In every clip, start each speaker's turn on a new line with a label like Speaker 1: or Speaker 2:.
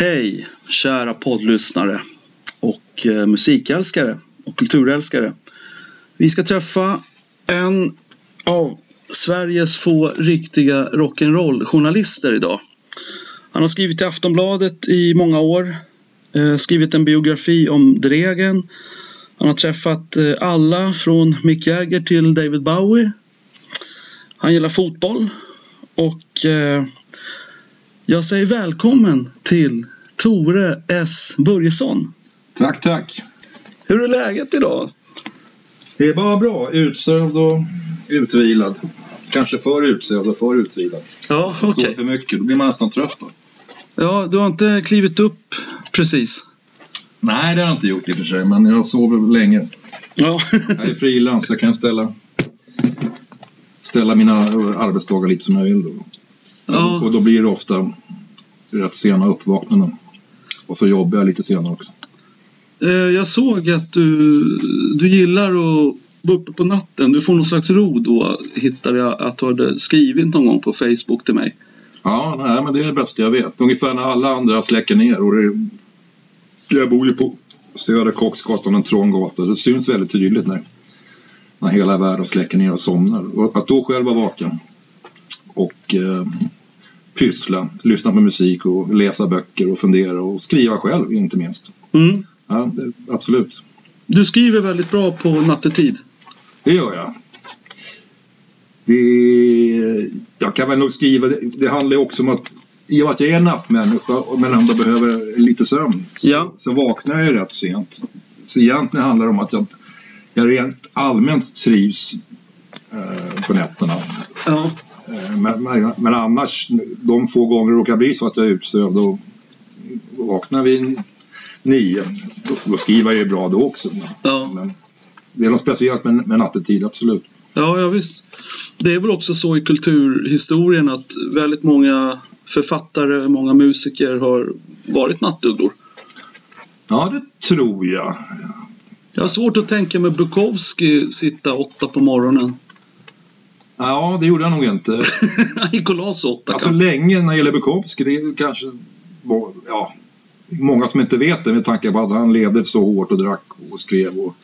Speaker 1: Hej kära poddlyssnare och eh, musikälskare och kulturälskare. Vi ska träffa en av Sveriges få riktiga rock'n'roll-journalister idag. Han har skrivit i Aftonbladet i många år, eh, skrivit en biografi om Dregen. Han har träffat eh, alla från Mick Jagger till David Bowie. Han gillar fotboll och eh, jag säger välkommen till Tore S Börjesson.
Speaker 2: Tack, tack.
Speaker 1: Hur är läget idag?
Speaker 2: Det är bara bra. Utsövd och utvilad. Kanske för utsövd och för utvilad.
Speaker 1: Ja,
Speaker 2: Okay. för mycket, då blir man nästan trött. Då.
Speaker 1: Ja, du har inte klivit upp precis?
Speaker 2: Nej, det har jag inte gjort i och för sig, men jag sover länge.
Speaker 1: Ja,
Speaker 2: Jag är frilans, jag kan ställa, ställa mina eh, arbetsdagar lite som jag vill. Då.
Speaker 1: ja,
Speaker 2: Och då blir det ofta rätt sena uppvaknanden. Och så jobbar jag lite senare också.
Speaker 1: Eh, jag såg att du, du gillar att vara uppe på natten. Du får någon slags ro då, hittade jag att du hade skrivit någon gång på Facebook till mig.
Speaker 2: Ja, nej, men det är det bästa jag vet. Ungefär när alla andra släcker ner. Och det, jag bor ju på Söder Koksgatan, en trång gata. Det syns väldigt tydligt när, när hela världen släcker ner och somnar. Och att då själv vara vaken och eh, pyssla, lyssna på musik och läsa böcker och fundera och skriva själv, inte minst.
Speaker 1: Mm.
Speaker 2: Ja, det, absolut,
Speaker 1: Du skriver väldigt bra på nattetid.
Speaker 2: det gör jag. Det, jag kan väl nog skriva, det, det handlar ju också om att i och med att jag är nattmänniska och- men ändå behöver lite sömn så,
Speaker 1: Ja.
Speaker 2: så vaknar jag ju rätt sent. Så egentligen handlar det om att jag, jag rent allmänt trivs eh, på nätterna.
Speaker 1: Ja,
Speaker 2: Eh, men, men, men annars, de få gånger det råkar bli så att jag är utsövd och vaknar vid nio, då, då skriver jag ju bra då också.
Speaker 1: ja.
Speaker 2: Men det är något speciellt med, med nattetid, absolut.
Speaker 1: Ja, ja visst. Det är väl också så i kulturhistorien att väldigt många författare, många musiker har varit nattugglor.
Speaker 2: Ja, det tror jag.
Speaker 1: Jag har svårt att tänka mig Bukowski sitta åtta på morgonen.
Speaker 2: Ja, det gjorde jag nog inte.
Speaker 1: Nikolas åtta
Speaker 2: Alltså
Speaker 1: kanske.
Speaker 2: länge när det gäller Bukowski, det är kanske var, ja, många som inte vet det med tanke på att han levde så hårt och drack och skrev. Och,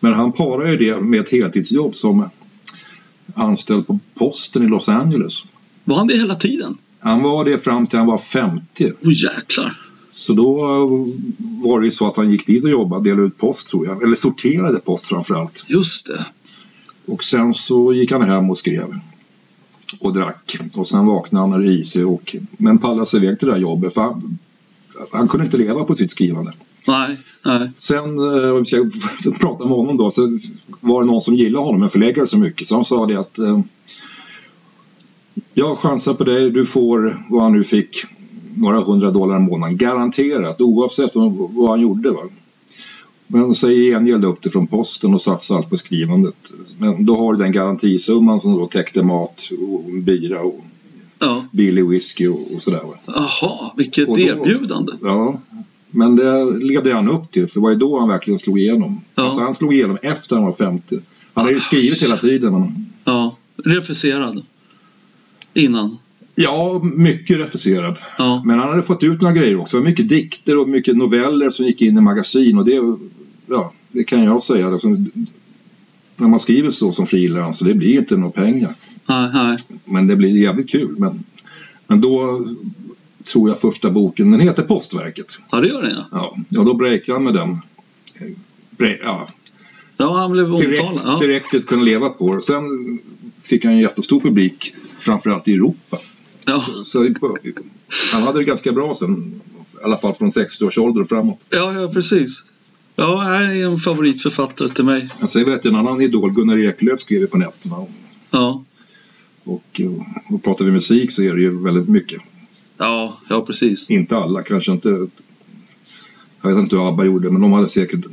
Speaker 2: men han parar ju det med ett heltidsjobb som anställd på posten i Los Angeles.
Speaker 1: Var han det hela tiden?
Speaker 2: Han var det fram till han var 50.
Speaker 1: Åh jäklar.
Speaker 2: Så då var det ju så att han gick dit och jobbade, delade ut post tror jag. Eller sorterade post framför allt.
Speaker 1: Just det.
Speaker 2: Och sen så gick han hem och skrev och drack. Och sen vaknade han och risig och men pallade sig iväg till det där jobbet för han, han kunde inte leva på sitt skrivande.
Speaker 1: Nej, nej.
Speaker 2: Sen, eh, om vi ska prata med honom då, så var det någon som gillade honom, en förläggare så mycket, så han sa det att eh, jag chansar på dig, du får vad han nu fick, några hundra dollar i månaden, garanterat, oavsett vad vad han gjorde. Va? Men så i gengäld upp det från posten och satsade allt på skrivandet. Men då har du den garantisumman som då täckte mat, och bira och
Speaker 1: Ja.
Speaker 2: billig whisky och, och sådär. Va?
Speaker 1: Jaha, vilket
Speaker 2: Och då-
Speaker 1: erbjudande.
Speaker 2: Ja, men det levde han upp till för det var ju då han verkligen slog igenom.
Speaker 1: Ja.
Speaker 2: Alltså han slog igenom efter han var 50. Han har ju skrivit hela tiden. Men...
Speaker 1: Ja. Refuserad. Innan.
Speaker 2: Ja, mycket refuserad.
Speaker 1: Ja.
Speaker 2: Men han hade fått ut några grejer också. Det var Mycket dikter och mycket noveller som gick in i magasin och det, ja, det kan jag säga. Alltså, när man skriver så som frilanser, det blir inte några pengar.
Speaker 1: Nej, nej.
Speaker 2: Men det blir jävligt kul. Men, men då tror jag första boken, den heter Postverket.
Speaker 1: Ja, det gör det ja.
Speaker 2: Ja, ja då breakade han med den. Eh, bre- Ja,
Speaker 1: Ja, han blev omtalad.
Speaker 2: tillräckligt,
Speaker 1: Ja.
Speaker 2: tillräckligt kunde leva på det. Sen fick han en jättestor publik, framförallt i Europa.
Speaker 1: Ja.
Speaker 2: Så han hade det ganska bra sen, i alla fall från 60-årsåldern och framåt.
Speaker 1: Ja, ja precis. Ja, här är en favoritförfattare till mig.
Speaker 2: Men Sen vet Alltså, jag en annan idol, Gunnar Eklöf, skrev ju på nätterna. Och,
Speaker 1: Ja,
Speaker 2: och, eh, och pratar vi musik så är det ju väldigt mycket.
Speaker 1: ja, ja precis.
Speaker 2: Inte alla, kanske inte... Jag vet inte hur ABBA gjorde, men de hade säkert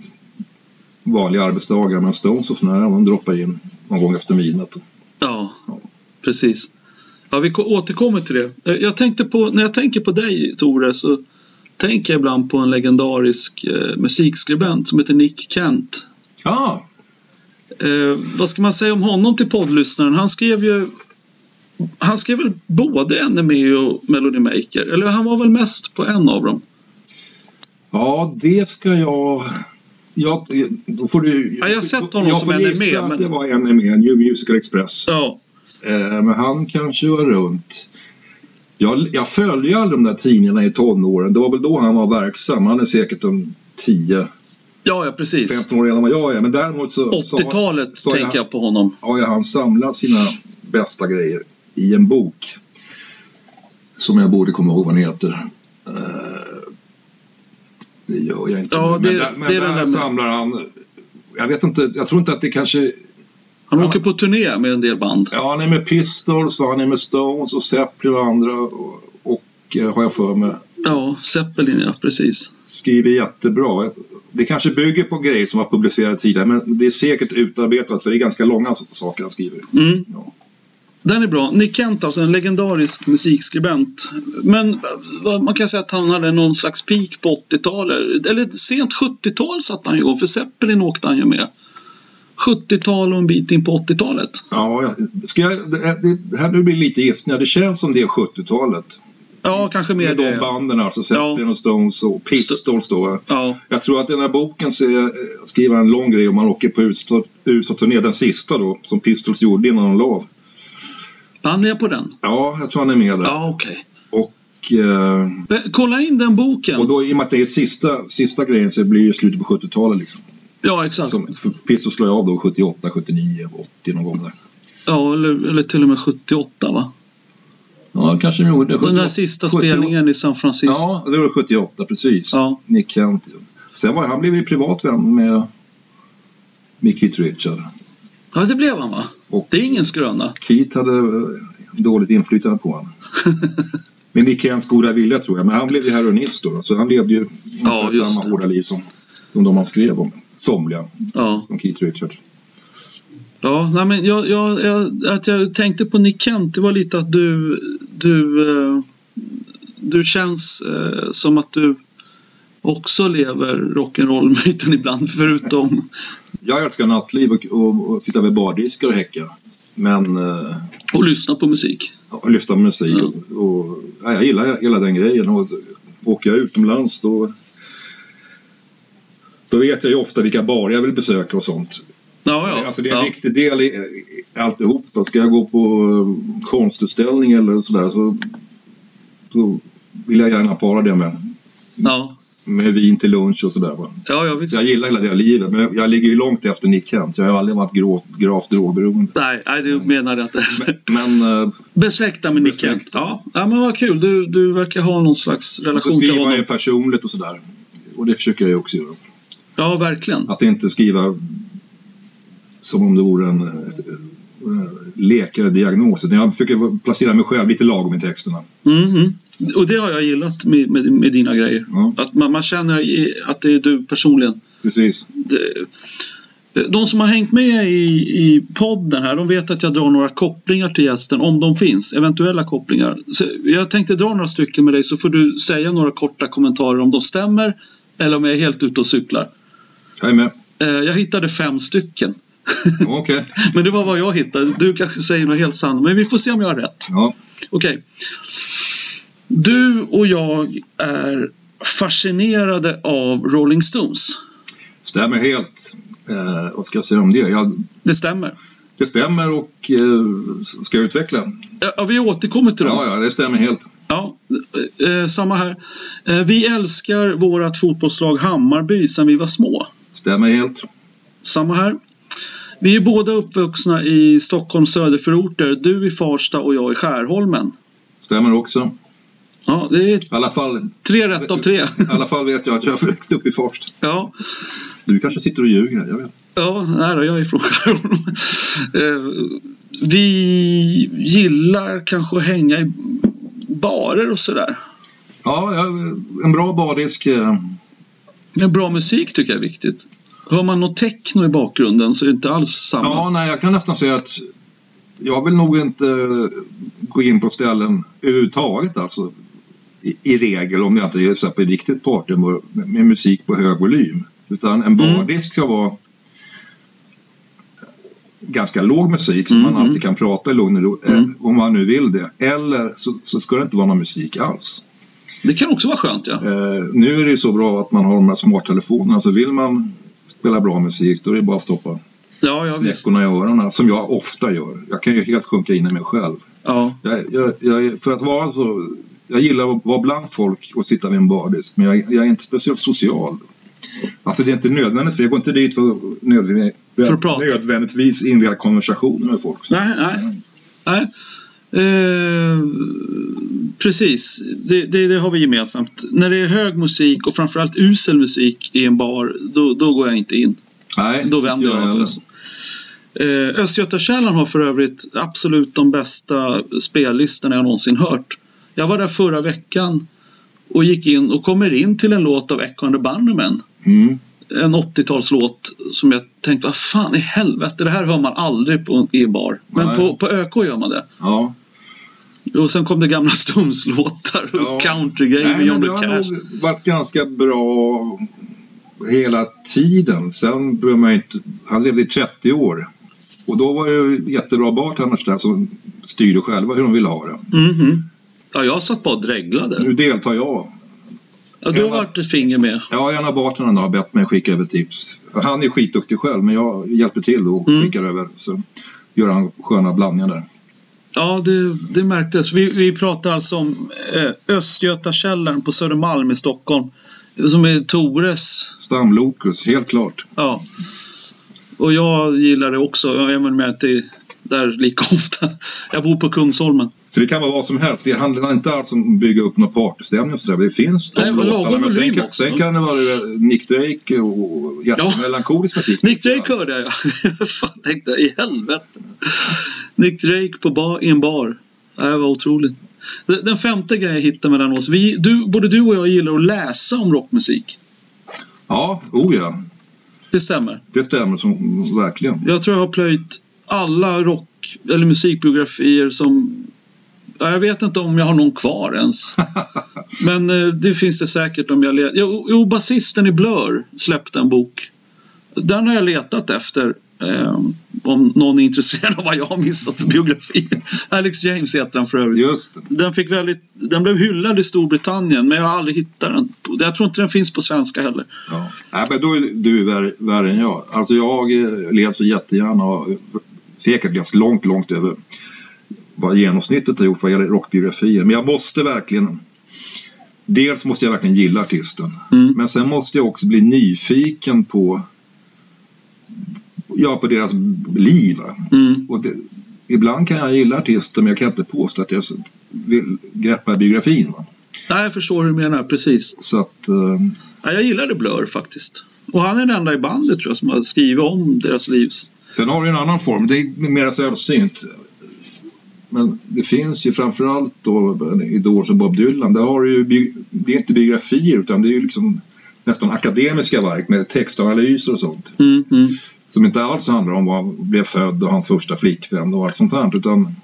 Speaker 2: vanliga arbetsdagar. Men Stones och sådana där, de droppade in någon gång efter midnatt.
Speaker 1: Ja,
Speaker 2: Ja.
Speaker 1: precis. Ja, vi ko- återkommer till det. Eh, Jag tänkte på, när jag tänker på dig, Tore, så tänker jag ibland på en legendarisk eh, musikskribent som heter Nick Kent.
Speaker 2: Ja,
Speaker 1: Eh, vad ska man säga om honom till poddlyssnaren? Han skrev ju han skrev väl både Enemy och Melody Maker? Eller han var väl mest på en av dem?
Speaker 2: Ja, det ska jag... Jag, då får du,
Speaker 1: Ja, jag har sett honom
Speaker 2: jag
Speaker 1: som
Speaker 2: får
Speaker 1: NME,
Speaker 2: gissa att
Speaker 1: men-
Speaker 2: det var NME, New Musical Express.
Speaker 1: Ja.
Speaker 2: Eh, men han kanske var runt... Jag, jag följde ju alla de där tidningarna i tonåren. Det var väl då han var verksam. Han är säkert en 10-15
Speaker 1: Ja, ja precis.
Speaker 2: år äldre än vad jag är. Men däremot så, så,
Speaker 1: 80-talet
Speaker 2: så-
Speaker 1: tänker jag på honom.
Speaker 2: har ju han samlat sina bästa grejer i en bok. Som jag borde komma ihåg vad den heter. Eh, det gör jag inte.
Speaker 1: Ja,
Speaker 2: men
Speaker 1: det-
Speaker 2: där, men
Speaker 1: det är
Speaker 2: där
Speaker 1: den där med-
Speaker 2: samlar han... Jag vet inte, jag tror inte att det kanske
Speaker 1: Han
Speaker 2: Ja.
Speaker 1: åker på turné med en del band.
Speaker 2: Ja, han är med Pistols och han är med Stones och Zeppelin och andra. Och, och eh, har jag för mig,
Speaker 1: Ja, Zeppelin ja, precis.
Speaker 2: skriver jättebra. Det kanske bygger på grejer som var publicerade tidigare men det är säkert utarbetat för det är ganska långa s- saker han skriver.
Speaker 1: Mm.
Speaker 2: Ja.
Speaker 1: Den är bra. Nick Kent alltså, en legendarisk musikskribent. Men vad- man kan säga att han hade någon slags peak på 80-talet. Eller sent 70-tal satt han ju igång, för Zeppelin åkte han ju med. 70-tal och en bit in på 80-talet.
Speaker 2: Ja, jag- ska jag, det, det, det här nu blir lite giftningar. Det känns som det är 70-talet.
Speaker 1: Ja, kanske mer
Speaker 2: Med de
Speaker 1: det.
Speaker 2: banden alltså, Zeppelin och Stones och Pistols då.
Speaker 1: Ja,
Speaker 2: Jag tror att i den här boken så är, skriver han en lång grej om man åker på USA- USA-turné. Den sista då, som Pistols gjorde innan de la av.
Speaker 1: han är på den.
Speaker 2: Ja, jag tror han är med där.
Speaker 1: Ja, okej.
Speaker 2: Och, eh,
Speaker 1: Eh, Kolla in den
Speaker 2: och
Speaker 1: boken.
Speaker 2: då i och med att det är sista, sista grejen så blir det ju slutet på 70-talet. Liksom.
Speaker 1: Ja, exakt.
Speaker 2: Som, för Pistols slår jag av då 78, 79, 80 någon gång där.
Speaker 1: Ja, eller, eller till och med 78 va?
Speaker 2: Ja, kanske de gjorde.
Speaker 1: Den
Speaker 2: 78.
Speaker 1: där sista
Speaker 2: 78.
Speaker 1: spelningen i San Francisco.
Speaker 2: Ja, det var 78, precis.
Speaker 1: Ja.
Speaker 2: Nick Kent. Sen var han blev ju privat vän med, med Keith Richard.
Speaker 1: Ja, det blev han va?
Speaker 2: Och
Speaker 1: Det är ingen skröna.
Speaker 2: Keith hade eh, dåligt inflytande på honom. Med Nick Kents goda vilja tror jag. Men han blev ju heroinist då. Så han levde ju ungefär
Speaker 1: just
Speaker 2: samma
Speaker 1: det.
Speaker 2: hårda liv som, som de han skrev om. Somliga,
Speaker 1: Ja.
Speaker 2: som Keith Richard.
Speaker 1: Ja, nej men jag, jag, jag, att jag tänkte på Nick Kent, det var lite att du, du, eh, du känns eh, som att du också lever rock'n'roll-myten ibland, förutom...
Speaker 2: Jag älskar nattliv och, och, och sitta vid bardiskar och häcka. Men, eh,
Speaker 1: Och lyssna på musik.
Speaker 2: och lyssna på musik.
Speaker 1: Mm.
Speaker 2: Och, och, ja, jag gillar hela den grejen. Och, åker jag utomlands då, då vet jag ju ofta vilka barer jag vill besöka och sånt.
Speaker 1: Ja, ja.
Speaker 2: Alltså det är en
Speaker 1: ja.
Speaker 2: viktig del i, i alltihop. Då. Ska jag gå på eh, konstutställning eller sådär så då vill jag gärna para det med,
Speaker 1: Ja,
Speaker 2: med vin till lunch och sådär. va.
Speaker 1: ja, ja visst.
Speaker 2: Jag gillar hela det livet men jag, jag ligger ju långt efter Nick Kent. Jag har aldrig varit grovt- gravt drogberoende.
Speaker 1: Nej, nej, du menar jag inte.
Speaker 2: Men eh,
Speaker 1: Besläktad med Nick Kent.
Speaker 2: Besläktad.
Speaker 1: Ja. ja, men vad kul. Du, du verkar ha någon slags relation till
Speaker 2: skriva
Speaker 1: honom.
Speaker 2: är personligt och sådär. Och det försöker jag ju också göra.
Speaker 1: Ja, verkligen.
Speaker 2: Att inte skriva som om det vore en ett, eh, lek eller diagnos. Utan Jag försöker placera mig själv lite lagom i texterna.
Speaker 1: Mm, mm. Och det har jag gillat med, med, med dina grejer.
Speaker 2: Ja,
Speaker 1: Att man, man känner i- att det är du personligen.
Speaker 2: precis.
Speaker 1: det- de som har hängt med i, i podden här, de vet att jag drar några kopplingar till gästen, om de finns, eventuella kopplingar. Så jag tänkte dra några stycken med dig så får du säga några korta kommentarer om de stämmer eller om jag är helt ute och cyklar.
Speaker 2: Jag är med.
Speaker 1: Eh, Jag hittade fem stycken,
Speaker 2: Okej.
Speaker 1: men det var vad jag hittade. Du kanske säger något helt sant, men vi får se om jag har rätt.
Speaker 2: Ja.
Speaker 1: Okej. Du och jag är fascinerade av Rolling Stones.
Speaker 2: Stämmer helt. Eh, vad ska jag säga om det? Ja,
Speaker 1: Det stämmer.
Speaker 2: det stämmer och eh, ska jag utveckla?
Speaker 1: Ja, vi återkommer till dem.
Speaker 2: Ja, ja, det stämmer helt.
Speaker 1: Ja, eh, eh, samma här. Eh, vi älskar vårat fotbollslag Hammarby sedan vi var små.
Speaker 2: Stämmer helt.
Speaker 1: Samma här. Vi är båda uppvuxna i Stockholms söderförorter. Du i Farsta och jag i Skärholmen.
Speaker 2: Stämmer också.
Speaker 1: Ja, det är
Speaker 2: I alla fall,
Speaker 1: tre rätt av tre.
Speaker 2: i alla fall vet jag att jag växte upp i Farsta.
Speaker 1: Ja,
Speaker 2: Du kanske sitter och ljuger här, jag vet.
Speaker 1: ja nej då, jag är ifrån Skärholmen. Eh, vi gillar kanske att hänga i barer och sådär.
Speaker 2: Ja, jag- en bra bardisk. eh,
Speaker 1: Men bra musik tycker jag är viktigt. Hör man något techno i bakgrunden så är det inte alls samma.
Speaker 2: Ja, nej, jag kan nästan säga att jag vill nog inte eh, gå in på ställen överhuvudtaget alltså. I, I regel om jag inte är så här på riktigt party med, med musik
Speaker 1: Mm.
Speaker 2: på hög volym. Utan en bardisk ska vara ganska låg musik som
Speaker 1: Mm,
Speaker 2: man alltid kan prata i lugn och ro, eh, om man nu vill det. Eller så, så ska det inte vara någon musik alls.
Speaker 1: Det kan också vara skönt ja.
Speaker 2: Eh, nu är det ju så bra att man har de här smarttelefonerna så vill man spela bra musik då är det bara att stoppa
Speaker 1: Ja, ja visst.
Speaker 2: snäckorna i öronen som jag ofta gör. Jag kan ju helt sjunka in i mig själv.
Speaker 1: Ja.
Speaker 2: Jag, jag, jag, är- för att vara så, jag gillar att vara bland folk och sitta vid en bardisk men jag, jag är inte speciellt social. Alltså det är inte nödvändigt för jag går inte dit för, att nödvändigt,
Speaker 1: För att prata.
Speaker 2: nödvändigtvis inleda konversationer med folk.
Speaker 1: Nej, nej. nej. Eh, precis, det, det, det har vi gemensamt. När det är hög musik och framförallt usel musik i en bar, då, då går jag inte in.
Speaker 2: Nej,
Speaker 1: Då vänder jag mig förresten. Eh, Östgötakällan har för övrigt absolut de bästa spellistorna jag någonsin hört. Jag var där förra veckan och gick in och kommer in till en låt av Echo and the Bunnymen.
Speaker 2: Mm.
Speaker 1: En 80-talslåt som jag tänkte, vad fan i helvete, det här hör man aldrig på, i bar. Men
Speaker 2: Nej.
Speaker 1: på, på ÖK gör man det.
Speaker 2: Ja.
Speaker 1: Och sen kom det gamla Stones-låtar och
Speaker 2: Ja.
Speaker 1: countrygrejer med
Speaker 2: Nej, men
Speaker 1: John
Speaker 2: det
Speaker 1: Le
Speaker 2: har
Speaker 1: Cash.
Speaker 2: nog varit ganska bra hela tiden. Sen behöver man ju inte... Han levde i 30 år. Och då var det ju jättebra bartenders där som styrde själva hur de ville ha det.
Speaker 1: Mhm. Ja, jag satt bara och dreglade.
Speaker 2: Nu deltar jag.
Speaker 1: Ja, du har varit ett finger med.
Speaker 2: Ja, en av bartendrarna har bett mig skicka över tips. Han är skitduktig själv, men jag hjälper till då och
Speaker 1: Mm.
Speaker 2: skickar över. Så gör han sköna blandningar där.
Speaker 1: Ja, det, det märktes. Vi, vi pratar alltså om eh, Östgötakällaren på Södermalm i Stockholm. Som är Tores.
Speaker 2: Stamlokus, helt klart.
Speaker 1: Ja. Och jag gillar det också, även om jag inte är där lika ofta. Jag bor på Kungsholmen.
Speaker 2: Så det kan vara vad som helst. Det handlar inte alls om att bygga upp någon partystämning och sådär. Det finns de
Speaker 1: Nej, men lagom
Speaker 2: låtarna. Men sen,
Speaker 1: volym
Speaker 2: kan,
Speaker 1: också.
Speaker 2: sen kan det vara eh, Nick Drake och jättemelankolisk musik.
Speaker 1: Nick Drake hörde jag ja. Fan, tänkte jag, i helvete. Nick Drake på bar, i en bar. Ja, Det var otroligt. Den den femte grejen jag hittade mellan oss. Vi, du, både du och jag gillar att läsa om rockmusik.
Speaker 2: Ja, oh ja.
Speaker 1: Det stämmer.
Speaker 2: Det stämmer som, verkligen.
Speaker 1: Jag tror jag har plöjt alla rock eller musikbiografier som... Ja, jag vet inte om jag har någon kvar ens. Men eh, det finns det säkert om jag letar. Jo, jo basisten i Blur släppte en bok. Den har jag letat efter. Eh, om någon är intresserad av vad jag har missat för biografi. Alex James heter han för övrigt.
Speaker 2: Just det.
Speaker 1: Den, fick väldigt, den blev hyllad i Storbritannien men jag har aldrig hittat den. Jag tror inte den finns på svenska heller.
Speaker 2: Ja. Nej, men då är du värre, värre än jag. Alltså jag eh, läser jättegärna och har säkert läst långt, långt över vad genomsnittet har gjort vad gäller rockbiografier. Men jag måste verkligen Dels måste jag verkligen gilla artisten.
Speaker 1: Mm.
Speaker 2: Men sen måste jag också bli nyfiken på ja, på deras liv. va.
Speaker 1: Mm.
Speaker 2: Och det, ibland kan jag gilla artister men jag kan inte påstå att jag s- vill greppa biografin. Va?
Speaker 1: Nej, jag förstår hur du menar, precis.
Speaker 2: Så att, eh,
Speaker 1: Ja, jag gillade Blur faktiskt. Och han är den enda i bandet tror jag som har skrivit om deras liv.
Speaker 2: Sen har du en annan form, det är mer sällsynt. Men det finns ju framförallt då Idol som Bob Dylan. Där har du ju, bi- det är inte biografier utan det är ju liksom nästan akademiska verk med textanalyser och sånt.
Speaker 1: Mm, mm.
Speaker 2: Som inte alls handlar om var han blev född och hans första flickvän och allt sånt där. Utan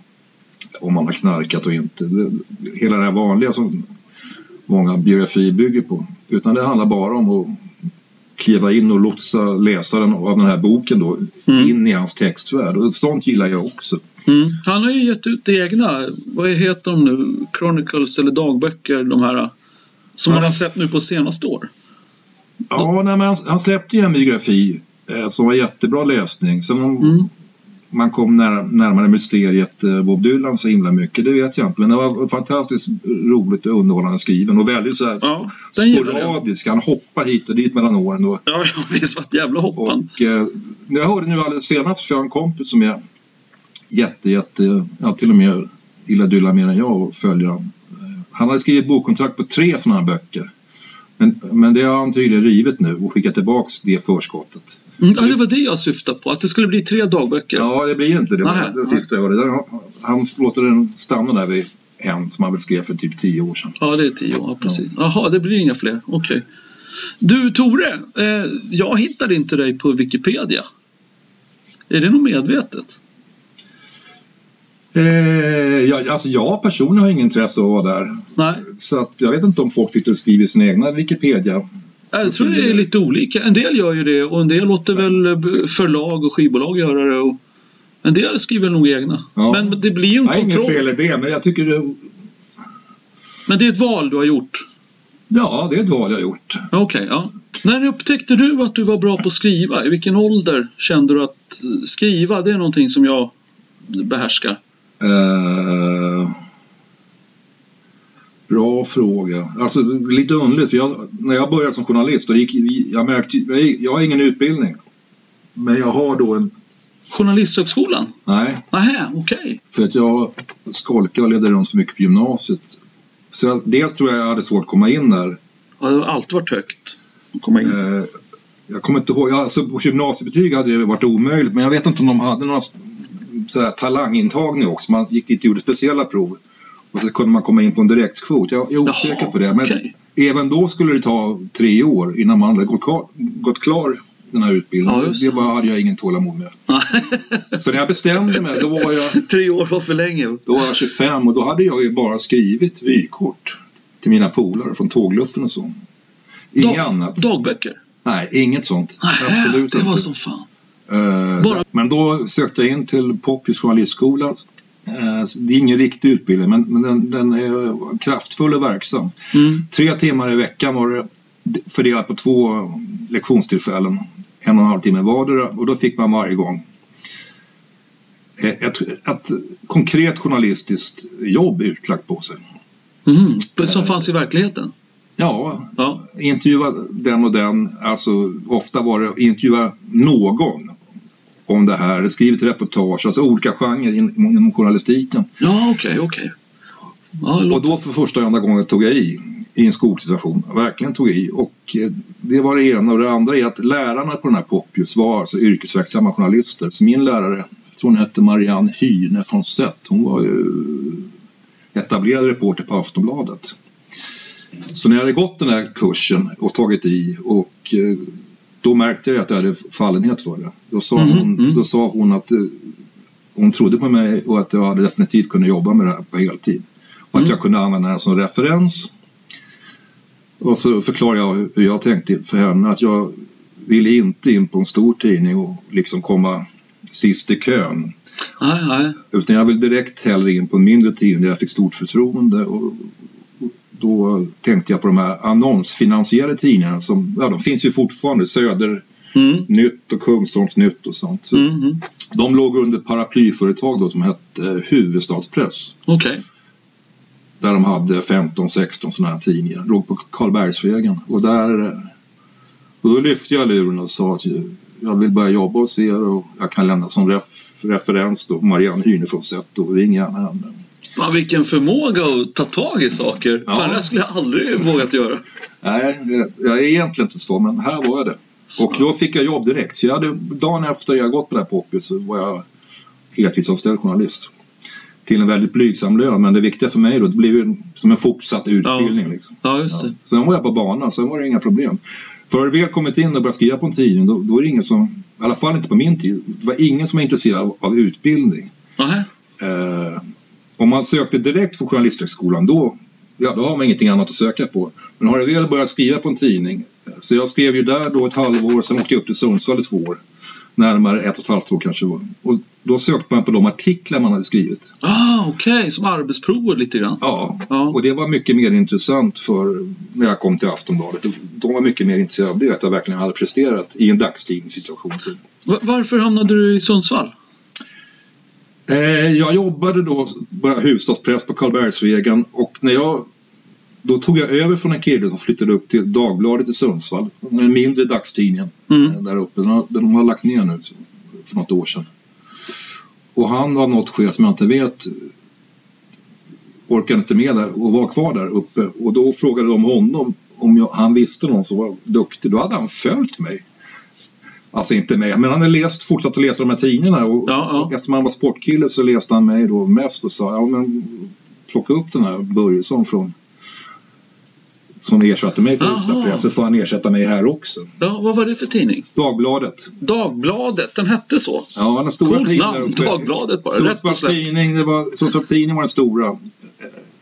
Speaker 2: om han har knarkat och inte. Det, hela det här vanliga som många biografier bygger på. Utan det handlar bara om att kliva in och lotsa läsaren av den här boken då
Speaker 1: Mm.
Speaker 2: in i hans textvärld. Och sånt gillar jag också.
Speaker 1: Mm. Han har ju gett ut egna, vad heter de nu, Chronicles eller dagböcker, de här som
Speaker 2: Ja.
Speaker 1: han har släppt nu på senaste år.
Speaker 2: Ja, nej, men han, han släppte ju en biografi eh, som var jättebra läsning. Sen om
Speaker 1: Mm.
Speaker 2: man kom när, närmare mysteriet eh, Bob Dylan så himla mycket, det vet jag inte. Men det var fantastiskt roligt och underhållande skriven och väldigt så här
Speaker 1: Ja, den gillar jag.
Speaker 2: sporadisk. Han hoppar hit och dit mellan åren. Och,
Speaker 1: Ja, ja, visst vart jävla hoppan.
Speaker 2: och, eh, jag hörde nu alldeles senast för jag har en kompis som är jätte, jätte, ja till och med gillar Dylan mer än jag och följer han. Eh, Han hade skrivit bokkontrakt på tre sådana här böcker. Men, men det har han tydligen rivit nu och skickat tillbaks det förskottet.
Speaker 1: Mm, ja, det var det jag syftade på, att det skulle bli tre dagböcker.
Speaker 2: Ja, det blir inte det.
Speaker 1: Nej.
Speaker 2: Den sista jag hörde. Där, han låter den stanna där vid en som han väl skrev för typ tio år sedan.
Speaker 1: Ja, det är tio år. Ja, precis. Jaha, det blir inga fler. Okej. Du, Tore. Eh, jag hittade inte dig på Wikipedia. Är det nog medvetet?
Speaker 2: Eh, jag, alltså jag personligen har ingen intresse av att vara där.
Speaker 1: Nej,
Speaker 2: Så att jag vet inte om folk sitter och skriver sina egna Wikipedia.
Speaker 1: jag tror det är lite olika. En del gör ju det och en del låter väl förlag och skivbolag göra det. Och En del skriver nog egna.
Speaker 2: Ja.
Speaker 1: Men det blir ju en
Speaker 2: Nej, inget
Speaker 1: kontroll.
Speaker 2: fel i det, men jag tycker det,
Speaker 1: Men det är ett val du har gjort.
Speaker 2: Ja, det är ett val jag gjort.
Speaker 1: Ja, Okej, ja. När upptäckte du att du var bra på att skriva? I vilken ålder kände du att eh, skriva, det är någonting som jag behärskar?
Speaker 2: Eh, bra fråga. Alltså lite underligt, för jag, när jag började som journalist, och gick, jag, märkte, jag, gick- jag har ingen utbildning. Men jag har då en...
Speaker 1: Journalisthögskolan?
Speaker 2: Nej,
Speaker 1: Nähä, okej.
Speaker 2: för att jag skolkade och ledde runt för mycket på gymnasiet. Så jag, dels tror jag jag hade svårt att komma in där.
Speaker 1: Ja, det har alltid varit högt att komma in.
Speaker 2: Eh, jag kommer inte ihåg, alltså på gymnasiebetyg hade det varit omöjligt, men jag vet inte om de hade några sådär, talangintagning också. Man gick dit och gjorde speciella prov. Och så kunde man komma in på en direktkvot. Jag jag är osäker på det. Men
Speaker 1: okej.
Speaker 2: även då skulle det ta tre år innan man hade gått, klar- gått klar den här utbildningen.
Speaker 1: Ja, just
Speaker 2: det
Speaker 1: det.
Speaker 2: var, hade jag ingen tålamod med. så när jag bestämde mig, då var jag,
Speaker 1: Tre år var för länge.
Speaker 2: då var jag 25 och då hade jag ju bara skrivit vykort till mina polare från tågluffen och så. Inget
Speaker 1: Dag-
Speaker 2: annat.
Speaker 1: Dagböcker?
Speaker 2: Nej, inget sånt.
Speaker 1: Nähä,
Speaker 2: Absolut
Speaker 1: det
Speaker 2: inte.
Speaker 1: var som fan.
Speaker 2: Eh,
Speaker 1: Bara-
Speaker 2: Men då sökte jag in till Poppius journalistskola. Eh, så Det är ingen riktig utbildning, men, men den, den är kraftfull och verksam.
Speaker 1: Mm.
Speaker 2: Tre timmar i veckan var det fördelat på två lektionstillfällen. En och en halv timme vardera och då fick man varje gång ett, ett konkret journalistiskt jobb utlagt på sig.
Speaker 1: Mm. Som fanns i verkligheten?
Speaker 2: Ja,
Speaker 1: Ja.
Speaker 2: intervjua den och den, alltså ofta var det intervjua någon om det här, skriv ett reportage, alltså olika genrer in- inom journalistiken.
Speaker 1: Ja, okej, okej. Ja,
Speaker 2: Och
Speaker 1: låt-
Speaker 2: då för första och enda gången tog jag i, i en skolsituation, verkligen tog i. Och eh, det var det ena och det andra är att lärarna på den här Poppius var alltså yrkesverksamma journalister. Så min lärare, jag tror hon hette Marianne Hyne von Sett, hon var ju etablerad reporter på Aftonbladet. Så när jag hade gått den här kursen och tagit i och eh, då märkte jag att jag hade fallenhet för det. Då sa
Speaker 1: Mhm,
Speaker 2: hon,
Speaker 1: mm.
Speaker 2: då sa hon att eh, hon trodde på mig och att jag hade definitivt kunnat jobba med det här på heltid. Och att
Speaker 1: Mm.
Speaker 2: jag kunde använda den som referens. Och så förklarade jag hur jag tänkte för henne att jag ville inte in på en stor tidning och liksom komma sist i kön.
Speaker 1: Nej, nej.
Speaker 2: Utan jag vill direkt hellre in på en mindre tidning där jag fick stort förtroende. Och och då tänkte jag på de här annonsfinansierade tidningarna som, ja de finns ju fortfarande, Södernytt
Speaker 1: Mm.
Speaker 2: och Kungsholmsnytt och sånt. Så
Speaker 1: Mm. Mm.
Speaker 2: De låg under ett paraplyföretag då som hette eh, Huvudstadspress.
Speaker 1: Okej.
Speaker 2: Där de hade 15-16 sådana här tidningar. Låg på Karlbergsvägen. Och där... eh, Och då lyfte jag luren och sa att jag vill börja jobba hos er och jag kan lämna som ref, referens då Marianne Hynefonsett och ring gärna henne.
Speaker 1: Fan, vilken förmåga att ta tag i saker.
Speaker 2: Ja.
Speaker 1: Fan, det här skulle jag aldrig vågat göra.
Speaker 2: Nej, jag- jag är egentligen inte så, men här var jag det. Och då fick jag jobb direkt. Så jag hade, dagen efter jag gått på det här Poppys så var jag heltidsanställd journalist. Till en väldigt blygsam lön, men det viktiga för mig då, det blev ju som en fortsatt utbildning. Liksom.
Speaker 1: Ja, just
Speaker 2: Ja.
Speaker 1: det.
Speaker 2: Sen var jag på banan, sen var det inga problem. För vi har kommit in och börjat skriva på en tidning, då, då är det ingen som, i alla fall inte på min tid, det var ingen som var intresserad av, av utbildning.
Speaker 1: Nähä.
Speaker 2: Eh, om man sökte direkt från Journalisthögskolan då, ja, då har man ingenting annat att söka på. Men har jag väl börjat skriva på en tidning, eh, så jag skrev ju där då ett halvår, sen åkte jag upp till Sundsvall i två år. Närmare ett och ett halvt år kanske var. Och då sökte man på de artiklar man hade skrivit.
Speaker 1: Ah, okej. Som arbetsprover lite grann.
Speaker 2: Ja,
Speaker 1: Ja.
Speaker 2: och det var mycket mer intressant för när jag kom till Aftonbladet. De var mycket mer intresserade av det, att jag verkligen hade presterat i en dagstidningssituation. Så
Speaker 1: Va- Varför hamnade du i Sundsvall?
Speaker 2: Eh, jag jobbade då bara huvudstadspress på Karlbergsvägen och när jag då tog jag över från en kille som flyttade upp till Dagbladet i Sundsvall, den mindre dagstidningen
Speaker 1: Mm.
Speaker 2: eh, där uppe. Den har, den har lagt ner nu för något år sedan. Och han av något skäl som jag inte vet orkade inte med där och var kvar där uppe och då frågade de honom om jag, han visste någon som var duktig. Då hade han följt mig. Alltså inte mig, men han hade läst, fortsatt att läsa de här tidningarna och
Speaker 1: Ja, ja.
Speaker 2: eftersom han var sportkille så läste han mig då mest och sa ja men plocka upp den här Börjesson från som ersatte mig på
Speaker 1: Jaha.
Speaker 2: Ystadpress så får han ersätta mig här också.
Speaker 1: Ja, vad var det för tidning?
Speaker 2: Dagbladet.
Speaker 1: Dagbladet. Den hette så.
Speaker 2: Ja, den stora
Speaker 1: Coolt
Speaker 2: tidningen där
Speaker 1: namn.
Speaker 2: uppe.
Speaker 1: Dagbladet bara. Rätt och
Speaker 2: Sundsvalls
Speaker 1: slätt.
Speaker 2: tidning, det var- Sundsvalls tidning var den stora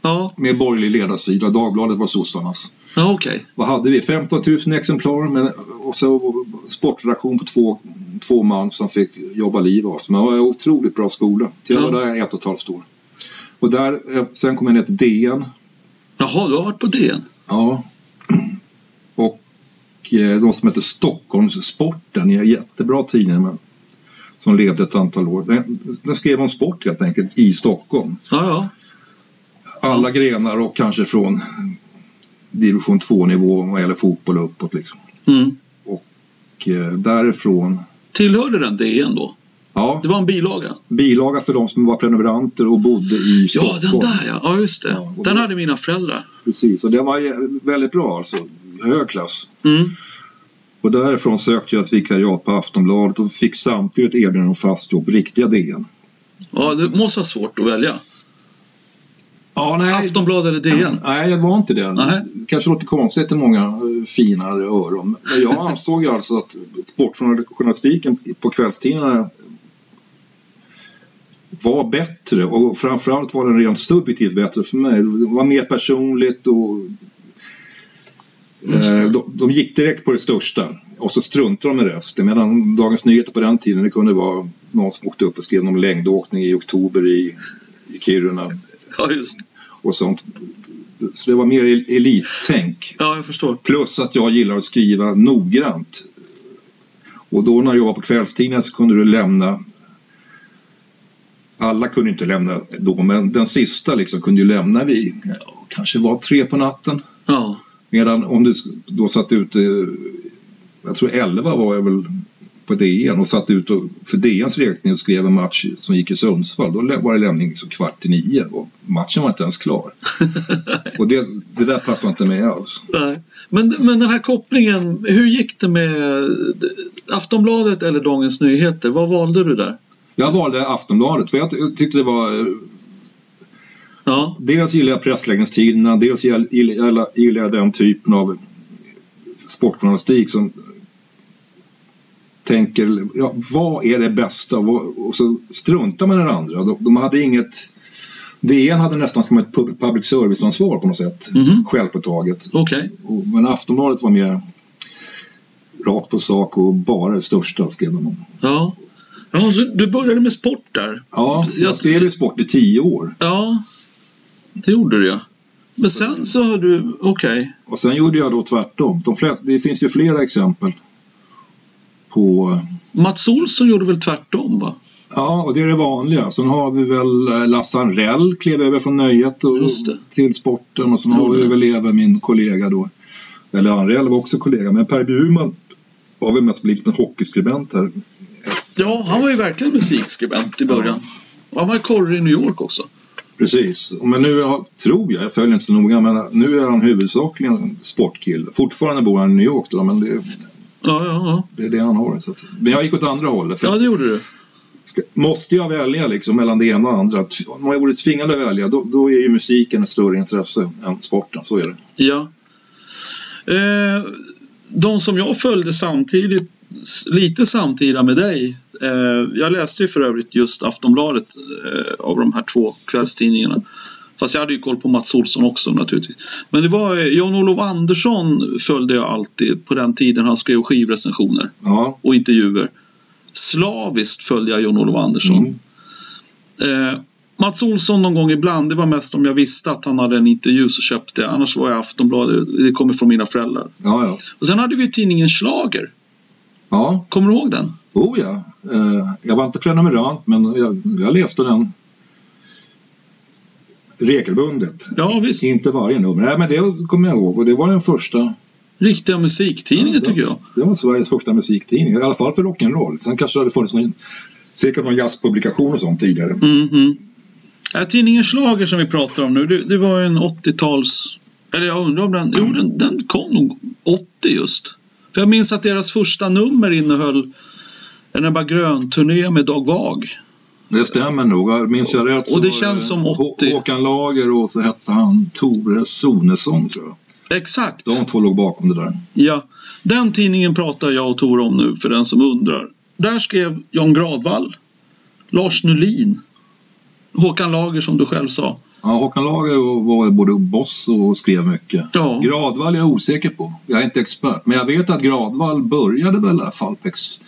Speaker 1: Ja,
Speaker 2: med borgerlig ledarsida. Dagbladet var sossarnas.
Speaker 1: ja okej.
Speaker 2: Vad hade vi? 15 000 exemplar med, och så sportredaktion på två två man som fick jobba liv av sig. Men det var en otroligt bra skola. Till jag
Speaker 1: Ja.
Speaker 2: var där ett och ett halvt år. Och där, eh, sen kom jag ner till DN.
Speaker 1: Jaha, du har varit på DN?
Speaker 2: Ja. Och eh, de som hette Stockholmssporten, en jättebra tidning. Men, som levde ett antal år. Den, den skrev om sport helt enkelt i Stockholm.
Speaker 1: Ja, ja.
Speaker 2: Alla grenar och kanske från division 2-nivå vad gäller fotboll och uppåt. Liksom.
Speaker 1: Mm.
Speaker 2: Och eh, därifrån,
Speaker 1: Tillhörde den DN då?
Speaker 2: ja,
Speaker 1: Det var en bilaga?
Speaker 2: bilaga för de som var prenumeranter och bodde i
Speaker 1: Ja,
Speaker 2: Stockholm.
Speaker 1: den där ja. Ja, just det.
Speaker 2: Ja, och
Speaker 1: den
Speaker 2: då-
Speaker 1: hade mina föräldrar.
Speaker 2: Precis, och den var jä- väldigt bra alltså. Hög klass.
Speaker 1: Mm.
Speaker 2: Och därifrån sökte jag ett vikariat på Aftonbladet och fick samtidigt erbjudande om fast jobb på riktiga DN.
Speaker 1: Ja, det måste vara svårt att välja.
Speaker 2: Ja, nej.
Speaker 1: Aftonbladet eller DN?
Speaker 2: Nej, det var inte det.
Speaker 1: Nej.
Speaker 2: Det kanske låter konstigt till många eh, finare öron. Men jag ansåg ju alltså att sportjournalistiken på kvällstidningarna var bättre och framförallt var den rent subjektivt bättre för mig. Det var mer personligt och eh, de, de gick direkt på det största och så struntade de i resten. Medan Dagens Nyheter på den tiden det kunde vara någon som åkte upp och skrev om längdåkning i oktober i, i Kiruna
Speaker 1: Ja, just det.
Speaker 2: och sånt. Så det var mer el- elittänk.
Speaker 1: Ja, jag förstår.
Speaker 2: Plus att jag gillar att skriva noggrant. Och då när jag jobbade på kvällstidningen så kunde du lämna alla kunde inte lämna då, men den sista liksom kunde ju lämna vid ja, kanske var tre på natten.
Speaker 1: Ja,
Speaker 2: Medan om du sk- då satt ute, jag tror elva var jag väl på DN och satt ut och, för DNs räkning och skrev en match som gick i Sundsvall. Då lä- var det lämning liksom kvart i nio och matchen var inte ens klar. och det, det där passade inte mig alls.
Speaker 1: nej. Men, men den här kopplingen, hur gick det med Aftonbladet eller Dagens Nyheter? Vad valde du där?
Speaker 2: Jag valde Aftonbladet för jag, ty- jag tyckte det var eh,
Speaker 1: Ja,
Speaker 2: dels gillar jag pressläggningstiderna, dels gill- gillar jag, gillar jag den typen av sportjournalistik som tänker ja, vad är det bästa Vad- och så struntar man i det andra. De, de hade inget DN hade nästan som ett pub- public service-ansvar på något sätt.
Speaker 1: Mhm.
Speaker 2: Självpåtaget.
Speaker 1: okej.
Speaker 2: Och- Men Aftonbladet var mer rakt på sak och bara det största skrev de om.
Speaker 1: Ja. ja, så du började med sport där?
Speaker 2: Ja, så
Speaker 1: Jag-
Speaker 2: jag skrev ju sport i tio år.
Speaker 1: Ja, det gjorde du ja. Men sen så har du, okej.
Speaker 2: Och sen gjorde jag då tvärtom. De flesta, det finns ju flera exempel på...
Speaker 1: Mats Olsson gjorde väl tvärtom va?
Speaker 2: Ja, och det är det vanliga. Sen har vi väl eh, Lasse Anrell klev över från nöjet och
Speaker 1: Just det.
Speaker 2: till sporten och sen
Speaker 1: Gjorde
Speaker 2: har vi
Speaker 1: det.
Speaker 2: väl även min kollega då. Eller Anrell var också kollega, men Per Bjurman var väl mest likt en hockeyskribent här.
Speaker 1: Ja, han var ju verkligen musikskribent i början. Han var korre i New York också.
Speaker 2: Precis, men nu har, tror jag, jag följer inte så noga, men nu är han huvudsakligen en sportkille. Fortfarande bor han i New York då, men det,
Speaker 1: Ja, ja, ja.
Speaker 2: det är det han har. Så att, men jag gick åt andra hållet. för-
Speaker 1: Ja, det gjorde du.
Speaker 2: Ska- Måste jag välja liksom mellan det ena och det andra? T- Om jag vore tvingad att välja, då, då är ju musiken ett större intresse än sporten. Så är det.
Speaker 1: Ja. Eh, de som jag följde samtidigt, s- lite samtida med dig. Eh, jag läste ju för övrigt just Aftonbladet eh, av de här två kvällstidningarna. Fast jag hade ju koll på Mats Olsson också naturligtvis. Men det var eh, Jan-Olof Andersson följde jag alltid på den tiden han skrev skivrecensioner
Speaker 2: Ja.
Speaker 1: och intervjuer. Slaviskt följde jag Jan-Olof Andersson.
Speaker 2: Mm.
Speaker 1: Eh, Mats Olsson någon gång ibland, det var mest om jag visste att han hade en intervju så köpte jag. Annars var jag Aftonbladet, det kommer från mina föräldrar.
Speaker 2: Ja, ja.
Speaker 1: Och sen hade vi tidningen Schlager.
Speaker 2: Ja,
Speaker 1: Kommer du ihåg den?
Speaker 2: oh ja. Eh, jag var inte prenumerant, men jag, jag läste den regelbundet.
Speaker 1: Ja visst,
Speaker 2: Inte varje nummer. Nej, men det kommer jag ihåg. Och det var den första.
Speaker 1: riktiga musiktidningar
Speaker 2: Ja, ja.
Speaker 1: tycker jag.
Speaker 2: Det var Sveriges första musiktidning. I alla fall för rock'n'roll. Sen kanske det hade funnits någon, säkert någon jazzpublikation och sånt tidigare.
Speaker 1: Mm -hmm. äh, tidningen Schlager som vi pratar om nu, det, det var ju en 80-tals... Eller jag undrar om den... Jo, den, den kom nog 80 just. För jag minns att deras första nummer innehöll en Ebba Grön-turné med Dag Wag.
Speaker 2: Det stämmer nog. Jag Minns jag rätt så
Speaker 1: Och det
Speaker 2: var
Speaker 1: känns som
Speaker 2: Hå-
Speaker 1: 80.
Speaker 2: Håkan Lager och så hette han Tore Sonesson tror jag.
Speaker 1: Exakt!
Speaker 2: De två låg bakom det där.
Speaker 1: Ja, den tidningen pratar jag och Tor om nu för den som undrar. Där skrev Jan Gradvall, Lars Nulin, Håkan Lager som du själv sa.
Speaker 2: Ja, Håkan Lager var var både boss och skrev mycket.
Speaker 1: Ja,
Speaker 2: Gradvall är jag osäker på. Jag är inte expert. Men jag vet att Gradvall började väl i alla fall på ex-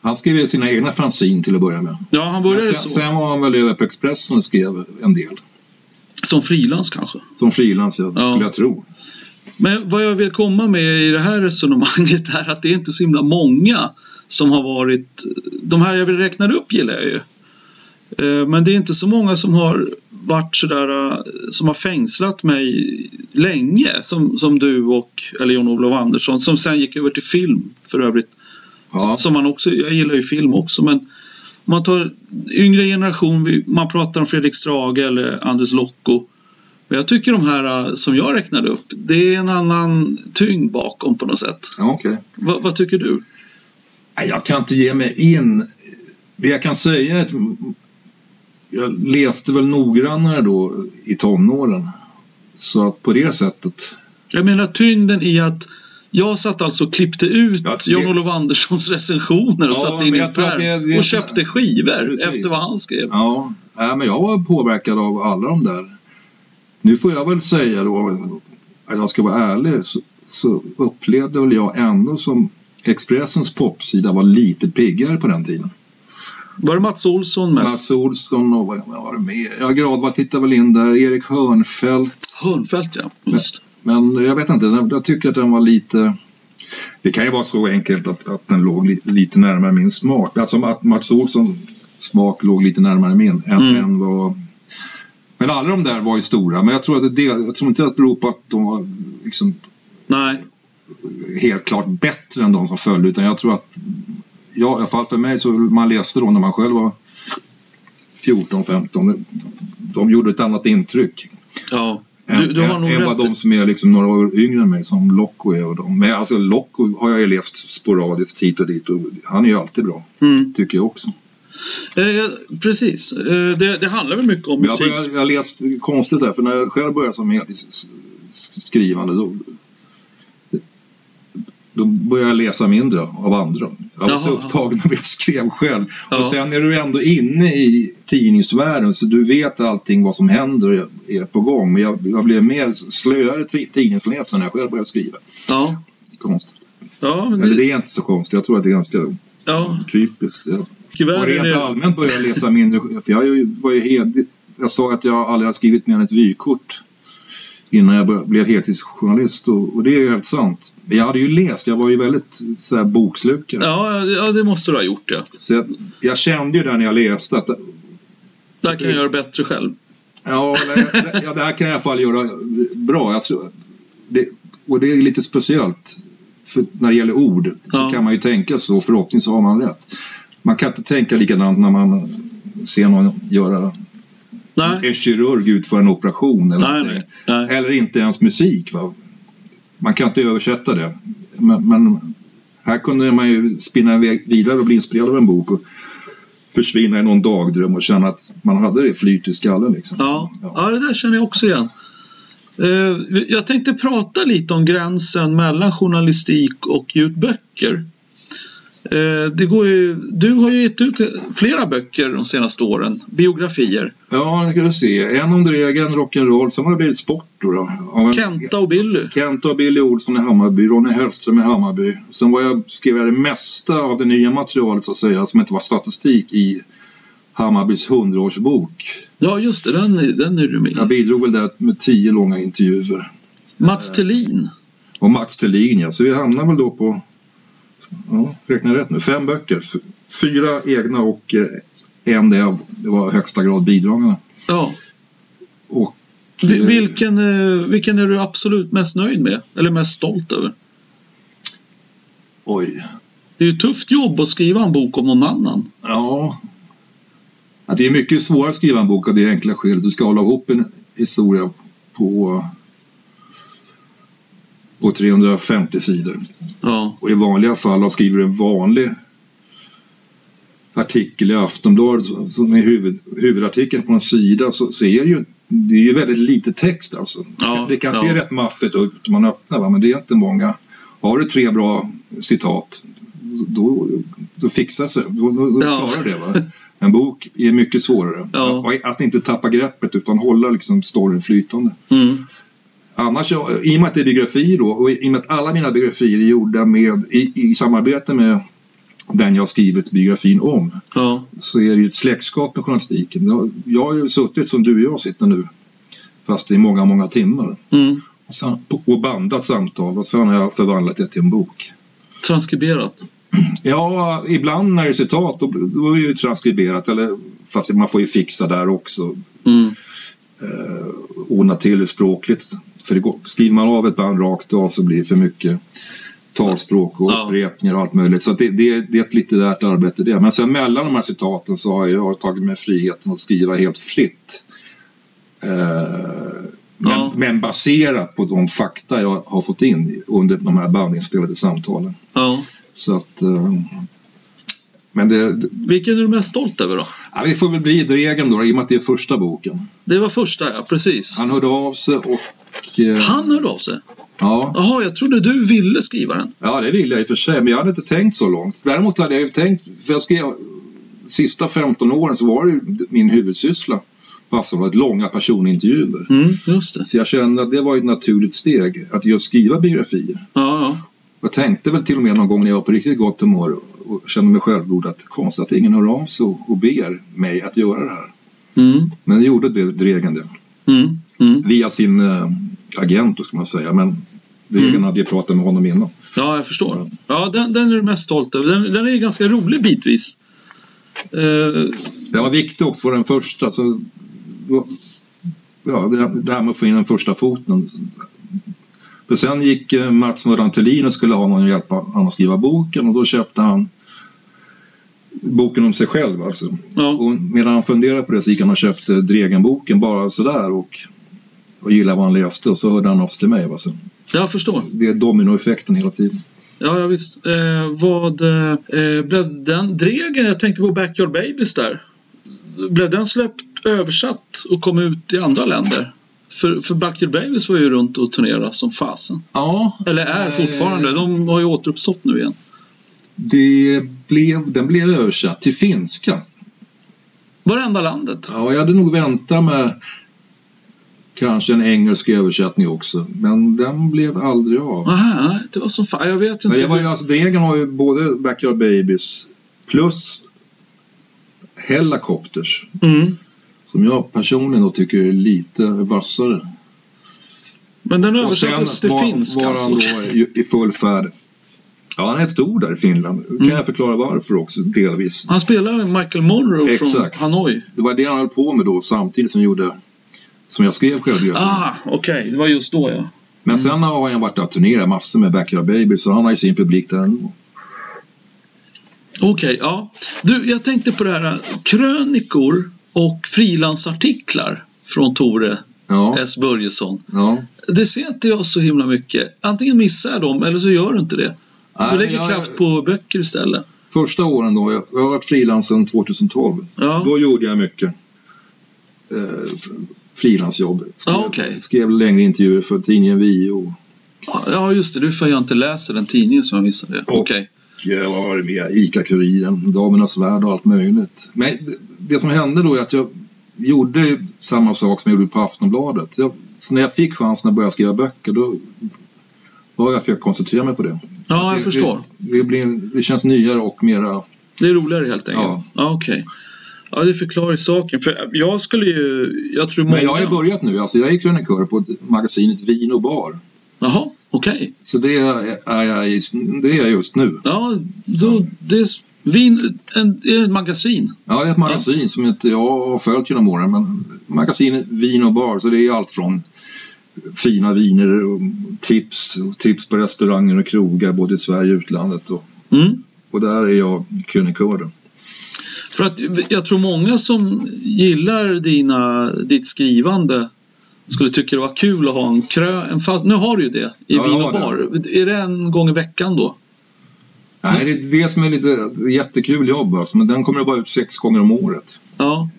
Speaker 2: Han skrev sina egna fanzine till att börja med.
Speaker 1: Ja, han
Speaker 2: Men
Speaker 1: började
Speaker 2: sen,
Speaker 1: så.
Speaker 2: sen var han väl över på Expressen och skrev en del.
Speaker 1: Som frilans kanske.
Speaker 2: Som frilans, ja.
Speaker 1: Ja.
Speaker 2: skulle jag tro.
Speaker 1: Men vad jag vill komma med i det här resonemanget är att det är inte så himla många som har varit... De här jag vill räkna upp gillar jag ju. Eh, Men det är inte så många som har varit sådär, eh, som har fängslat mig länge som, som du och, eller Jon-Olof Andersson som sen gick över till film för övrigt.
Speaker 2: Ja,
Speaker 1: Som man också, jag gillar ju film också men om man tar yngre generation, vi- man pratar om Fredrik Strage eller Anders Lokko. Men jag tycker de här eh, som jag räknade upp, det är en annan tyngd bakom på något sätt.
Speaker 2: ja okej.
Speaker 1: Va, vad tycker du?
Speaker 2: Nej, Jag kan inte ge mig in. Det jag kan säga är att jag läste väl noggrannare då i tonåren. Så att på det sättet.
Speaker 1: Jag menar tyngden i att jag satt alltså och klippte ut
Speaker 2: Ja, det-
Speaker 1: Jan-Olof Anderssons recensioner och
Speaker 2: Ja,
Speaker 1: satte in
Speaker 2: men
Speaker 1: i
Speaker 2: jag
Speaker 1: en
Speaker 2: tror att
Speaker 1: pärm
Speaker 2: det- det-
Speaker 1: och köpte skivor
Speaker 2: Precis.
Speaker 1: efter vad han skrev.
Speaker 2: Ja, nej, men jag var påverkad av alla de där. Nu får jag väl säga då, att jag ska vara ärlig, så, så upplevde väl jag ändå som Expressens popsida var lite piggare på den tiden.
Speaker 1: Var det Mats Olsson mest?
Speaker 2: Mats Olsson och vad vad var det med? Ja, Gradvall tittade väl in där, Erik Hörnfeldt.
Speaker 1: Hörnfeldt ja, just.
Speaker 2: Men jag vet inte, den- jag tycker att den var lite... Det kan ju vara så enkelt att, att den låg li, lite närmare min smak. Alltså att Mats Olssons smak låg lite närmare min. Än,
Speaker 1: Mm.
Speaker 2: än vad... Men alla de där var ju stora. Men jag tror, att det, jag tror inte att det beror på att de var liksom
Speaker 1: Nej,
Speaker 2: helt klart bättre än de som följde. Utan jag tror att, ja, i alla fall för mig, så man läste då när man själv var 14-15. De gjorde ett annat intryck
Speaker 1: ja. Du,
Speaker 2: än,
Speaker 1: du har
Speaker 2: än-
Speaker 1: nog
Speaker 2: än
Speaker 1: rätt.
Speaker 2: vad de som är liksom några år yngre än mig som Locko är. Och de. Men alltså Locko har jag ju levt sporadiskt hit och dit och han är ju alltid bra,
Speaker 1: Mm.
Speaker 2: tycker jag också.
Speaker 1: Eh, ja, precis, eh, det, det handlar väl mycket om
Speaker 2: Men jag,
Speaker 1: musik.
Speaker 2: började, jag läste konstigt där, för när jag själv började som heltidsskrivande då, då började jag läsa mindre av andra. Jag var så
Speaker 1: Jaha.
Speaker 2: upptagen av det jag skrev själv.
Speaker 1: Ja.
Speaker 2: Och sen är du ändå inne i tidningsvärlden så du vet allting vad som händer och är på gång. Men jag, jag blev mer slöare ti- tidningsläsare när jag själv började skriva.
Speaker 1: Ja,
Speaker 2: Konstigt.
Speaker 1: ja, men
Speaker 2: Eller
Speaker 1: det,
Speaker 2: det är inte så konstigt, jag tror att det är ganska
Speaker 1: ja
Speaker 2: typiskt. Ja. Och
Speaker 1: tyvärr är
Speaker 2: rent
Speaker 1: det...
Speaker 2: allmänt började jag läsa mindre. För jag ju- var ju helt, Jag sa att jag aldrig har skrivit mer än ett vykort innan jag bör- blev heltidsjournalist och, och det är ju helt sant. Men jag hade ju läst, jag var ju väldigt så här, bokslukare.
Speaker 1: Ja, ja, det måste du ha gjort ja.
Speaker 2: Så jag, jag kände ju där när jag läste att
Speaker 1: Där kan jag göra bättre själv.
Speaker 2: ja, det, ja, det här kan jag i alla fall göra bra. Jag tror, det, och det är lite speciellt för när det gäller ord så
Speaker 1: Ja.
Speaker 2: kan man ju tänka så förhoppningsvis har man rätt. Man kan inte tänka likadant när man ser någon göra
Speaker 1: Nej,
Speaker 2: en kirurg utför en operation eller,
Speaker 1: nej,
Speaker 2: någonting.
Speaker 1: nej. nej.
Speaker 2: eller inte ens musik. Va? Man kan inte översätta det. Men, men här kunde man ju spinna iväg vidare och bli inspirerad av en bok och försvinna i någon dagdröm och känna att man hade det flyt i skallen. Liksom.
Speaker 1: Ja, ja, det där känner jag också igen. Eh, Jag tänkte prata lite om gränsen mellan journalistik och ljudböcker. Eh, Det går ju, du har ju gett ut flera böcker de senaste åren, biografier.
Speaker 2: ja nu ska vi se. En om Dregen, rock'n'roll. Sen har det blivit sport då. då av en,
Speaker 1: Kenta och Billy.
Speaker 2: Kent och Billy Olsson i Hammarby, Ronny Hellström i Hammarby. Sen var jag, skrev jag det mesta av det nya materialet så att säga, som inte var statistik i Hammarbys hundraårsbok.
Speaker 1: Ja, just det, den, är- den är du med
Speaker 2: Jag
Speaker 1: i.
Speaker 2: bidrog väl där med tio långa intervjuer.
Speaker 1: Mats Thelin.
Speaker 2: Och Mats Thelin, ja. Så vi hamnar väl då på, ja, räknar jag rätt nu, fem böcker. F- Fyra egna och eh, en där jag var högsta grad bidragande.
Speaker 1: Ja.
Speaker 2: Och
Speaker 1: Vi- Vilken, eh, vilken är du absolut mest nöjd med? Eller mest stolt över?
Speaker 2: oj,
Speaker 1: Det är ju ett tufft jobb att skriva en bok om någon annan.
Speaker 2: ja. Att det är mycket svårare att skriva en bok av det enkla skälet. Du ska hålla ihop en historia på, på 350 sidor.
Speaker 1: Ja,
Speaker 2: Och i vanliga fall då skriver du en vanlig artikel i Aftonbladet som är huvud, huvudartikeln på en sida så, så är det ju, det är ju väldigt lite text alltså.
Speaker 1: Ja,
Speaker 2: det kan
Speaker 1: ja.
Speaker 2: se rätt maffigt ut när man öppnar va? men det är inte många. Har du tre bra citat då, då fixar sig, då, då, då
Speaker 1: Ja.
Speaker 2: klarar det. Va? En bok är mycket svårare.
Speaker 1: Ja.
Speaker 2: Och Att inte tappa greppet utan hålla liksom storyn flytande.
Speaker 1: mm.
Speaker 2: Annars, jag- i och med att det är biografier då och i och med att alla mina biografier är gjorda med, i, i samarbete med den jag har skrivit biografin om
Speaker 1: Ja,
Speaker 2: så är det ju ett släktskap med journalistiken. Jag- Jag har ju suttit som du och jag sitter nu fast i många, många timmar
Speaker 1: mm.
Speaker 2: och sen- och bandat samtal och sen har jag förvandlat det till en bok.
Speaker 1: transkriberat.
Speaker 2: Ja, ibland när det är citat då, då är det ju transkriberat eller fast man får ju fixa där också.
Speaker 1: Mm.
Speaker 2: Eh, ordna till det språkligt. För det går, skriver man av ett band rakt av så blir det för mycket talspråk och
Speaker 1: Ja.
Speaker 2: upprepningar och allt möjligt. Så att det, det, det är ett litterärt arbete det. Men sen mellan de här citaten så har jag tagit mig friheten att skriva helt fritt. Eh, men,
Speaker 1: Ja.
Speaker 2: men baserat på de fakta jag har fått in under de här bandinspelade samtalen.
Speaker 1: Ja.
Speaker 2: Så att... eh, Men det, det-
Speaker 1: Vilken är du mest stolt över då?
Speaker 2: ja, vi får väl bli Dregen då, i och med att det är första boken.
Speaker 1: Det var första, ja precis.
Speaker 2: Han hörde av sig och... eh,
Speaker 1: Han hörde av sig.
Speaker 2: Ja,
Speaker 1: Jaha, jag trodde du ville skriva den.
Speaker 2: ja, det ville jag i och för sig, men jag hade inte tänkt så långt. Däremot hade jag ju tänkt, för jag skrev... Sista 15 åren så var det ju min huvudsyssla på Aftonbladet, långa personintervjuer.
Speaker 1: Mm, just det.
Speaker 2: Så jag kände att det var ett naturligt steg, att just skriva biografier.
Speaker 1: Ja, ja.
Speaker 2: Jag tänkte väl till och med någon gång när jag var på riktigt gott humör och kände mig självgod att konstigt att ingen hör av sig och ber mig att göra det här.
Speaker 1: Mm,
Speaker 2: Men det gjorde det- Dregen det.
Speaker 1: mm, mm.
Speaker 2: Via sin eh, agent, då ska man säga. Men Dregen
Speaker 1: Mm.
Speaker 2: hade ju pratat med honom innan.
Speaker 1: Ja, jag förstår. Ja, den, den är du mest stolt över. Den, den är ganska rolig bitvis. Eh,
Speaker 2: Det var viktigt också för den första. Så, då, ja, det, det här med att få in den första foten. För sen gick eh, Mats Murran Thulin och skulle ha någon att hjälpa honom att skriva boken och då köpte han boken om sig själv. Alltså.
Speaker 1: ja,
Speaker 2: Och medan han funderade på det så gick han och köpte Dregen-boken bara sådär och, och gillade vad han läste och så hörde han av sig till mig. Alltså.
Speaker 1: jag förstår.
Speaker 2: Det är dominoeffekten hela tiden.
Speaker 1: Ja, ja visst. Eh, vad eh, blev den Dregen? Jag tänkte på Backyard Babies där. Blev den släppt, översatt och kom ut i andra länder? För, för Backyard Babies var ju runt och turnerade som fasen.
Speaker 2: Ja,
Speaker 1: Eller är
Speaker 2: Eh.
Speaker 1: fortfarande. De har ju återuppstått nu igen.
Speaker 2: det blev, den blev översatt till finska.
Speaker 1: Varenda landet.
Speaker 2: Ja, jag hade nog väntat med kanske en engelsk översättning också, men den blev aldrig av.
Speaker 1: Aha, nej, det var som fan. Jag vet ju
Speaker 2: Men
Speaker 1: inte.
Speaker 2: jag var ju, alltså, Dregen har ju både Backyard Babies plus Hellacopters,
Speaker 1: mm.
Speaker 2: som jag personligen då tycker är lite vassare.
Speaker 1: Men den
Speaker 2: Och sen
Speaker 1: översattes till
Speaker 2: var,
Speaker 1: finska.
Speaker 2: var han
Speaker 1: Alltså.
Speaker 2: då i, i full färd. Ja, han är stor där i Finland.
Speaker 1: Mm.
Speaker 2: Kan jag förklara varför också, delvis.
Speaker 1: Han spelar med Michael Monroe
Speaker 2: Exakt.
Speaker 1: från Hanoi.
Speaker 2: Det var det han höll på med då, samtidigt som jag gjorde som jag skrev självbiografin.
Speaker 1: Ah, okej. Det var just då ja.
Speaker 2: Men sen har han varit där och turnerat massor med Backyard Babies så han har ju sin publik där ändå.
Speaker 1: Okej, ja. Du, jag tänkte på det här. Krönikor och frilansartiklar från Tore
Speaker 2: Ja,
Speaker 1: S Börjesson.
Speaker 2: ja.
Speaker 1: Det ser inte jag så himla mycket. Antingen missar jag dem eller så gör du inte det. Du
Speaker 2: Nej, men
Speaker 1: lägger
Speaker 2: jag-
Speaker 1: kraft på böcker istället.
Speaker 2: Första åren då, jag jag har varit frilans sedan 2012.
Speaker 1: Ja,
Speaker 2: Då gjorde jag mycket eh, frilansjobb. Skrev,
Speaker 1: Ja, okej.
Speaker 2: skrev längre intervjuer för tidningen Vi och,
Speaker 1: ja just det. Du för jag inte läser den tidningen som jag missade. Okej.
Speaker 2: Och- eh, vad var det mer? ICA-Kuriren, Damernas Värld och allt möjligt. Men det, det som hände då är att jag gjorde ju samma sak som jag gjorde på Aftonbladet. Jag, så när jag fick chansen att börja skriva böcker då, då har jag försökt koncentrera mig på det.
Speaker 1: Ja, jag
Speaker 2: det,
Speaker 1: förstår.
Speaker 2: Det, det, blir, det känns nyare och mera...
Speaker 1: Det är roligare helt enkelt. Ja.
Speaker 2: Ja.
Speaker 1: Okej. Ja, det förklarar ju saken. För jag skulle ju... Jag tror många...
Speaker 2: Men jag har ju börjat nu. Alltså jag är krönikör på ett- magasinet Vin och bar.
Speaker 1: Jaha, okej.
Speaker 2: Så det är jag, i- det är jag just nu.
Speaker 1: Ja, då, det är, vin, en, är det ett magasin.
Speaker 2: Ja, det är ett magasin som inte jag har följt genom åren. Men magasinet Vin och bar, så det är allt från fina viner och tips. Och tips på restauranger och krogar både i Sverige och utlandet. Och,
Speaker 1: Mm.
Speaker 2: och där är jag krönikör. då.
Speaker 1: För att jag tror många som gillar dina, ditt skrivande skulle tycka det var kul att ha en krö... En fast, nu har du ju det i
Speaker 2: Ja, jag
Speaker 1: vin och
Speaker 2: har det.
Speaker 1: bar. Är det en gång i veckan då?
Speaker 2: Nej, det är det som är lite det är jättekul jobb alltså, men den kommer att vara ut sex gånger om året.
Speaker 1: Ja,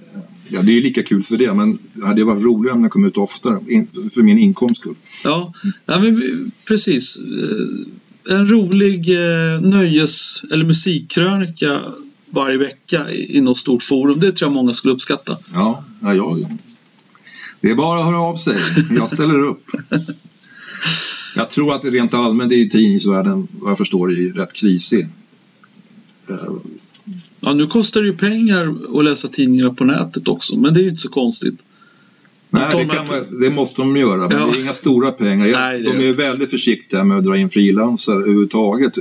Speaker 2: Ja, det är ju lika kul för det, men det hade varit roligare om den kom ut oftare in, för min inkomst skull.
Speaker 1: ja. ja men, vi- precis. Eh, En rolig eh, nöjes eller musikkrönika varje vecka i i något stort forum. Det tror jag många skulle uppskatta.
Speaker 2: Ja, ja, jag. Det är bara att höra av sig. Jag ställer upp. Jag tror att det rent allmänt är ju tidningsvärlden, vad jag förstår, i rätt krisig. Eh,
Speaker 1: Ja, nu kostar det ju pengar att läsa tidningar på nätet också, men det är ju inte så konstigt.
Speaker 2: Nej,
Speaker 1: tar
Speaker 2: det,
Speaker 1: de här
Speaker 2: kan, man- det måste de göra, men
Speaker 1: Ja.
Speaker 2: det är inga stora pengar. Jag-
Speaker 1: Nej, det är
Speaker 2: de är ju väldigt försiktiga med att dra in frilansare överhuvudtaget.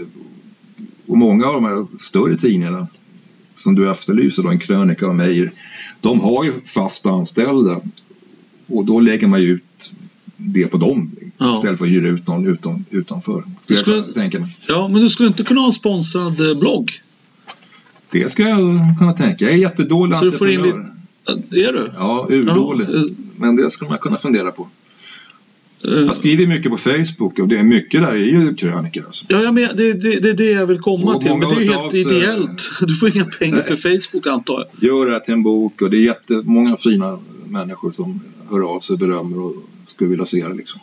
Speaker 2: Och många av de här större tidningarna som du efterlyser, då, en krönika av Meijer, de har ju fast anställda. Och då lägger man ju ut det på dem
Speaker 1: Ja.
Speaker 2: istället för att hyra ut någon utom, utanför. Skulle
Speaker 1: Skulle-
Speaker 2: jag tänka mig.
Speaker 1: Ja, men du skulle inte kunna ha en sponsrad eh, blogg?
Speaker 2: Det ska jag kunna tänka. Jag är jättedålig
Speaker 1: Så du får in
Speaker 2: entreprenör.
Speaker 1: Eh, Är du? Eh,
Speaker 2: Ja, urdålig. Men det skulle man kunna fundera på.
Speaker 1: Ja, eh,
Speaker 2: Jag skriver mycket på Facebook och det är mycket där är ju krönikor. Alltså.
Speaker 1: ja, jag men, det, det, det är det jag vill komma
Speaker 2: Och
Speaker 1: till, men det
Speaker 2: många
Speaker 1: är ju
Speaker 2: har hört
Speaker 1: helt
Speaker 2: av sig.
Speaker 1: ideellt. Du får inga pengar för Facebook antar jag.
Speaker 2: Gör det här till en bok och det är jättemånga fina människor som hör av sig, berömmer och skulle vilja se det liksom.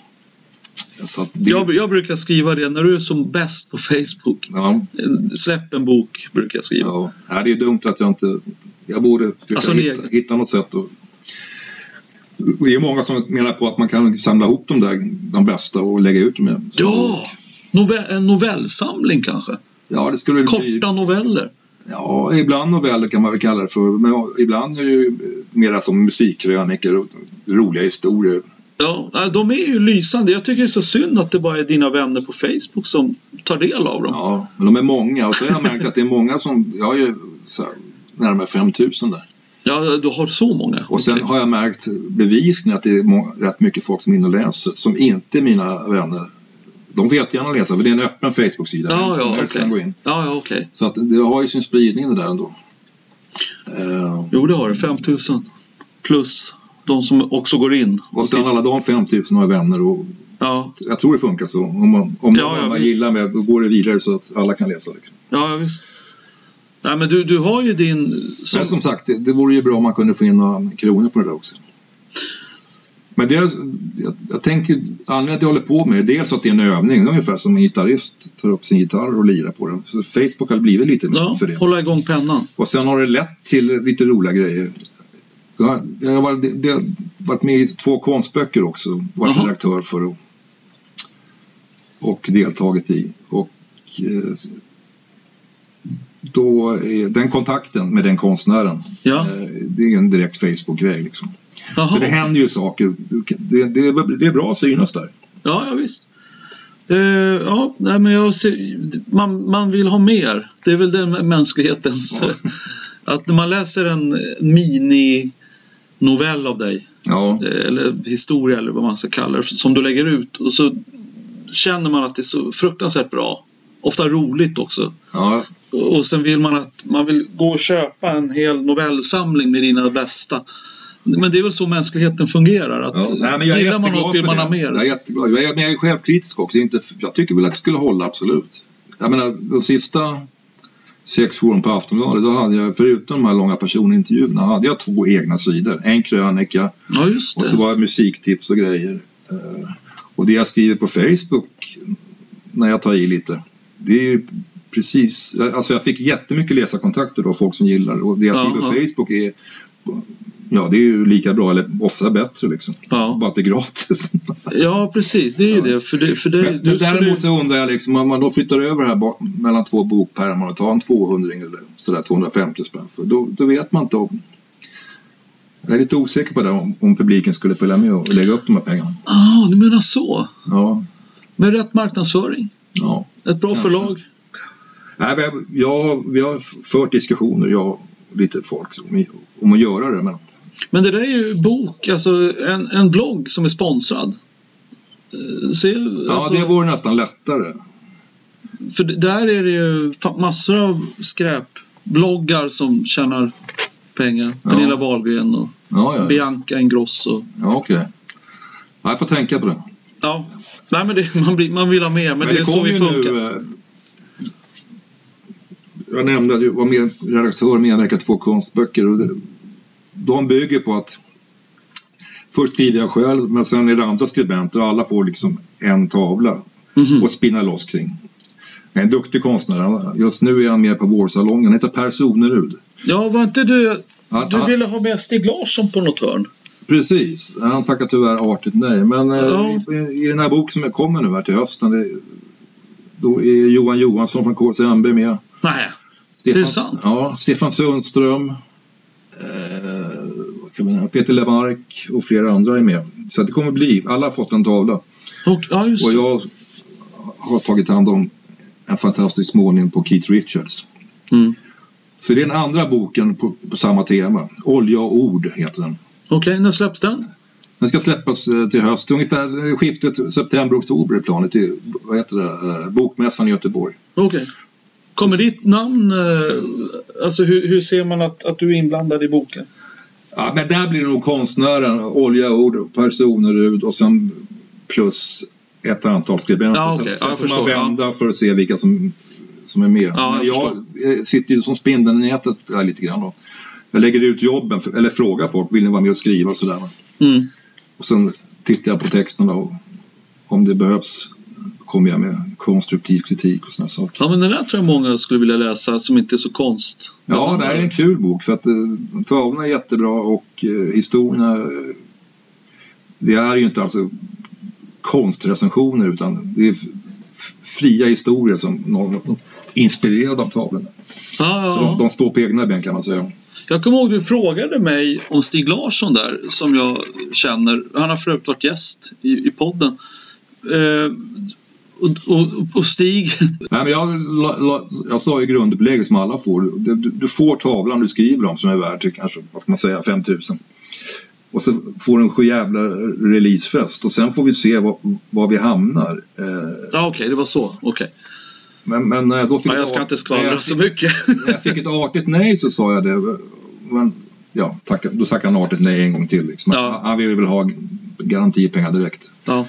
Speaker 2: Så att det,
Speaker 1: jag. Jag brukar skriva det när du är som bäst på Facebook.
Speaker 2: ja,
Speaker 1: Eh, Släpp en bok, brukar jag skriva.
Speaker 2: ja. Nej, det är dumt att jag inte... Jag borde försöka
Speaker 1: Alltså, ni-
Speaker 2: hitta, hitta något sätt att... Det är många som menar på att man kan samla ihop de där, de bästa och lägga ut dem i en-
Speaker 1: Ja! Nove- en novellsamling kanske?
Speaker 2: ja, det skulle bli...
Speaker 1: Korta noveller?
Speaker 2: Ja, ibland noveller kan man väl kalla det för. Men ibland är det ju mera som musikkrönikor och roliga historier.
Speaker 1: Ja, nej, de är ju lysande. Jag tycker det är så synd att det bara är dina vänner på Facebook som tar del av dem.
Speaker 2: Ja, men de är många. Och så har jag märkt att det är många som... Jag är ju så här, närmare 5000 där.
Speaker 1: Ja, du har så många.
Speaker 2: Och sen
Speaker 1: Okej.
Speaker 2: har jag märkt bevisningen att det är må- rätt mycket folk som är inne och läser som inte är mina vänner. De får jättegärna läsa för det är en öppen Facebook-sida.
Speaker 1: Ja,
Speaker 2: Vem som
Speaker 1: ja,
Speaker 2: helst kan gå
Speaker 1: okej.
Speaker 2: in.
Speaker 1: Ja, ja, okej.
Speaker 2: Så att det har ju sin spridning det där ändå. Eh,
Speaker 1: Jo, det har du. 5000 plus de som också går in.
Speaker 2: och sen alla de 5000 har vänner och
Speaker 1: Ja,
Speaker 2: Jag tror det funkar så. Om man, om
Speaker 1: Ja,
Speaker 2: man
Speaker 1: ja, visst.
Speaker 2: gillar med, då går det vidare så att alla kan läsa. Det.
Speaker 1: ja visst. Nej, men du, du har ju din...
Speaker 2: Men
Speaker 1: Som,
Speaker 2: som sagt, det, det vore ju bra om man kunde få in några kronor på det där också. Men det, är- jag, jag tänker, anledningen till att jag håller på med det, dels att det är en övning, det är ungefär som en gitarrist tar upp sin gitarr och lirar på den. Så Facebook har blivit lite
Speaker 1: ja,
Speaker 2: för det.
Speaker 1: hålla igång pennan.
Speaker 2: Och sen har det lett till lite roliga grejer. Jag har, jag har, varit, det- det har varit med i två konstböcker också. Varit
Speaker 1: Jaha.
Speaker 2: redaktör för och, och deltagit i. Och, eh, då är den kontakten med den konstnären,
Speaker 1: Ja,
Speaker 2: eh, det är ju en direkt Facebook-grej. Liksom. Så det
Speaker 1: jaha.
Speaker 2: händer ju saker. Det, det, det är bra att synas där.
Speaker 1: Ja, ja visst. Eh, ja, nej, men jag ser, man, man vill ha mer. Det är väl den mänsklighetens... att när man läser en mini-novell av dig,
Speaker 2: Ja,
Speaker 1: eh, eller historia eller vad man ska kalla det, som du lägger ut och så känner man att det är så fruktansvärt bra. Ofta roligt också.
Speaker 2: ja,
Speaker 1: Och och sen vill man att man vill gå och köpa en hel novellsamling med dina bästa. Men det är väl så mänskligheten fungerar. Att
Speaker 2: Ja. Nej, men jag är
Speaker 1: gillar man
Speaker 2: jätteglad
Speaker 1: något vill
Speaker 2: för
Speaker 1: man
Speaker 2: det.
Speaker 1: ha mer.
Speaker 2: Jag är jätteglad. Jag är, men jag är självkritisk också. Inte, jag tycker väl att det skulle hålla, absolut. Jag menar, de sista sex forum på Aftonbladet, då hade jag, förutom de här långa personintervjuerna, hade jag två egna sidor. En krönika
Speaker 1: Ja, just
Speaker 2: och så
Speaker 1: det.
Speaker 2: var det musiktips och grejer. Eh, Och det jag skriver på Facebook, när jag tar i lite, det är ju precis... Alltså jag fick jättemycket läsarkontakter då, folk som gillar det. Och det jag skriver på
Speaker 1: Jaha.
Speaker 2: Facebook är... Ja, det är ju lika bra, eller ofta bättre liksom.
Speaker 1: Ja.
Speaker 2: Bara att det är gratis.
Speaker 1: Ja, precis. Det är ju det. För, det, för dig,
Speaker 2: Men,
Speaker 1: du
Speaker 2: men
Speaker 1: skulle-
Speaker 2: däremot så undrar jag liksom, om man då flyttar över här bak- mellan två bokpärmar och tar en 200 eller sådär 250 spänn för då, då vet man inte om... Jag är lite osäker på det om, om publiken skulle följa med och lägga upp de här pengarna.
Speaker 1: Ah, du menar så.
Speaker 2: Ja,
Speaker 1: Med rätt marknadsföring.
Speaker 2: ja.
Speaker 1: Ett bra
Speaker 2: Kanske.
Speaker 1: förlag.
Speaker 2: Nej, vi, har, jag, har- vi har fört diskussioner, jag och lite folk, om, om att göra det. Men
Speaker 1: Men det där är ju bok, alltså en, en blogg som är sponsrad. Eh, Så,
Speaker 2: ja,
Speaker 1: alltså,
Speaker 2: det vore nästan lättare.
Speaker 1: För d- där är det ju fa- massor av skräpbloggar som tjänar pengar.
Speaker 2: Ja.
Speaker 1: Pernilla Wahlgren och
Speaker 2: Ja, ja, ja.
Speaker 1: Bianca Ingrosso.
Speaker 2: ja okej. Ja, Jag får tänka på det.
Speaker 1: Ja, nej men det, man, blir, man vill ha mer. Men, det, är så
Speaker 2: kom
Speaker 1: vi
Speaker 2: ju
Speaker 1: funkar.
Speaker 2: Nu, eh, jag nämnde att jag var med, redaktör och medverkade i två konstböcker. Och det, de bygger på att först skriver jag själv men sen är det andra skribenter och alla får liksom en tavla
Speaker 1: Mhm.
Speaker 2: och spinna loss kring. En duktig konstnär. Just nu är han med på Vårsalongen. Han heter Per Sonerud.
Speaker 1: Ja, var inte du...
Speaker 2: Han,
Speaker 1: Du
Speaker 2: han,
Speaker 1: ville ha med Stig Larsson på något hörn.
Speaker 2: Precis. Han tackar tyvärr artigt nej. Men eh,
Speaker 1: Ja.
Speaker 2: i, i den här boken som kommer nu här till hösten det, då är Johan Johansson från KCMB med.
Speaker 1: Nej.
Speaker 2: Stefan,
Speaker 1: det sant?
Speaker 2: Ja, Stefan Sundström, eh, vad kan man säga, Peter Lemark och flera andra är med. Så att det kommer bli, alla har fått en tavla.
Speaker 1: Och, ja, just
Speaker 2: Och
Speaker 1: det.
Speaker 2: jag har tagit hand om en fantastisk målning på Keith Richards.
Speaker 1: Mm.
Speaker 2: Så det är den andra boken på, på samma tema. Olja och ord heter den.
Speaker 1: Okej, när släpps den?
Speaker 2: Den ska släppas eh, till höst, ungefär eh, skiftet september-oktober är planet. Det är, vad heter det? eh, Bokmässan i Göteborg.
Speaker 1: Okej. Kommer ditt namn... eh, Alltså hur, hur ser man att, att du är inblandad i boken?
Speaker 2: Ja, men där blir det nog konstnären, Olja och ord, Per Sonerud och sen plus ett antal skribenter.
Speaker 1: Ja, okej. Ja,
Speaker 2: Sen, sen
Speaker 1: jag
Speaker 2: får man
Speaker 1: förstår.
Speaker 2: vända för att se vilka som, som är med.
Speaker 1: Ja,
Speaker 2: Men
Speaker 1: jag
Speaker 2: jag eh, sitter ju som spindeln i nätet där lite grann. Då. Jag lägger ut jobben, för- eller frågar folk, vill ni vara med och skriva och sådär.
Speaker 1: Mm.
Speaker 2: Och sen tittar jag på texterna och om det behövs kommer jag med konstruktiv kritik och sådana saker.
Speaker 1: Ja, men den där tror jag många skulle vilja läsa som inte är så konst.
Speaker 2: Ja, det här är en kul bok för att eh, tavlorna är jättebra och eh, historierna eh, det är ju inte alls konstrecensioner utan det är f- f- fria historier som någon inspirerad av tavlorna.
Speaker 1: Ja,
Speaker 2: Så
Speaker 1: ja,
Speaker 2: de,
Speaker 1: ja.
Speaker 2: de står på egna ben kan man säga.
Speaker 1: Jag kommer ihåg du frågade mig om Stig Larsson där, som jag känner. Han har förut varit gäst i, i podden. Eh, och, och, och Stig...
Speaker 2: Nej, men jag, la, la, jag sa ju grundupplägget som alla får. Du, du, du får tavlan du skriver om som är värd till kanske, vad ska man säga, 5000. Och så får du en sjujävla releasefest och sen får vi se var, var vi hamnar. Eh,
Speaker 1: Ja, okej, det var så. Okej.
Speaker 2: Men, men när jag då fick
Speaker 1: Ja, jag ska
Speaker 2: ett
Speaker 1: inte
Speaker 2: art- när
Speaker 1: skvallra
Speaker 2: jag,
Speaker 1: så mycket.
Speaker 2: när jag fick ett artigt nej så sa jag det. Men, ja, tack, då tackade han artigt nej en gång till. Liksom.
Speaker 1: Ja.
Speaker 2: Han- Han ville väl ha garantipengar direkt.
Speaker 1: Ja.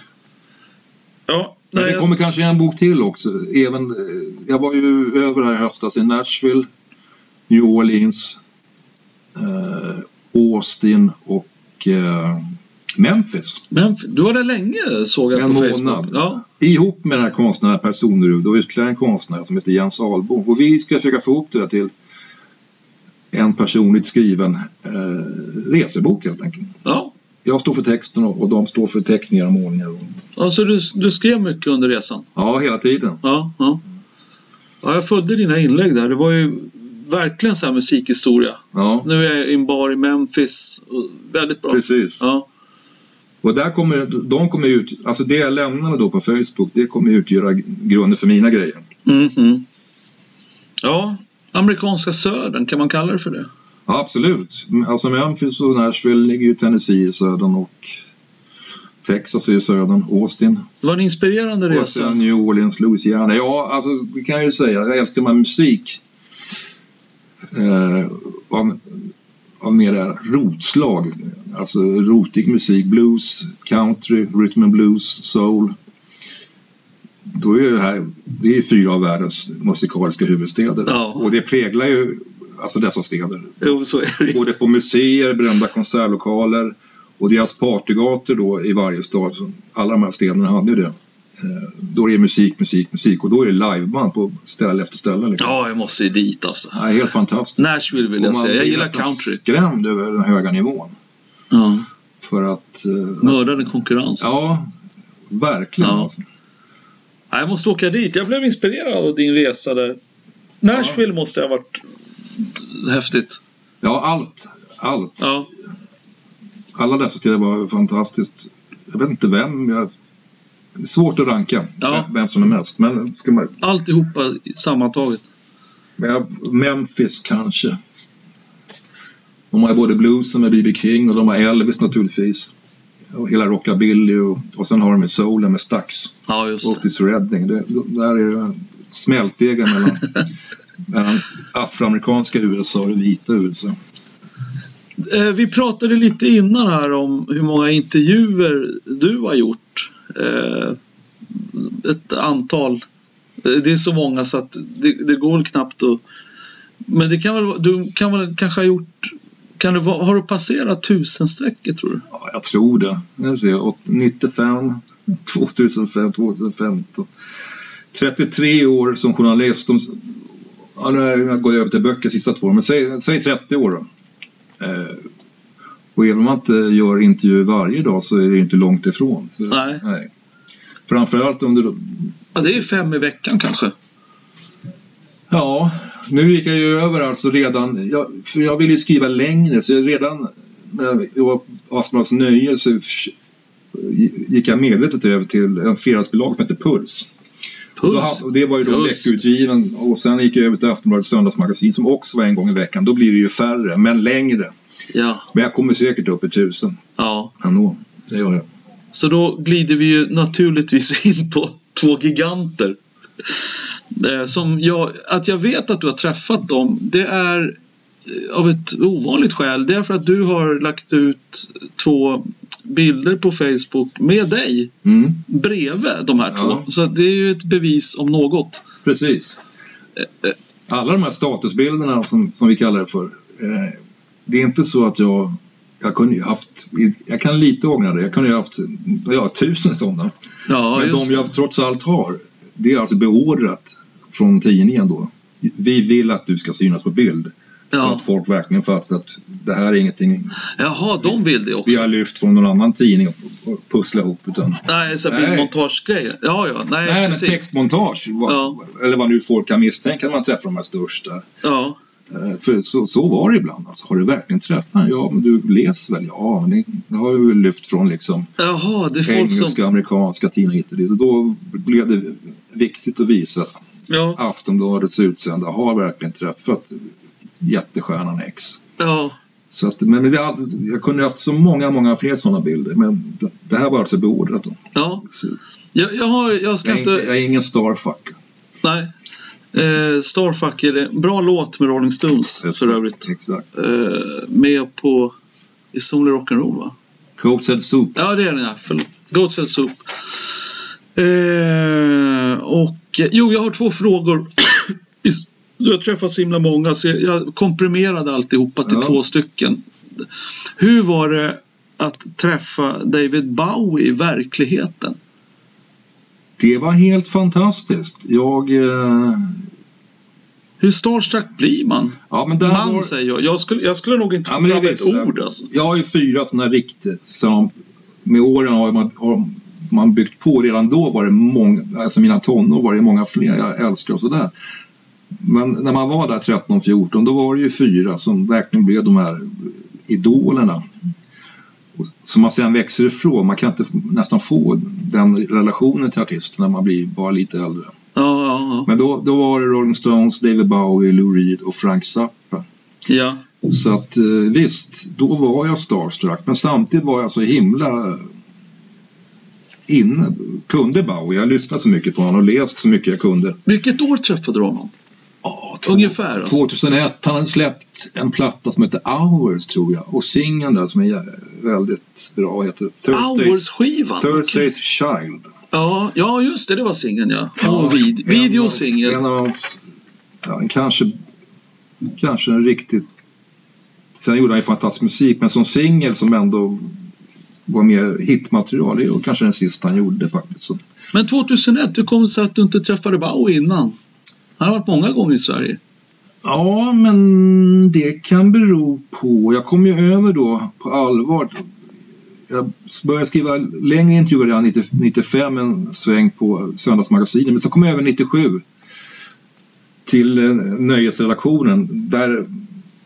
Speaker 1: Ja,
Speaker 2: Men
Speaker 1: nej,
Speaker 2: det kommer kanske en bok till också. Även, eh, jag var ju över här i höstas i Nashville, New Orleans, eh, Austin och eh, Memphis.
Speaker 1: men du var där länge såg jag på
Speaker 2: En månad.
Speaker 1: Facebook. Ja.
Speaker 2: ihop med den här konstnären Per Sonerud och ytterligare en konstnär som heter Jens Ahlbom. Och vi ska försöka få ihop det där till en personligt skriven eh, resebok helt enkelt.
Speaker 1: ja.
Speaker 2: Jag står för texten och, och de står för teckningar och målningar. Och,
Speaker 1: Alltså du, du skrev mycket under resan.
Speaker 2: ja, hela tiden.
Speaker 1: Ja, ja. ja, jag följde dina inlägg där. Det var ju verkligen så här musikhistoria.
Speaker 2: Ja,
Speaker 1: Nu är jag i en bar i Memphis. och Väldigt bra.
Speaker 2: precis.
Speaker 1: Ja,
Speaker 2: Och där kommer, de kommer ut, alltså det jag lämnade då på Facebook det kommer utgöra grunden för mina grejer.
Speaker 1: Mhm. ja amerikanska södern, kan man kalla det för det?
Speaker 2: Ja, absolut. Alltså Memphis och Nashville ligger ju i Tennessee i södern och Texas är i södern, Austin
Speaker 1: Det var en inspirerande
Speaker 2: Och sen
Speaker 1: resa.
Speaker 2: New Orleans, Louisiana. Ja, alltså det kan jag ju säga. Jag älskar man musik eh, av, av mera rotslag. Alltså rotig musik, blues, country, rhythm and blues, soul. Då är det här, det är ju fyra av världens musikaliska huvudstäder.
Speaker 1: Ja.
Speaker 2: Och det präglar ju alltså dessa städer.
Speaker 1: Jo, så är det.
Speaker 2: Både på museer, berömda konsertlokaler och deras partygator då i varje stad. Så Alla de här städerna hade ju det. Eh, Då är det musik, musik, musik och då är det liveband på ställe efter ställe. Liksom.
Speaker 1: Ja, jag måste ju dit alltså.
Speaker 2: Ja, helt fantastiskt.
Speaker 1: Nashville vill
Speaker 2: Och
Speaker 1: jag
Speaker 2: man
Speaker 1: säga. Jag
Speaker 2: blir
Speaker 1: gillar
Speaker 2: nästan
Speaker 1: country.
Speaker 2: skrämd över den höga nivån.
Speaker 1: Ja.
Speaker 2: För att... eh,
Speaker 1: Mördande konkurrens.
Speaker 2: Ja, verkligen.
Speaker 1: Ja.
Speaker 2: Alltså.
Speaker 1: Ja, Jag måste åka dit. Jag blev inspirerad av din resa där. Nashville måste ha varit häftigt.
Speaker 2: Ja, allt. Allt.
Speaker 1: Ja.
Speaker 2: Alla dessa ställen var fantastiskt. Jag vet inte vem. Jag... det är Svårt att ranka
Speaker 1: Ja.
Speaker 2: vem som är mest. Men ska man,
Speaker 1: Alltihopa sammantaget.
Speaker 2: Men jag- Memphis kanske. De har ju både bluesen med B.B. King och de har Elvis naturligtvis. Och hela rockabilly och, och sen har de ju soulen med Stax
Speaker 1: Ja, just
Speaker 2: och
Speaker 1: det.
Speaker 2: Otis Redding. Det, det- där är det smältdegen mellan, mellan afroamerikanska USA och det vita USA.
Speaker 1: Eh, Vi pratade lite innan här om hur många intervjuer du har gjort. Eh, Ett antal. Eh, Det är så många så att det, det går väl knappt att... Men det kan väl, vara- du kan väl kanske ha gjort... Kan du, va- har du passerat tusenstrecket tror du?
Speaker 2: Ja, jag tror det. Nu ser jag, åt- 95, 2005, 2015. 33 år som journalist. De, ja, nu går jag över till böcker sista två, men säg, säg 30 år då. Eh, och även om man inte gör intervjuer varje dag så är det ju inte långt ifrån. Så,
Speaker 1: Nej.
Speaker 2: nej. Framförallt under...
Speaker 1: Ja, det är fem i veckan kanske.
Speaker 2: Ja, nu gick jag ju över alltså redan, jag, för jag ville ju skriva längre så jag redan när jag var på Astmas nöje så förs- gick jag medvetet över till en fredagsbilaga som hette Puls. Och
Speaker 1: Puls.
Speaker 2: då- och det var ju då
Speaker 1: Just.
Speaker 2: veckoutgiven och sen gick jag över till Aftonbladets söndagsmagasin som också var en gång i veckan. Då blir det ju färre, men längre.
Speaker 1: Ja.
Speaker 2: Men jag kommer säkert upp i tusen
Speaker 1: ja.
Speaker 2: ändå. Det gör jag.
Speaker 1: Så då glider vi ju naturligtvis in på två giganter. Eh, Som jag, att jag vet att du har träffat dem, det är eh, av ett ovanligt skäl. Det är för att du har lagt ut två bilder på Facebook med dig
Speaker 2: Mm,
Speaker 1: bredvid de här
Speaker 2: Ja.
Speaker 1: två. Så det är ju ett bevis om något.
Speaker 2: precis. Eh, Alla de här statusbilderna som, som vi kallar det för. Eh, det är inte så att jag... Jag kunde ju haft... Jag kan lite ångra det. Jag kunde ju haft ja, tusen sådana.
Speaker 1: Ja,
Speaker 2: Men
Speaker 1: just
Speaker 2: de jag trots allt har, det är alltså beordrat från tidningen då. Vi vill att du ska synas på bild. Så
Speaker 1: ja.
Speaker 2: att folk verkligen fattar att det här är ingenting
Speaker 1: Jaha, de vill det
Speaker 2: vi
Speaker 1: också.
Speaker 2: har lyft från någon annan tidning och, och pusslat ihop. Utan,
Speaker 1: Nej, så här
Speaker 2: Nej.
Speaker 1: bildmontagegrejer. Ja, ja, nej,
Speaker 2: nej, men
Speaker 1: precis.
Speaker 2: textmontage, vad,
Speaker 1: Ja.
Speaker 2: eller vad nu folk kan misstänka när man träffar de här största.
Speaker 1: Ja,
Speaker 2: Eh, För så, så var det ibland. Alltså, har du verkligen träffat Ja, men du läser väl? Ja, men det, det har vi väl lyft från liksom
Speaker 1: jaha, det är folk
Speaker 2: engelska,
Speaker 1: som...
Speaker 2: amerikanska tidningar hit och dit. Och då blev det viktigt att visa att
Speaker 1: Ja,
Speaker 2: Aftonbladets utsända har verkligen träffat jättestjärnan X.
Speaker 1: ja,
Speaker 2: Så att, men det, hade- jag kunde haft så många, många fler sådana bilder. Men det, det här var alltså beordrat. Då.
Speaker 1: ja.
Speaker 2: Så
Speaker 1: Jag, jag, har, jag ska
Speaker 2: Jag, är inte,
Speaker 1: inte...
Speaker 2: jag är ingen starfucker.
Speaker 1: Nej. Eh, Starfuck är det. Bra låt med Rolling Stones för övrigt.
Speaker 2: Exakt.
Speaker 1: Eh, med på... I Solig Rock'n'Roll va?
Speaker 2: Coke said soup.
Speaker 1: Ja, det är den ja. Förlåt. Goat Cell Soup. Eh, och, eh, jo, jag har två frågor. Is- Du har träffat så himla många så jag- jag komprimerade alltihopa till
Speaker 2: Ja.
Speaker 1: två stycken. Hur var det att träffa David Bowie i verkligheten?
Speaker 2: Det var helt fantastiskt. Jag... Eh,
Speaker 1: Hur starstruck blir man?
Speaker 2: ja, men där
Speaker 1: Man
Speaker 2: var,
Speaker 1: säger jag. Jag skulle, jag skulle nog inte
Speaker 2: Ja,
Speaker 1: få
Speaker 2: men det
Speaker 1: fram ett
Speaker 2: visste jag.
Speaker 1: ord alltså.
Speaker 2: jag har ju fyra sådana riktigt som med åren har man, har man byggt på. Redan då var det många, alltså mina tonår var det många fler jag älskar och sådär. Men när man var där 13-14 då var det ju fyra som verkligen blev de här idolerna. Och- Som man sen växer ifrån. Man kan inte nästan få den relationen till artisterna när man blir bara lite äldre.
Speaker 1: Ja, ja,
Speaker 2: Men då, då var det Rolling Stones, David Bowie, Lou Reed och Frank Zappa.
Speaker 1: ja. ja.
Speaker 2: Så att eh, visst, då var jag starstruck. Men samtidigt var jag så himla eh, inne, kunde Bowie. Jag lyssnade så mycket på honom och läste så mycket jag kunde.
Speaker 1: Vilket år träffade du honom?
Speaker 2: Ja,
Speaker 1: Ungefär alltså.
Speaker 2: 2001. Han hade släppt en platta som heter Hours tror jag. Och singeln där som är jä- väldigt bra heter Thursdays,
Speaker 1: Hours-skivan?
Speaker 2: Thursdays Child.
Speaker 1: Ja, ja just det, det var singeln ja.
Speaker 2: Ja,
Speaker 1: Och vid,
Speaker 2: en
Speaker 1: video
Speaker 2: av-
Speaker 1: och singel.
Speaker 2: En av hans, ja, en kanske, kanske en riktigt... Sen gjorde han ju fantastisk musik, men som singel som ändå var mer hitmaterial, det är ju kanske den sista han gjorde faktiskt. Så,
Speaker 1: Men 2001, hur kom det sig att du inte träffade Bowie innan? Han har varit många gånger i Sverige.
Speaker 2: ja, men det kan bero på... Jag kom ju över då på allvar. Jag började skriva längre intervjuer redan 90 95, en sväng på Söndagsmagasinet, men så kom jag över 97 till eh, nöjesredaktionen. Där,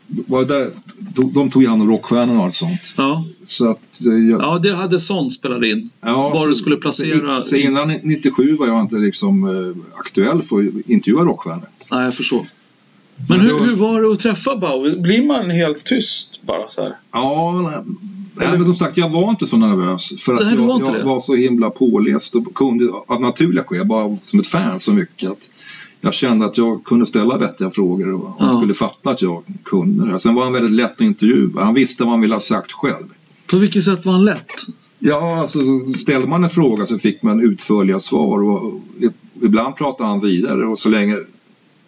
Speaker 2: var där, de, de tog ju hand om rockstjärnorna och allt sånt.
Speaker 1: Ja,
Speaker 2: Så att, eh, jag,
Speaker 1: ja det hade sånt spelat in.
Speaker 2: ja,
Speaker 1: var
Speaker 2: så-
Speaker 1: du skulle placera-
Speaker 2: Så innan 97 var jag inte liksom eh, aktuell för att intervjua rockstjärnor.
Speaker 1: Nej, jag förstår. Men
Speaker 2: Men
Speaker 1: hur,
Speaker 2: då-
Speaker 1: hur var det att träffa Bowie? Blir man helt tyst bara så här?
Speaker 2: Ja, nej. nej, men som sagt jag var inte så nervös. För att
Speaker 1: Nej, du
Speaker 2: jag,
Speaker 1: var inte
Speaker 2: jag
Speaker 1: det.
Speaker 2: var så himla påläst och kunde av naturliga skäl, bara som ett fan så mycket. Att jag kände att jag kunde ställa vettiga frågor och han
Speaker 1: Ja.
Speaker 2: skulle fatta att jag kunde det. Sen var han väldigt lätt att intervjua. Han visste vad han ville ha sagt själv.
Speaker 1: På vilket sätt var han lätt?
Speaker 2: Ja, alltså ställde man en fråga så fick man utförliga svar och i- ibland pratade han vidare och så länge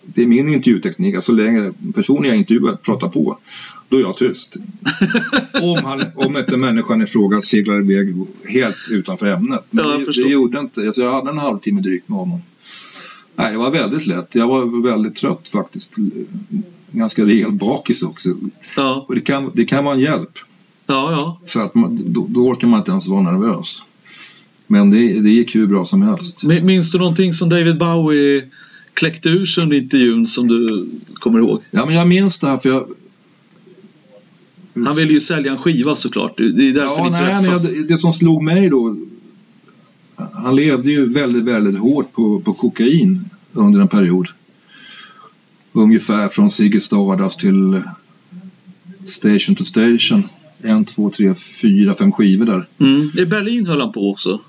Speaker 2: det är min intervjuteknik, att så länge personen jag intervjuar pratar på, då är jag tyst. om, han, om inte människan i fråga seglar iväg helt utanför ämnet. Men
Speaker 1: Ja, jag
Speaker 2: det,
Speaker 1: förstår.
Speaker 2: det gjorde inte, alltså jag hade en halvtimme drygt med honom. Nej, det var väldigt lätt. Jag var väldigt trött faktiskt. Ganska rejält bakis också.
Speaker 1: Ja,
Speaker 2: Och det kan, det kan vara en hjälp.
Speaker 1: ja, ja.
Speaker 2: För att man, då, då orkar man inte ens vara nervös. Men det, det gick hur bra som helst.
Speaker 1: Min- Minns du någonting som David Bowie kläckte ur sig under intervjun som du kommer ihåg?
Speaker 2: Ja, men jag minns det här för jag...
Speaker 1: Han ville ju sälja en skiva såklart. Det är därför
Speaker 2: Ja,
Speaker 1: ni
Speaker 2: nej,
Speaker 1: träffas.
Speaker 2: men jag, det som slog mig då... Han levde ju väldigt, väldigt hårt på, på kokain under en period. Ungefär från Ziggy Stardust till Station to Station. En, två, tre, fyra, fem skivor där.
Speaker 1: Mm. I Berlin höll han på också. Ja,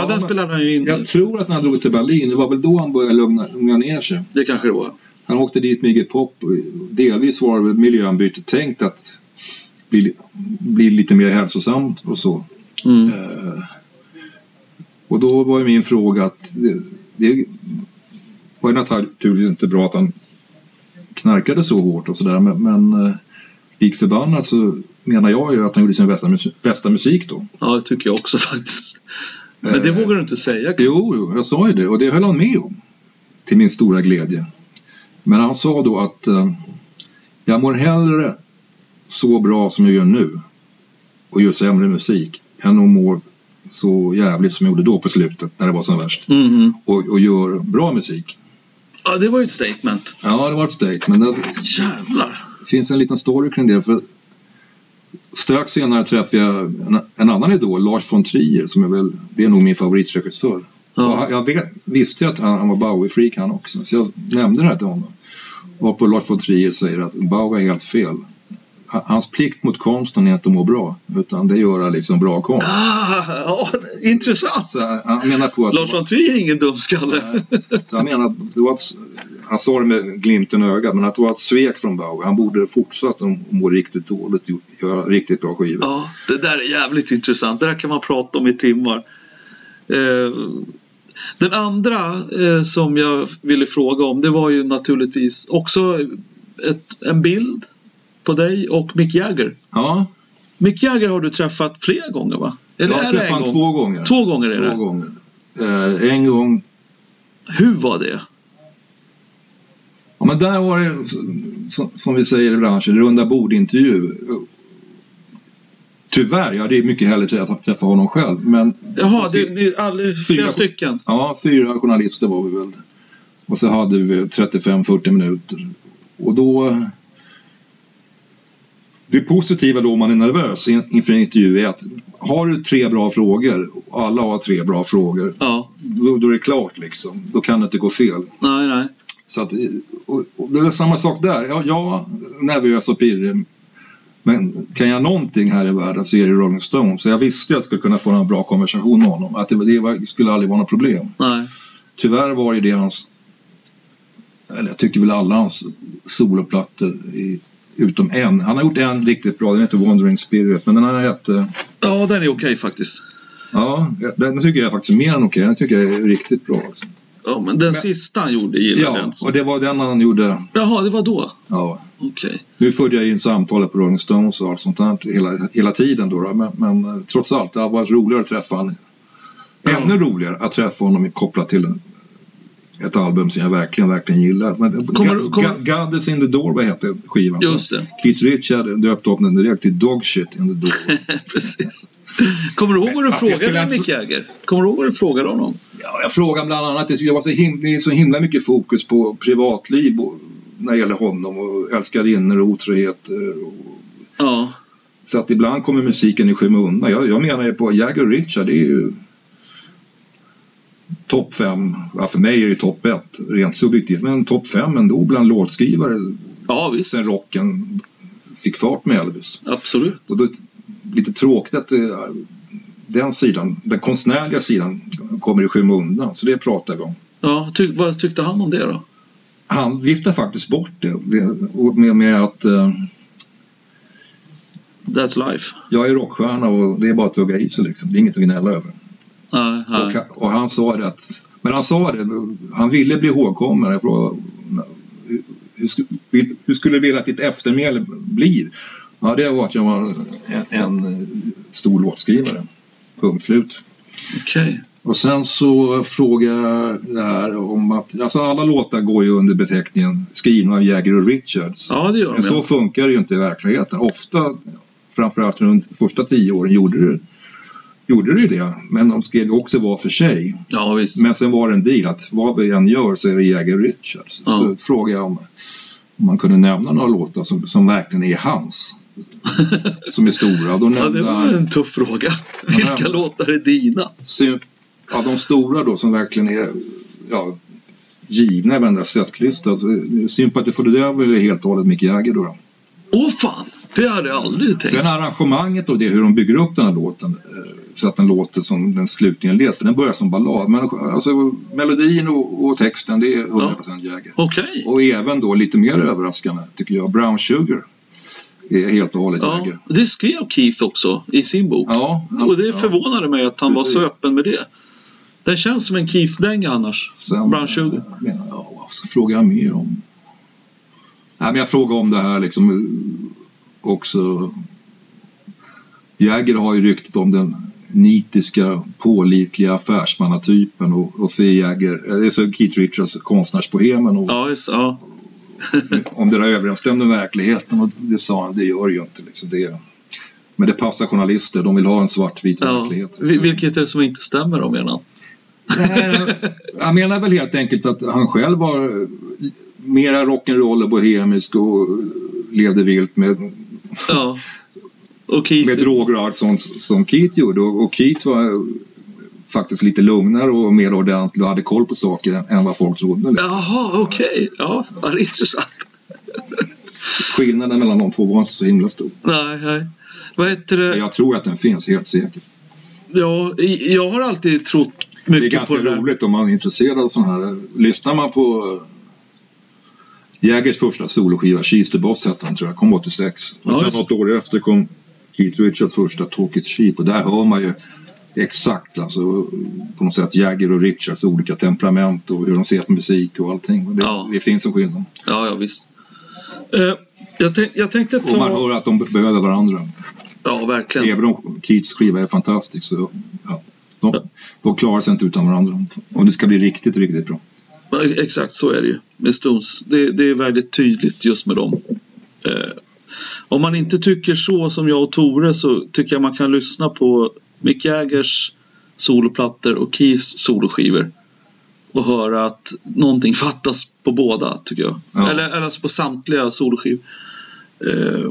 Speaker 2: Ja,
Speaker 1: den
Speaker 2: men-
Speaker 1: spelade han ju in.
Speaker 2: Jag tror att när han drog till Berlin, det var väl då han började lugna, lugna ner sig.
Speaker 1: Det kanske det var.
Speaker 2: Han åkte dit med Iggy Pop. Delvis var det miljöombyte tänkt att bli, bli lite mer hälsosamt och så.
Speaker 1: Mm.
Speaker 2: Eh, Och då var ju min fråga att det, det var ju naturligtvis inte bra att han knarkade så hårt och sådär men, men eh, lik förbannat så menar jag ju att han gjorde sin bästa, mus- bästa musik då.
Speaker 1: Ja, det tycker jag också faktiskt. Men det
Speaker 2: Eh.
Speaker 1: vågar du inte säga.
Speaker 2: Jo, jo, jag sa ju det och det höll han med om. Till min stora glädje. Men han sa då att eh, jag mår hellre så bra som jag gör nu och gör sämre musik än att må så jävligt som jag gjorde då på slutet när det var som värst.
Speaker 1: Mhm.
Speaker 2: Och, och gör bra musik.
Speaker 1: Ja, det var ju ett statement.
Speaker 2: Ja, det var ett steg. Men det
Speaker 1: Jävlar!
Speaker 2: finns en liten story kring det. För strax senare träffade jag en, en annan idol, Lars von Trier, som är väl, det är nog min favoritregissör. Och
Speaker 1: Ja.
Speaker 2: han- Jag vet, visste ju att han, han var Bowie-freak han också, så jag nämnde det här till honom. Och på Lars von Trier säger att Bowie är helt fel. Ha- Hans plikt mot konsten är inte att må bra, utan det är att göra liksom bra konst.
Speaker 1: Ah, ja, intressant!
Speaker 2: Så han- han menar på att...
Speaker 1: Lars von Trier är ingen dumskalle.
Speaker 2: Så han menar att det var ett, han sa det med glimten i ögat, men att det var ett svek från Bowie. Han borde fortsatt att må riktigt dåligt gjort- göra riktigt bra skivor.
Speaker 1: Ja, det där är jävligt intressant. Det där kan man prata om i timmar. Eh, Den andra eh, som jag ville fråga om det var ju naturligtvis också ett, en bild på dig och Mick Jagger.
Speaker 2: Ja,
Speaker 1: Mick Jagger har du träffat flera gånger va?
Speaker 2: jag
Speaker 1: Eller
Speaker 2: har
Speaker 1: är det
Speaker 2: träffat
Speaker 1: en
Speaker 2: honom
Speaker 1: gång?
Speaker 2: två gånger.
Speaker 1: Två gånger är det.
Speaker 2: Två gånger. Eh, en gång
Speaker 1: Hur var det?
Speaker 2: Ja, men där var det, som- som vi säger i branschen, runda bord-intervju. Tyvärr, jag hade ju mycket hellre träffa, träffa honom själv. Men
Speaker 1: Jaha, det, det är aldrig, flera
Speaker 2: Fyra.
Speaker 1: stycken.
Speaker 2: ja, fyra journalister var vi väl. Och så hade vi 35-40 minuter. Och då... Det positiva då om man är nervös in- inför en intervju är att har du tre bra frågor, och alla har tre bra frågor,
Speaker 1: Ja,
Speaker 2: då, då är det klart liksom. Då kan det inte gå fel.
Speaker 1: nej, nej.
Speaker 2: Så att, och, och det är väl samma sak där. Jag, jag nervös och pirrig. Men kan jag någonting här i världen så är det Rolling Stones. Så jag visste att jag skulle kunna få en bra konversation med honom. Att det, det var, skulle aldrig vara något problem.
Speaker 1: nej.
Speaker 2: Tyvärr var ju det hans, eller jag tycker väl alla hans soloplattor i, utom en. Han har gjort en riktigt bra, den heter Wandering Spirit. Men den här hette,
Speaker 1: Ja, den är okej faktiskt.
Speaker 2: ja, den tycker jag faktiskt är mer än okej. Den tycker jag är riktigt bra. Alltså.
Speaker 1: Ja, men den sista han gjorde gillade jag
Speaker 2: Ja,
Speaker 1: inte.
Speaker 2: och det var den han gjorde,
Speaker 1: Jaha, det var då?
Speaker 2: ja.
Speaker 1: Okej.
Speaker 2: Nu förde jag in samtalet på Rolling Stones och allt sånt där hela, hela tiden då, då. Men, men eh, trots allt, det har varit roligare att träffa honom. Ännu roligare att träffa honom kopplat till en- ett album som jag verkligen, verkligen gillar. Men, eh,
Speaker 1: Kommer-
Speaker 2: Ga-
Speaker 1: kommer-
Speaker 2: Ga- God is in the door, vad hette skivan?
Speaker 1: Just det.
Speaker 2: Keith Richard döpte upp den direkt till Dog shit in the door.
Speaker 1: Precis. Kommer du ihåg vad du
Speaker 2: Men, fast jag
Speaker 1: frågade
Speaker 2: skulle
Speaker 1: Mick Jagger? Kommer du ihåg vad du frågade honom?
Speaker 2: Ja, jag frågade bland annat, jag tyckte det var så himla, det är så himla mycket fokus på privatliv och, när det gäller honom och älskarinnor och eh, otroheter och
Speaker 1: Ja,
Speaker 2: Så att ibland kommer musiken i skymundan. Jag, jag menar ju på Jagger och Richard, det är ju topp fem. Ja, för mig är det topp ett, rent subjektivt. Men topp fem ändå bland låtskrivare
Speaker 1: ja visst.
Speaker 2: sen rocken fick fart med Elvis.
Speaker 1: Absolut.
Speaker 2: Och det är lite tråkigt att det, den sidan, den konstnärliga sidan kommer i skymundan. Så det pratar vi om.
Speaker 1: Ja, ty vad tyckte han om det då?
Speaker 2: Han viftar faktiskt bort det det- och med, med att eh,
Speaker 1: That's life.
Speaker 2: jag är rockstjärna och det är bara att tugga i sig liksom. Det är inget att gnälla över.
Speaker 1: Nej,
Speaker 2: Och,
Speaker 1: nej.
Speaker 2: han- och han sa det att, men han sa det, han ville bli ihågkommen. Jag frågade, "Hur- hur, sku- vill- hur skulle du vilja att ditt eftermäle blir? Ja, det var att jag var en, en stor låtskrivare. Punkt slut.
Speaker 1: Okej.
Speaker 2: Och sen så frågade jag det här om att, alltså alla låtar går ju under beteckningen skrivna av Jagger och Richards.
Speaker 1: Ja, det gör
Speaker 2: Men så
Speaker 1: de.
Speaker 2: funkar det ju inte i verkligen. Ofta, framförallt under de första tio åren, gjorde det gjorde det ju det, men de skrev ju också var för sig.
Speaker 1: Ja, visst.
Speaker 2: Men sen var det en deal att vad vi än gör så är det Jagger Richards.
Speaker 1: Ja.
Speaker 2: Så frågade jag om, om man kunde nämna några låtar som, som verkligen är hans. som är stora. Då
Speaker 1: Ja,
Speaker 2: nämnde
Speaker 1: det var
Speaker 2: han
Speaker 1: en tuff fråga.
Speaker 2: Ja.
Speaker 1: Vilka låtar är dina?
Speaker 2: sy- ja, de stora då som verkligen är ja, givna i varenda setlista. Alltså, Sympati for the Devil är helt och hållet Mick Jagger då. då.
Speaker 1: Åh fan, det hade jag aldrig tänkt.
Speaker 2: Sen arrangemanget och det, hur de bygger upp den här låten eh, så att den låter som den slutligen leds. För den börjar som ballad. Men alltså, melodin och, och texten, det är 100% Jagger.
Speaker 1: Okej.
Speaker 2: Och även då lite mer överraskande tycker jag, Brown Sugar är helt och hållet
Speaker 1: Ja,
Speaker 2: Jagger.
Speaker 1: det skrev Keith också i sin bok.
Speaker 2: Ja,
Speaker 1: Och det
Speaker 2: ja.
Speaker 1: förvånade mig att han var så
Speaker 2: Precis.
Speaker 1: öppen med det. Den känns som en Keith-dänga annars.
Speaker 2: Sen,
Speaker 1: Brown Sugar.
Speaker 2: eh, menar jag, vad ska jag fråga mer om? Nej, men jag frågar om det här liksom eh, också. Jagger har ju ryktet om den nitiska, pålitliga affärsmannatypen och, och ser Jagger, eh, så Keith Richards, konstnärsbohemen och
Speaker 1: Ja, just, ja.
Speaker 2: om det där överensstämde med verkligheten och det sa han, det gör ju inte liksom. Det, men det passar journalister, de vill ha en svartvit
Speaker 1: ja.
Speaker 2: verklighet.
Speaker 1: Vil- Vilket är det som inte stämmer då menar han?
Speaker 2: Nej, han menar väl helt enkelt att han själv var eh, mera rock'n'roll och bohemisk och levde vilt med,
Speaker 1: Ja. Och Keith...
Speaker 2: med droger och allt sånt som Keith gjorde. Och och Keith var eh, faktiskt lite lugnare och mer ordentlig och hade koll på saker än- än vad folk trodde. liksom.
Speaker 1: Jaha, okej. Ja, Ja, det är intressant.
Speaker 2: Skillnaden mellan de två var inte så himla stor.
Speaker 1: Nej, nej. Vad heter det?
Speaker 2: Jag tror att den finns, helt säkert.
Speaker 1: Ja, i- jag har alltid trott
Speaker 2: Det är
Speaker 1: mycket
Speaker 2: ganska
Speaker 1: på det där.
Speaker 2: roligt om man är intresserad av sådana här. Lyssnar man på Jägers första soloskiva, She's the Boss hette den tror jag, kom 86.
Speaker 1: Ja,
Speaker 2: Och sen
Speaker 1: just det.
Speaker 2: något år efter kom Keith Richards första Talk It's Cheap och där hör man ju exakt alltså på något sätt Jagger och Richards olika temperament och hur de ser på musik och allting. Och Det,
Speaker 1: Ja.
Speaker 2: det finns en skillnad.
Speaker 1: Ja, ja visst. Eh, jag, tänk, jag tänkte
Speaker 2: Och man
Speaker 1: ta...
Speaker 2: hör att de behöver varandra.
Speaker 1: Ja, verkligen.
Speaker 2: Även om Keats skiva är fantastisk så ja, de, de klarar sig inte utan varandra. Om det ska bli riktigt, riktigt bra.
Speaker 1: Eh, Exakt, så är det ju med Stones. Det, det är väldigt tydligt just med dem. Eh, om man inte tycker så som jag och Tore så tycker jag man kan lyssna på Mick Jaggers soloplattor och Keiths soloskivor och höra att någonting fattas på båda, tycker jag.
Speaker 2: Ja.
Speaker 1: Eller, eller alltså på samtliga soloskivor. Eh,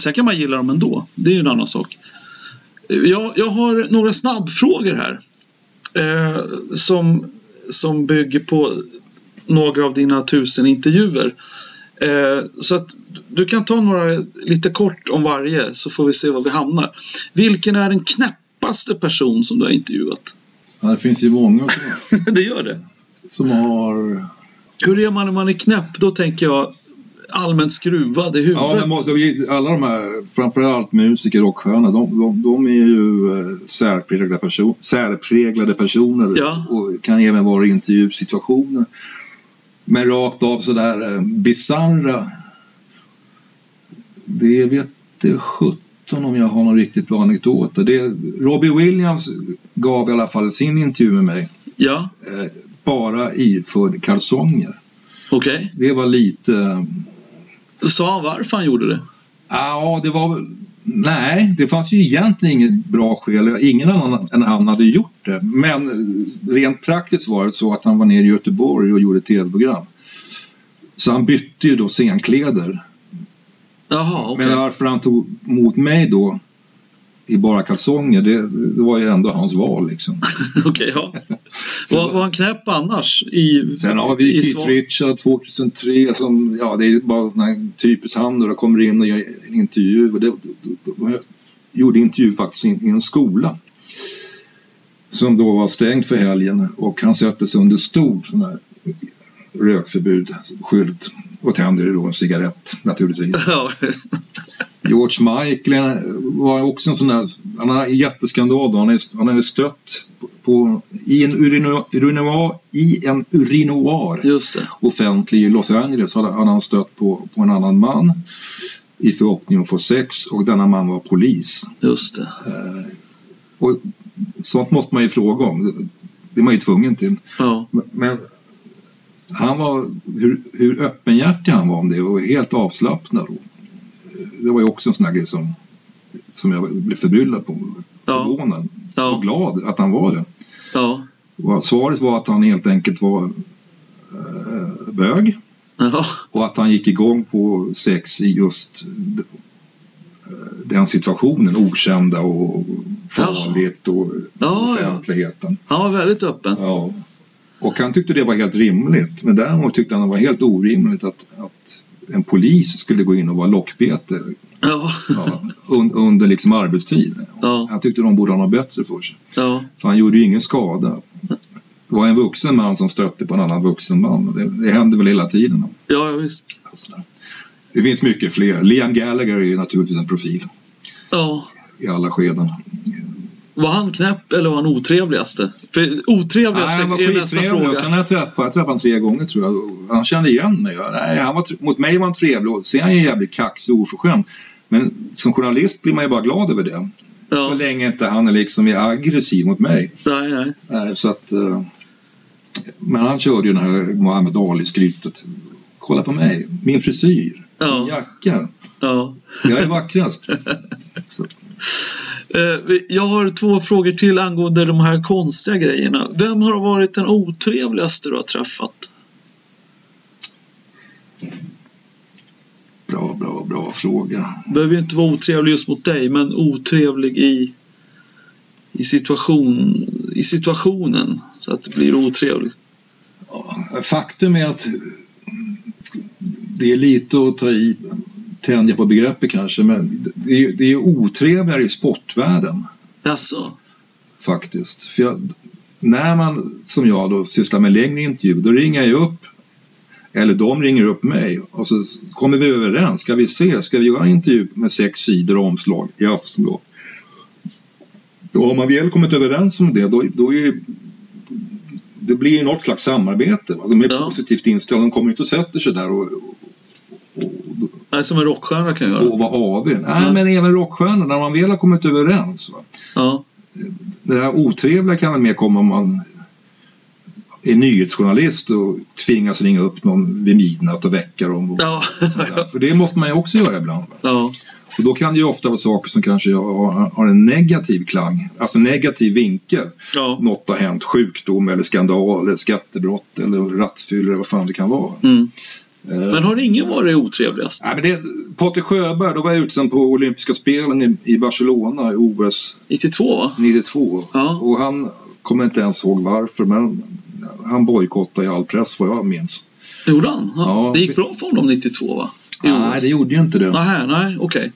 Speaker 1: sen kan man gilla dem ändå. Det är ju en annan sak. Eh, Jag, jag har några snabbfrågor här. Eh, som, som bygger på några av dina tusen intervjuer. Eh, så att du kan ta några lite kort om varje så får vi se var vi hamnar. Vilken är den knäppaste person som du har intervjuat?
Speaker 2: Ja, det finns ju många som,
Speaker 1: det gör det.
Speaker 2: som har...
Speaker 1: Hur är man när man är knäpp? Då tänker jag allmänt skruvad i huvudet.
Speaker 2: Ja, men må- de- alla de här, framförallt musiker och sköna, de, de, de är ju eh, särpräglade, person, särpräglade personer
Speaker 1: Ja.
Speaker 2: och kan även vara i intervjusituationer. Men rakt av sådär eh, bisarra, det vet det sjutton om jag har någon riktigt bra anekdot. Det, Robbie Williams gav i alla fall sin intervju med mig
Speaker 1: ja
Speaker 2: eh, bara iförd kalsonger.
Speaker 1: okej.
Speaker 2: Det var lite... eh,
Speaker 1: Sa han varför han gjorde det?
Speaker 2: Ja, det var väl... Nej, det fanns ju egentligen inget bra skäl. Ingen annan än han hade gjort det. Men eh, rent praktiskt var det så att han var nere i Göteborg och gjorde ett tv-program. Så han bytte ju då scenkläder.
Speaker 1: Jaha, okej.
Speaker 2: Men varför han tog mot mig då i bara kalsonger, det, det var ju ändå hans val liksom.
Speaker 1: Okej, ja. Var, var han knäpp annars? I,
Speaker 2: Sen har
Speaker 1: i
Speaker 2: vi
Speaker 1: svar?
Speaker 2: Keith Richard 2003 som, ja det är bara sån här typisk han då, kommer in och gör en intervju. Och det, jag gjorde intervju faktiskt i, i en skola. Som då var stängd för helgen och han sätter sig under stor sån här rökförbud, skylt och tänder då en cigarett naturligtvis.
Speaker 1: Ja,
Speaker 2: George Michael var också en sån där, han har en jätteskandal då, han är, han är stött på, i en urino- urinoar, i en urinoar
Speaker 1: just det.
Speaker 2: offentlig i Los Angeles hade hade han stött på, på en annan man i förhoppning om att få sex och denna man var polis.
Speaker 1: Just det.
Speaker 2: Och sånt måste man ju fråga om. Det- Det är man ju tvungen till.
Speaker 1: Ja.
Speaker 2: Men- Men han var, hur, hur öppenhjärtig han var om det och helt avslappnad. Det var ju också en sån här grej som, som jag blev förbryllad på.
Speaker 1: Ja.
Speaker 2: Förvånad. Och
Speaker 1: Ja,
Speaker 2: glad att han var det.
Speaker 1: ja,
Speaker 2: Och svaret var att han helt enkelt var eh, bög
Speaker 1: ja,
Speaker 2: och att han gick igång på sex i just d- den situationen, okända och farligt och
Speaker 1: Ja, ja.
Speaker 2: offentligheten.
Speaker 1: han var väldigt öppen.
Speaker 2: Ja. Och han tyckte det var helt rimligt. Men däremot tyckte han det var helt orimligt att, att en polis skulle gå in och vara lockbete
Speaker 1: Ja,
Speaker 2: ja, un, under liksom arbetstid.
Speaker 1: Ja.
Speaker 2: Han tyckte de borde ha något bättre för sig.
Speaker 1: ja,
Speaker 2: För han gjorde ju ingen skada. Det var en vuxen man som stötte på en annan vuxen man. Och Det, det händer väl hela tiden.
Speaker 1: ja visst.
Speaker 2: Alltså, Det finns mycket fler. Liam Gallagher är ju naturligtvis en profil
Speaker 1: Ja.
Speaker 2: i alla skeden.
Speaker 1: Var han knäpp eller var han otrevligaste? För
Speaker 2: Nej,
Speaker 1: otrevligaste
Speaker 2: han var
Speaker 1: är ju nästa
Speaker 2: skittrevlig. Och Sen
Speaker 1: fråga.
Speaker 2: när jag träffade, jag träffade honom tre gånger tror jag. Och Han kände igen mig. Nej, han var, tre- mot mig var han trevlig. Och Sen är han ju jävligt kaxig och oförskämd. Men som journalist blir man ju bara glad över det. Så
Speaker 1: Ja,
Speaker 2: länge inte han är liksom är aggressiv mot mig.
Speaker 1: nej, nej.
Speaker 2: Nej, så att, eh, men han körde ju den här Muhammad Ali-skrytet. Kolla på mig, min frisyr, min
Speaker 1: Ja,
Speaker 2: jacka.
Speaker 1: ja.
Speaker 2: Jag är vackrast.
Speaker 1: Eh, vi- Jag har två frågor till angående de här konstiga grejerna. Vem har varit den otrevligaste du har träffat?
Speaker 2: Bra, bra, bra fråga.
Speaker 1: Behöver ju inte vara otrevlig just mot dig, men otrevlig i, i, situation, i situationen. Så att det blir otrevligt.
Speaker 2: Faktum är att det är lite att ta i, tänja på begreppet kanske, men det är, det är otrevligare i sportvärlden
Speaker 1: Alltså,
Speaker 2: faktiskt. För jag, när man, som jag då, sysslar med längre intervjuer, då ringer jag upp eller de ringer upp mig och så kommer vi överens. Ska vi se, ska vi göra en intervju med sex sidor och omslag i Aftonbladet? Då har man väl kommit överens om det, då, då är ju, det blir ju något slags samarbete. Va? De är
Speaker 1: Ja.
Speaker 2: positivt inställda, de kommer ju inte och sätter sig där och, och, och
Speaker 1: nej, som en rockstjärna kan göra.
Speaker 2: och vara aviga. Nej,
Speaker 1: Ja.
Speaker 2: men även rockstjärnor, när man väl har kommit överens. Va?
Speaker 1: Ja,
Speaker 2: det här otrevliga kan väl mer komma om man är nyhetsjournalist och tvingas ringa upp någon vid midnatt och väcka dem. Och
Speaker 1: ja,
Speaker 2: sånt där. För det måste man ju också göra ibland. va.
Speaker 1: ja,
Speaker 2: Och då kan det ju ofta vara saker som kanske har har en negativ klang, alltså negativ vinkel.
Speaker 1: ja.
Speaker 2: Något har hänt, sjukdom eller skandal, eller skattebrott eller rattfylla eller vad fan det kan vara.
Speaker 1: Mm.
Speaker 2: Eh,
Speaker 1: Men har ingen varit otrevligast?
Speaker 2: Nej, men det, Patrik Sjöberg, då var jag utsänd på olympiska spelen i, i Barcelona i OS
Speaker 1: 92 va?
Speaker 2: 92.
Speaker 1: Ja.
Speaker 2: Och han kommer inte ens ihåg varför, men han bojkottade i all press vad jag minns.
Speaker 1: Gjorde han? Ja.
Speaker 2: Ja.
Speaker 1: Det gick bra för honom 92 va? I
Speaker 2: Nej,
Speaker 1: OS?
Speaker 2: det gjorde ju inte det.
Speaker 1: Nej, nej, okej.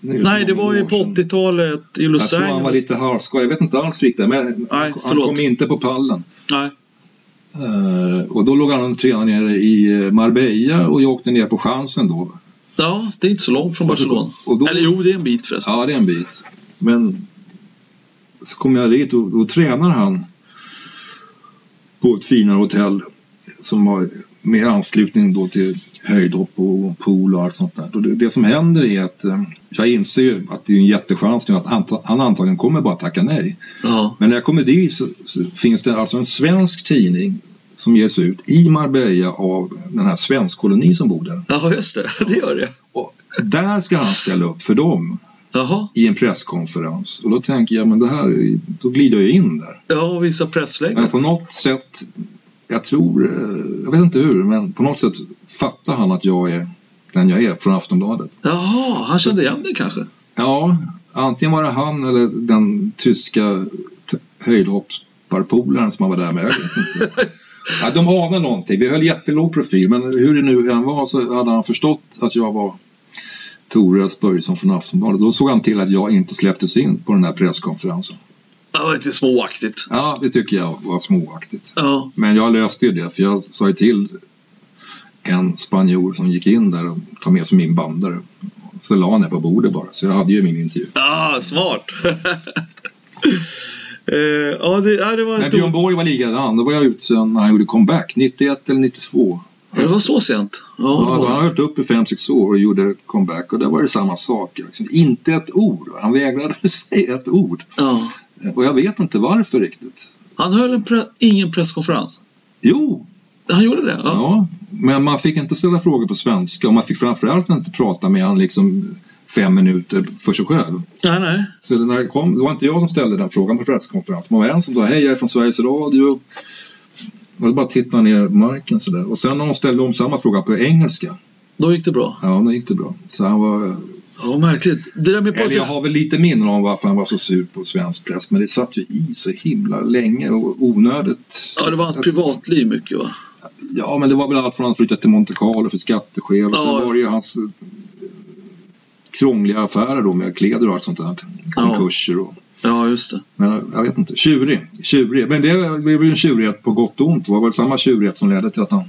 Speaker 2: Det är ju så
Speaker 1: Nej, det
Speaker 2: många
Speaker 1: var ju
Speaker 2: år
Speaker 1: på
Speaker 2: sedan.
Speaker 1: 80-talet i
Speaker 2: Jag
Speaker 1: Los
Speaker 2: tror han var
Speaker 1: Angeles.
Speaker 2: lite halvskoj. Jag vet inte alls riktigt. Men han- han
Speaker 1: förlåt.
Speaker 2: kom inte på pallen.
Speaker 1: Nej,
Speaker 2: Eh, och då låg han och tränade nere i eh, Marbella och jag åkte ner på chansen då.
Speaker 1: ja, det är inte så långt från
Speaker 2: Och så-
Speaker 1: Barcelona.
Speaker 2: och då-
Speaker 1: Eller jo, det är en bit förresten.
Speaker 2: Ja, det är en bit. Men så kom jag dit och då tränar han på ett finare hotell som var med anslutning då till höjdhopp och pool och allt sånt där. Och det, det som händer är att eh, jag inser ju att det är en jättechans nu att han, han antagligen kommer bara tacka nej.
Speaker 1: Ja.
Speaker 2: Men när jag kommer dit så, så finns det alltså en svensk tidning som ges ut i Marbella av den här svensk koloni som bor där.
Speaker 1: ja, just det. Det gör det.
Speaker 2: Och där ska han ställa upp för dem
Speaker 1: Jaha.
Speaker 2: i en presskonferens. Och då tänker jag, men det här, är ju- då glider jag in där.
Speaker 1: Ja, och visa
Speaker 2: Men
Speaker 1: pressläget.
Speaker 2: på något sätt, jag tror, eh, jag vet inte hur, men på något sätt fattar han att jag är den jag är från Aftonbladet.
Speaker 1: Jaha, han kände igen dig kanske?
Speaker 2: Ja, antingen var det han eller den tyska t- höjdhopparpolaren som han var där med. Jag vet inte. Ja, de anar någonting. Vi höll jättelåg profil, men hur det nu än var så hade han förstått att jag var Tore Börjesson från Aftonbladet. Då såg han till att jag inte släpptes in på den här presskonferensen.
Speaker 1: Ja, det var lite småaktigt.
Speaker 2: Ja, det tycker jag var småaktigt.
Speaker 1: Ja,
Speaker 2: Men jag löste ju det för jag sa ju till en spanjor som gick in där och tog med sig min bandare. Så la han det på bordet bara, så jag hade ju min intervju.
Speaker 1: ah, smart. Eh, ja, det, ja, det var
Speaker 2: Men
Speaker 1: ett
Speaker 2: Björn
Speaker 1: ord.
Speaker 2: Borg var likadan, då var jag ute sen när han gjorde comeback, 91 eller 92.
Speaker 1: Det var så sent? Ja,
Speaker 2: Ja,
Speaker 1: det
Speaker 2: han
Speaker 1: var.
Speaker 2: hade varit uppe i 5-6 år och gjorde comeback och där var det samma sak. Liksom. Inte ett ord, han vägrade säga ett ord.
Speaker 1: ja.
Speaker 2: Och jag vet inte varför riktigt.
Speaker 1: Han höll en pre- ingen presskonferens.
Speaker 2: Jo,
Speaker 1: Han gjorde det? Ja.
Speaker 2: Ja, men man fick inte ställa frågor på svenska och man fick framförallt inte prata med han liksom fem minuter för sig själv.
Speaker 1: Nej, nej.
Speaker 2: Så när jag kom, det var inte jag som ställde den frågan på presskonferensen. Det var en som sa hej, jag är från Sveriges Radio. Och då bara tittade han ner i marken sådär. Och sen när hon ställde om samma fråga på engelska.
Speaker 1: Då gick det bra.
Speaker 2: Ja, då gick det bra. Så han var...
Speaker 1: Ja, märkligt. Det där med
Speaker 2: Eller jag
Speaker 1: Patrik...
Speaker 2: har väl lite minnen om varför han var så sur på svensk press. Men det satt ju i så himla länge och onödigt.
Speaker 1: Ja, det var hans privatliv mycket va?
Speaker 2: Ja, men det var väl allt från att han flyttade till Monte Carlo för skatteskäl. Och
Speaker 1: Ja.
Speaker 2: sen var det ju hans eh, krångliga affärer då med kläder och allt sånt där.
Speaker 1: Ja.
Speaker 2: Konkurser och...
Speaker 1: Ja, just det.
Speaker 2: Men eh, jag vet inte. Tjurig. tjurig. Men det blev ju en tjurighet på gott och ont. Det var väl samma tjurighet som ledde till att han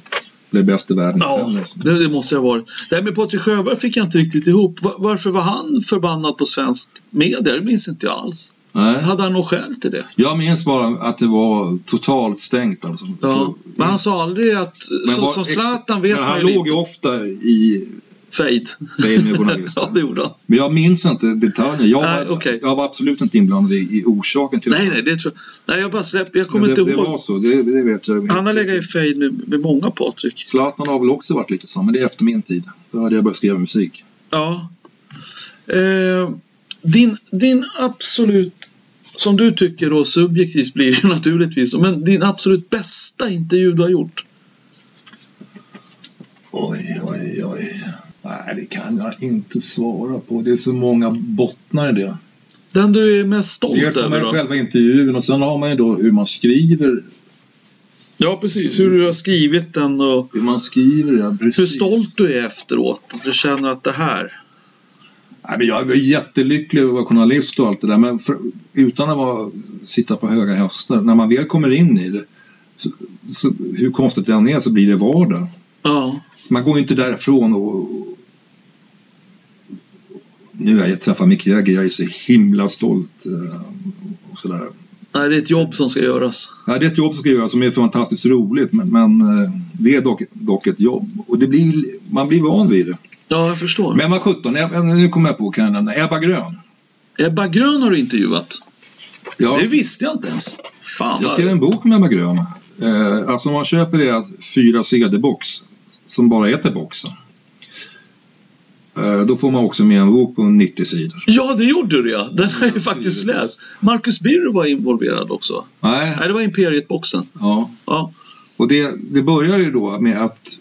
Speaker 2: blev bäst i världen.
Speaker 1: Ja, det, det måste jag ha varit. Det här med Patrik Sjöberg fick jag inte riktigt ihop. Va- varför var han förbannad på svensk media? Det minns inte jag alls.
Speaker 2: Nej.
Speaker 1: Hade han något skäl till det?
Speaker 2: Jag minns bara att det var totalt stängt. Alltså.
Speaker 1: Ja.
Speaker 2: Så-
Speaker 1: Men han sa aldrig att... som,
Speaker 2: var-
Speaker 1: som Zlatan vet
Speaker 2: Men han
Speaker 1: man ju
Speaker 2: låg ju ofta i
Speaker 1: Fade.
Speaker 2: fejl med journalister.
Speaker 1: ja, det gjorde han.
Speaker 2: Men jag minns inte detaljer. Jag,
Speaker 1: Nej,
Speaker 2: var-
Speaker 1: okej.
Speaker 2: jag var absolut inte inblandad i, i orsaken till
Speaker 1: Nej, nej, det tror jag. Nej, jag bara släpper. Jag
Speaker 2: Men
Speaker 1: kommer
Speaker 2: det,
Speaker 1: inte
Speaker 2: det
Speaker 1: ihåg.
Speaker 2: var så. Det, det vet jag.
Speaker 1: Han har legat i fade med, med många Patrik.
Speaker 2: Zlatan har väl också varit lite så, men det är efter min tid. Då hade jag börjat skriva musik.
Speaker 1: Ja. Eh, din, din absolut, som du tycker då subjektivt blir det ju naturligtvis, men din absolut bästa intervju du har gjort?
Speaker 2: Oj, oj, oj. Nej, det kan jag inte svara på. Det är så många bottnar i det.
Speaker 1: Den du är mest stolt
Speaker 2: Dels har man
Speaker 1: över
Speaker 2: ju
Speaker 1: då?
Speaker 2: själva intervjun och sen har man ju då hur man skriver.
Speaker 1: Ja, precis. Hur du har skrivit den och
Speaker 2: Hur man skriver, ja precis.
Speaker 1: hur stolt du är efteråt. Att du känner att det här...
Speaker 2: Nej, men jag är jättelycklig över att vara journalist och allt det där. Men för, utan att vara, sitta på höga hästar. När man väl kommer in i det, så, så, hur konstigt det än är, så blir det vardag.
Speaker 1: Ja.
Speaker 2: Man går ju inte därifrån och... Nu har jag träffat Mick Jagger, jag är så himla stolt. eh, Och sådär.
Speaker 1: Nej, det är ett jobb som ska göras.
Speaker 2: Ja, det är ett jobb som ska göras som är fantastiskt roligt men, men eh, det är dock, dock ett jobb. Och det blir, man blir van vid det.
Speaker 1: Ja, jag förstår.
Speaker 2: Men var 17, Eb- nu kommer jag på kan jag nämna, Ebba Grön.
Speaker 1: Ebba Grön har du intervjuat.
Speaker 2: Jag,
Speaker 1: Det visste jag inte ens. Fan
Speaker 2: jag
Speaker 1: vad...
Speaker 2: skrev en bok med Ebba Grön. Eh, alltså om man köper deras fyra CD-box som bara heter Boxen. Eh, då får man också med en bok på 90 sidor.
Speaker 1: Ja, det gjorde du ja. Den har jag faktiskt läst. Marcus Birro var involverad också.
Speaker 2: Nej,
Speaker 1: Nej, det var Imperiet-boxen.
Speaker 2: ja.
Speaker 1: Ja.
Speaker 2: Och det, det börjar ju då med att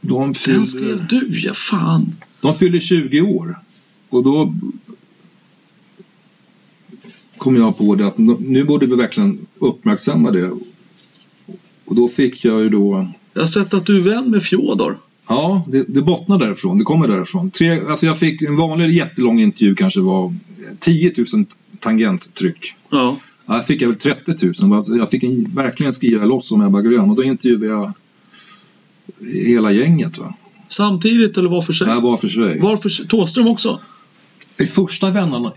Speaker 2: de
Speaker 1: Den
Speaker 2: fyller,
Speaker 1: skrev du ja, fan.
Speaker 2: de fyller 20 år. Och då kom jag på det att nu- nu borde vi verkligen uppmärksamma det. Och då fick jag ju då
Speaker 1: Jag har sett att du är vän med Fjodor.
Speaker 2: Ja, det, det bottnar därifrån. Det kommer därifrån. Tre, alltså jag fick en vanlig jättelång intervju kanske var 10 000 tangenttryck.
Speaker 1: Ja.
Speaker 2: Ja, Jag fick jag väl 30 000. Alltså, Jag fick en, verkligen skriva loss om Ebba Grön och då intervjuade jag hela gänget. Va?
Speaker 1: Samtidigt eller var för sig?
Speaker 2: Det här var för sig.
Speaker 1: Var för sig? Thåström också?
Speaker 2: I första vändan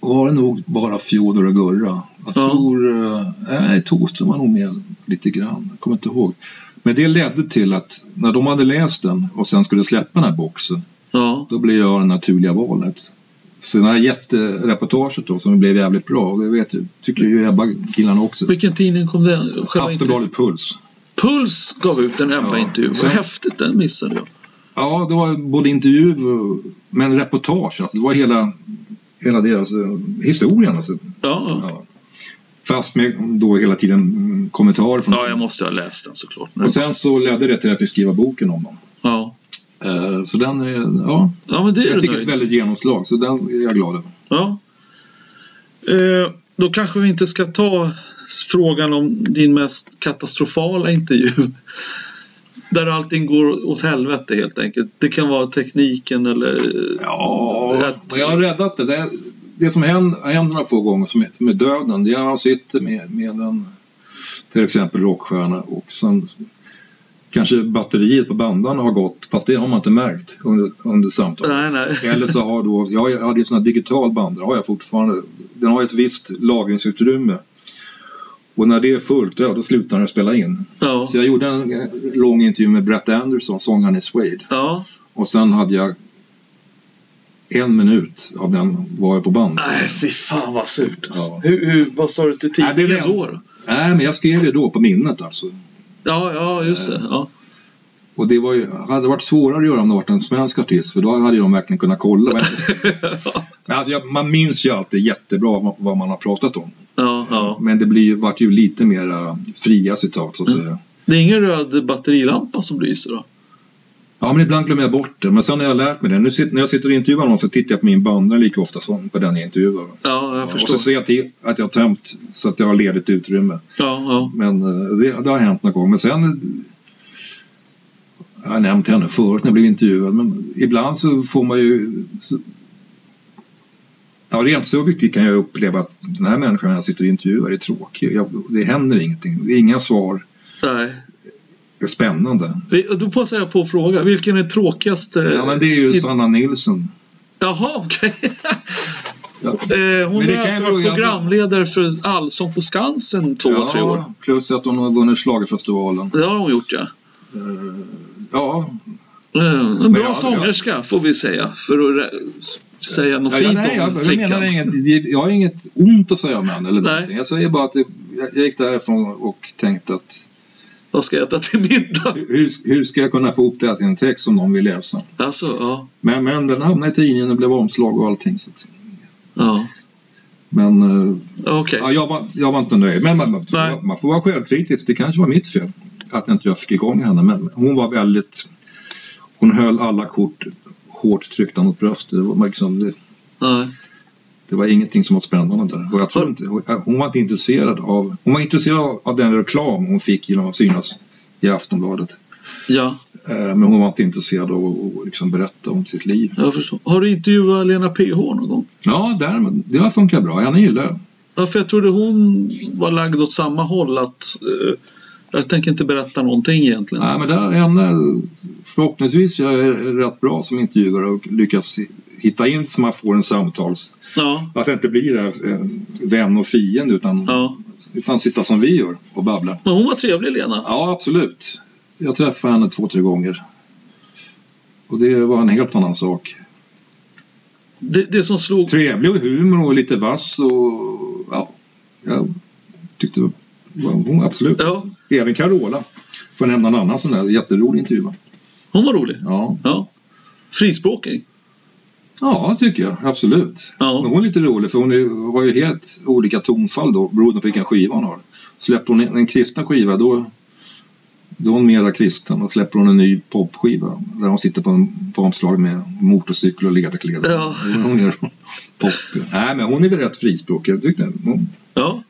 Speaker 2: var det nog bara Fjodor och Gurra. Jag
Speaker 1: Ja.
Speaker 2: tror... eh, Nej, Thåström var nog med lite grann. Jag kommer inte ihåg. Men det ledde till att när de hade läst den och sen skulle släppa den här boxen
Speaker 1: Ja.
Speaker 2: Då blev jag det naturliga valet. Så det här jättereportaget då som blev jävligt bra, och det vet, ju- tycker ju Ebba killarna också.
Speaker 1: Vilken tidning kom den? Själva intervjun?
Speaker 2: Aftonbladet Puls.
Speaker 1: Puls gav ut en Ebba-intervju.
Speaker 2: Sen-
Speaker 1: Vad häftigt, den missade jag.
Speaker 2: Ja, det var både intervju och- men reportage. Alltså, det var hela, hela deras eh, historien. Alltså.
Speaker 1: Ja,
Speaker 2: Ja. Fast med då hela tiden mm, kommentarer från
Speaker 1: ja jag måste ha läst den såklart.
Speaker 2: Och sen så ledde det till att jag fick skriva boken om dem.
Speaker 1: Ja.
Speaker 2: Eh, Så den är, ja,
Speaker 1: ja, men det är
Speaker 2: jag
Speaker 1: du
Speaker 2: fick ett
Speaker 1: nöjd
Speaker 2: väldigt genomslag så den är jag glad över.
Speaker 1: Ja. Eh, då kanske vi inte ska ta s- frågan om din mest katastrofala intervju. Där allting går åt helvete helt enkelt. Det kan vara tekniken eller... eh,
Speaker 2: Ja,
Speaker 1: Rätt.
Speaker 2: men jag har räddat det. Det, det som händer, har hänt några få gånger som är, med döden, det är när man sitter med, med en till exempel rockstjärna och sen kanske batteriet på bandan har gått, fast det har man inte märkt under, under samtalet.
Speaker 1: Nej, nej.
Speaker 2: Eller så har då, jag har- jag hade en sån här digital bandare, har jag fortfarande. Den har ett visst lagringsutrymme. Och när det är fullt, ja, då slutar den spela in.
Speaker 1: Ja.
Speaker 2: Så jag gjorde en eh, lång intervju med Brett Anderson, sångaren i Suede.
Speaker 1: ja.
Speaker 2: Och sen hade jag en minut av den var jag på band.
Speaker 1: Nej, fy fan vad surt. alltså.
Speaker 2: Ja.
Speaker 1: Hur, hur, vad sa du till
Speaker 2: Nej, det är
Speaker 1: tidningen
Speaker 2: väl-
Speaker 1: då? då?
Speaker 2: Nej, men jag skrev det då på minnet alltså.
Speaker 1: Ja, ja, just det. Ja.
Speaker 2: Och det var ju, hade varit svårare att göra om det varit en svensk artist för då hade de verkligen kunnat kolla. Men, men alltså, jag, man minns ju alltid jättebra vad, vad man har pratat om.
Speaker 1: Ja, ja.
Speaker 2: Men det blir, ju- vart ju lite mer eh, fria citat så att
Speaker 1: Mm.
Speaker 2: säga.
Speaker 1: Det är ingen röd batterilampa som lyser då?
Speaker 2: Ja, men ibland glömmer jag bort det. Men sen har jag lärt mig det. Nu sitter, när jag sitter och intervjuar någon så tittar jag på min bandare lika ofta som på den jag intervjuar.
Speaker 1: Ja, jag
Speaker 2: och
Speaker 1: förstår.
Speaker 2: så ser jag till att jag har tömt så att jag har ledigt utrymme.
Speaker 1: Ja, ja.
Speaker 2: Men eh, det, det har hänt någon gång. Men sen... eh, Jag har nämnt henne förut när jag blev intervjuad. Men ibland så får man ju... Så, ja, rent subjektivt kan jag uppleva att den här människan jag sitter och intervjuar är tråkig. Jag, det händer ingenting. Inga svar
Speaker 1: Nej.
Speaker 2: är spännande.
Speaker 1: Vi- Då passar jag på att fråga, vilken är tråkigaste?
Speaker 2: Ja, men det är ju
Speaker 1: i-
Speaker 2: Sanna Nilsson.
Speaker 1: Jaha, okej.
Speaker 2: Ja.
Speaker 1: Eh, Hon
Speaker 2: Men det
Speaker 1: är
Speaker 2: kan
Speaker 1: alltså
Speaker 2: ju vara-
Speaker 1: programledare för Allsång på Skansen två, tre år.
Speaker 2: plus att hon har vunnit schlagerfestivalen.
Speaker 1: Det har hon gjort, ja.
Speaker 2: Eh, Ja,
Speaker 1: Mm, En bra
Speaker 2: jag-
Speaker 1: sångerska, får vi säga. För att re- s- säga något
Speaker 2: ja,
Speaker 1: fint
Speaker 2: nej,
Speaker 1: om
Speaker 2: jag, jag
Speaker 1: flickan.
Speaker 2: menar inget, det- jag har inget ont att säga om henne eller
Speaker 1: Nej.
Speaker 2: någonting. Jag säger bara att det, jag, jag gick därifrån och tänkte att
Speaker 1: Vad ska jag äta till middag?
Speaker 2: hur, hur ska jag kunna få ihop det här till en text som någon vill läsa?
Speaker 1: Alltså, ja.
Speaker 2: Men, men den hamnade i tidningen och blev omslag och allting. Så att,
Speaker 1: ja.
Speaker 2: men eh,
Speaker 1: Okej.
Speaker 2: ja, jag, var, jag var inte nöjd. Men man, man, får,
Speaker 1: Nej.
Speaker 2: vara- man får vara självkritisk. Det kanske var mitt fel att inte jag fick igång henne. Men hon var väldigt... Hon höll alla kort hårt tryckta mot bröstet. Det var liksom, det,
Speaker 1: Nej.
Speaker 2: Det var ingenting som var spännande där. Och jag tror
Speaker 1: Har-
Speaker 2: inte, hon var inte intresserad av... Hon var intresserad av- av den reklam hon fick genom att synas i Aftonbladet.
Speaker 1: Ja,
Speaker 2: Eh, Men hon var inte intresserad av att att liksom berätta om sitt liv.
Speaker 1: jag förstår. Har du intervjuat Lena PH någon gång?
Speaker 2: Ja, därmed, det har funkat bra. Henne gillar jag.
Speaker 1: Ja, för jag trodde hon var lagd åt samma håll att eh, jag tänker inte berätta någonting egentligen.
Speaker 2: Nej, men där, henne, förhoppningsvis jag är rätt bra som intervjuare och lyckas hitta in så man får en samtals...
Speaker 1: Ja,
Speaker 2: Att det inte blir det här, eh, vän och fiende utan,
Speaker 1: ja.
Speaker 2: utan sitta som vi gör och babbla.
Speaker 1: Men hon var trevlig Lena.
Speaker 2: Ja, absolut. Jag träffade henne två, tre gånger. Och det var en helt annan sak.
Speaker 1: Det, det som slog...
Speaker 2: Trevlig och humor och lite vass och ja, jag tyckte det var hon absolut.
Speaker 1: Ja,
Speaker 2: Även Carola, för att nämna en annan sån där jätterolig intervju.
Speaker 1: hon var rolig.
Speaker 2: Ja,
Speaker 1: Ja. Frispråkig.
Speaker 2: ja tycker jag absolut. Men
Speaker 1: Ja,
Speaker 2: hon är lite rolig för hon är, har ju helt olika tonfall då beroende på vilken skiva hon har. Släpper hon en kristen skiva då, då är hon mera kristen och släpper hon en ny popskiva där hon sitter på, en, på omslag med motorcykel och ledarkläder.
Speaker 1: Ja.
Speaker 2: Hon är pop. Nej men hon är väl rätt frispråkig. Jag tyckte hon,
Speaker 1: ja.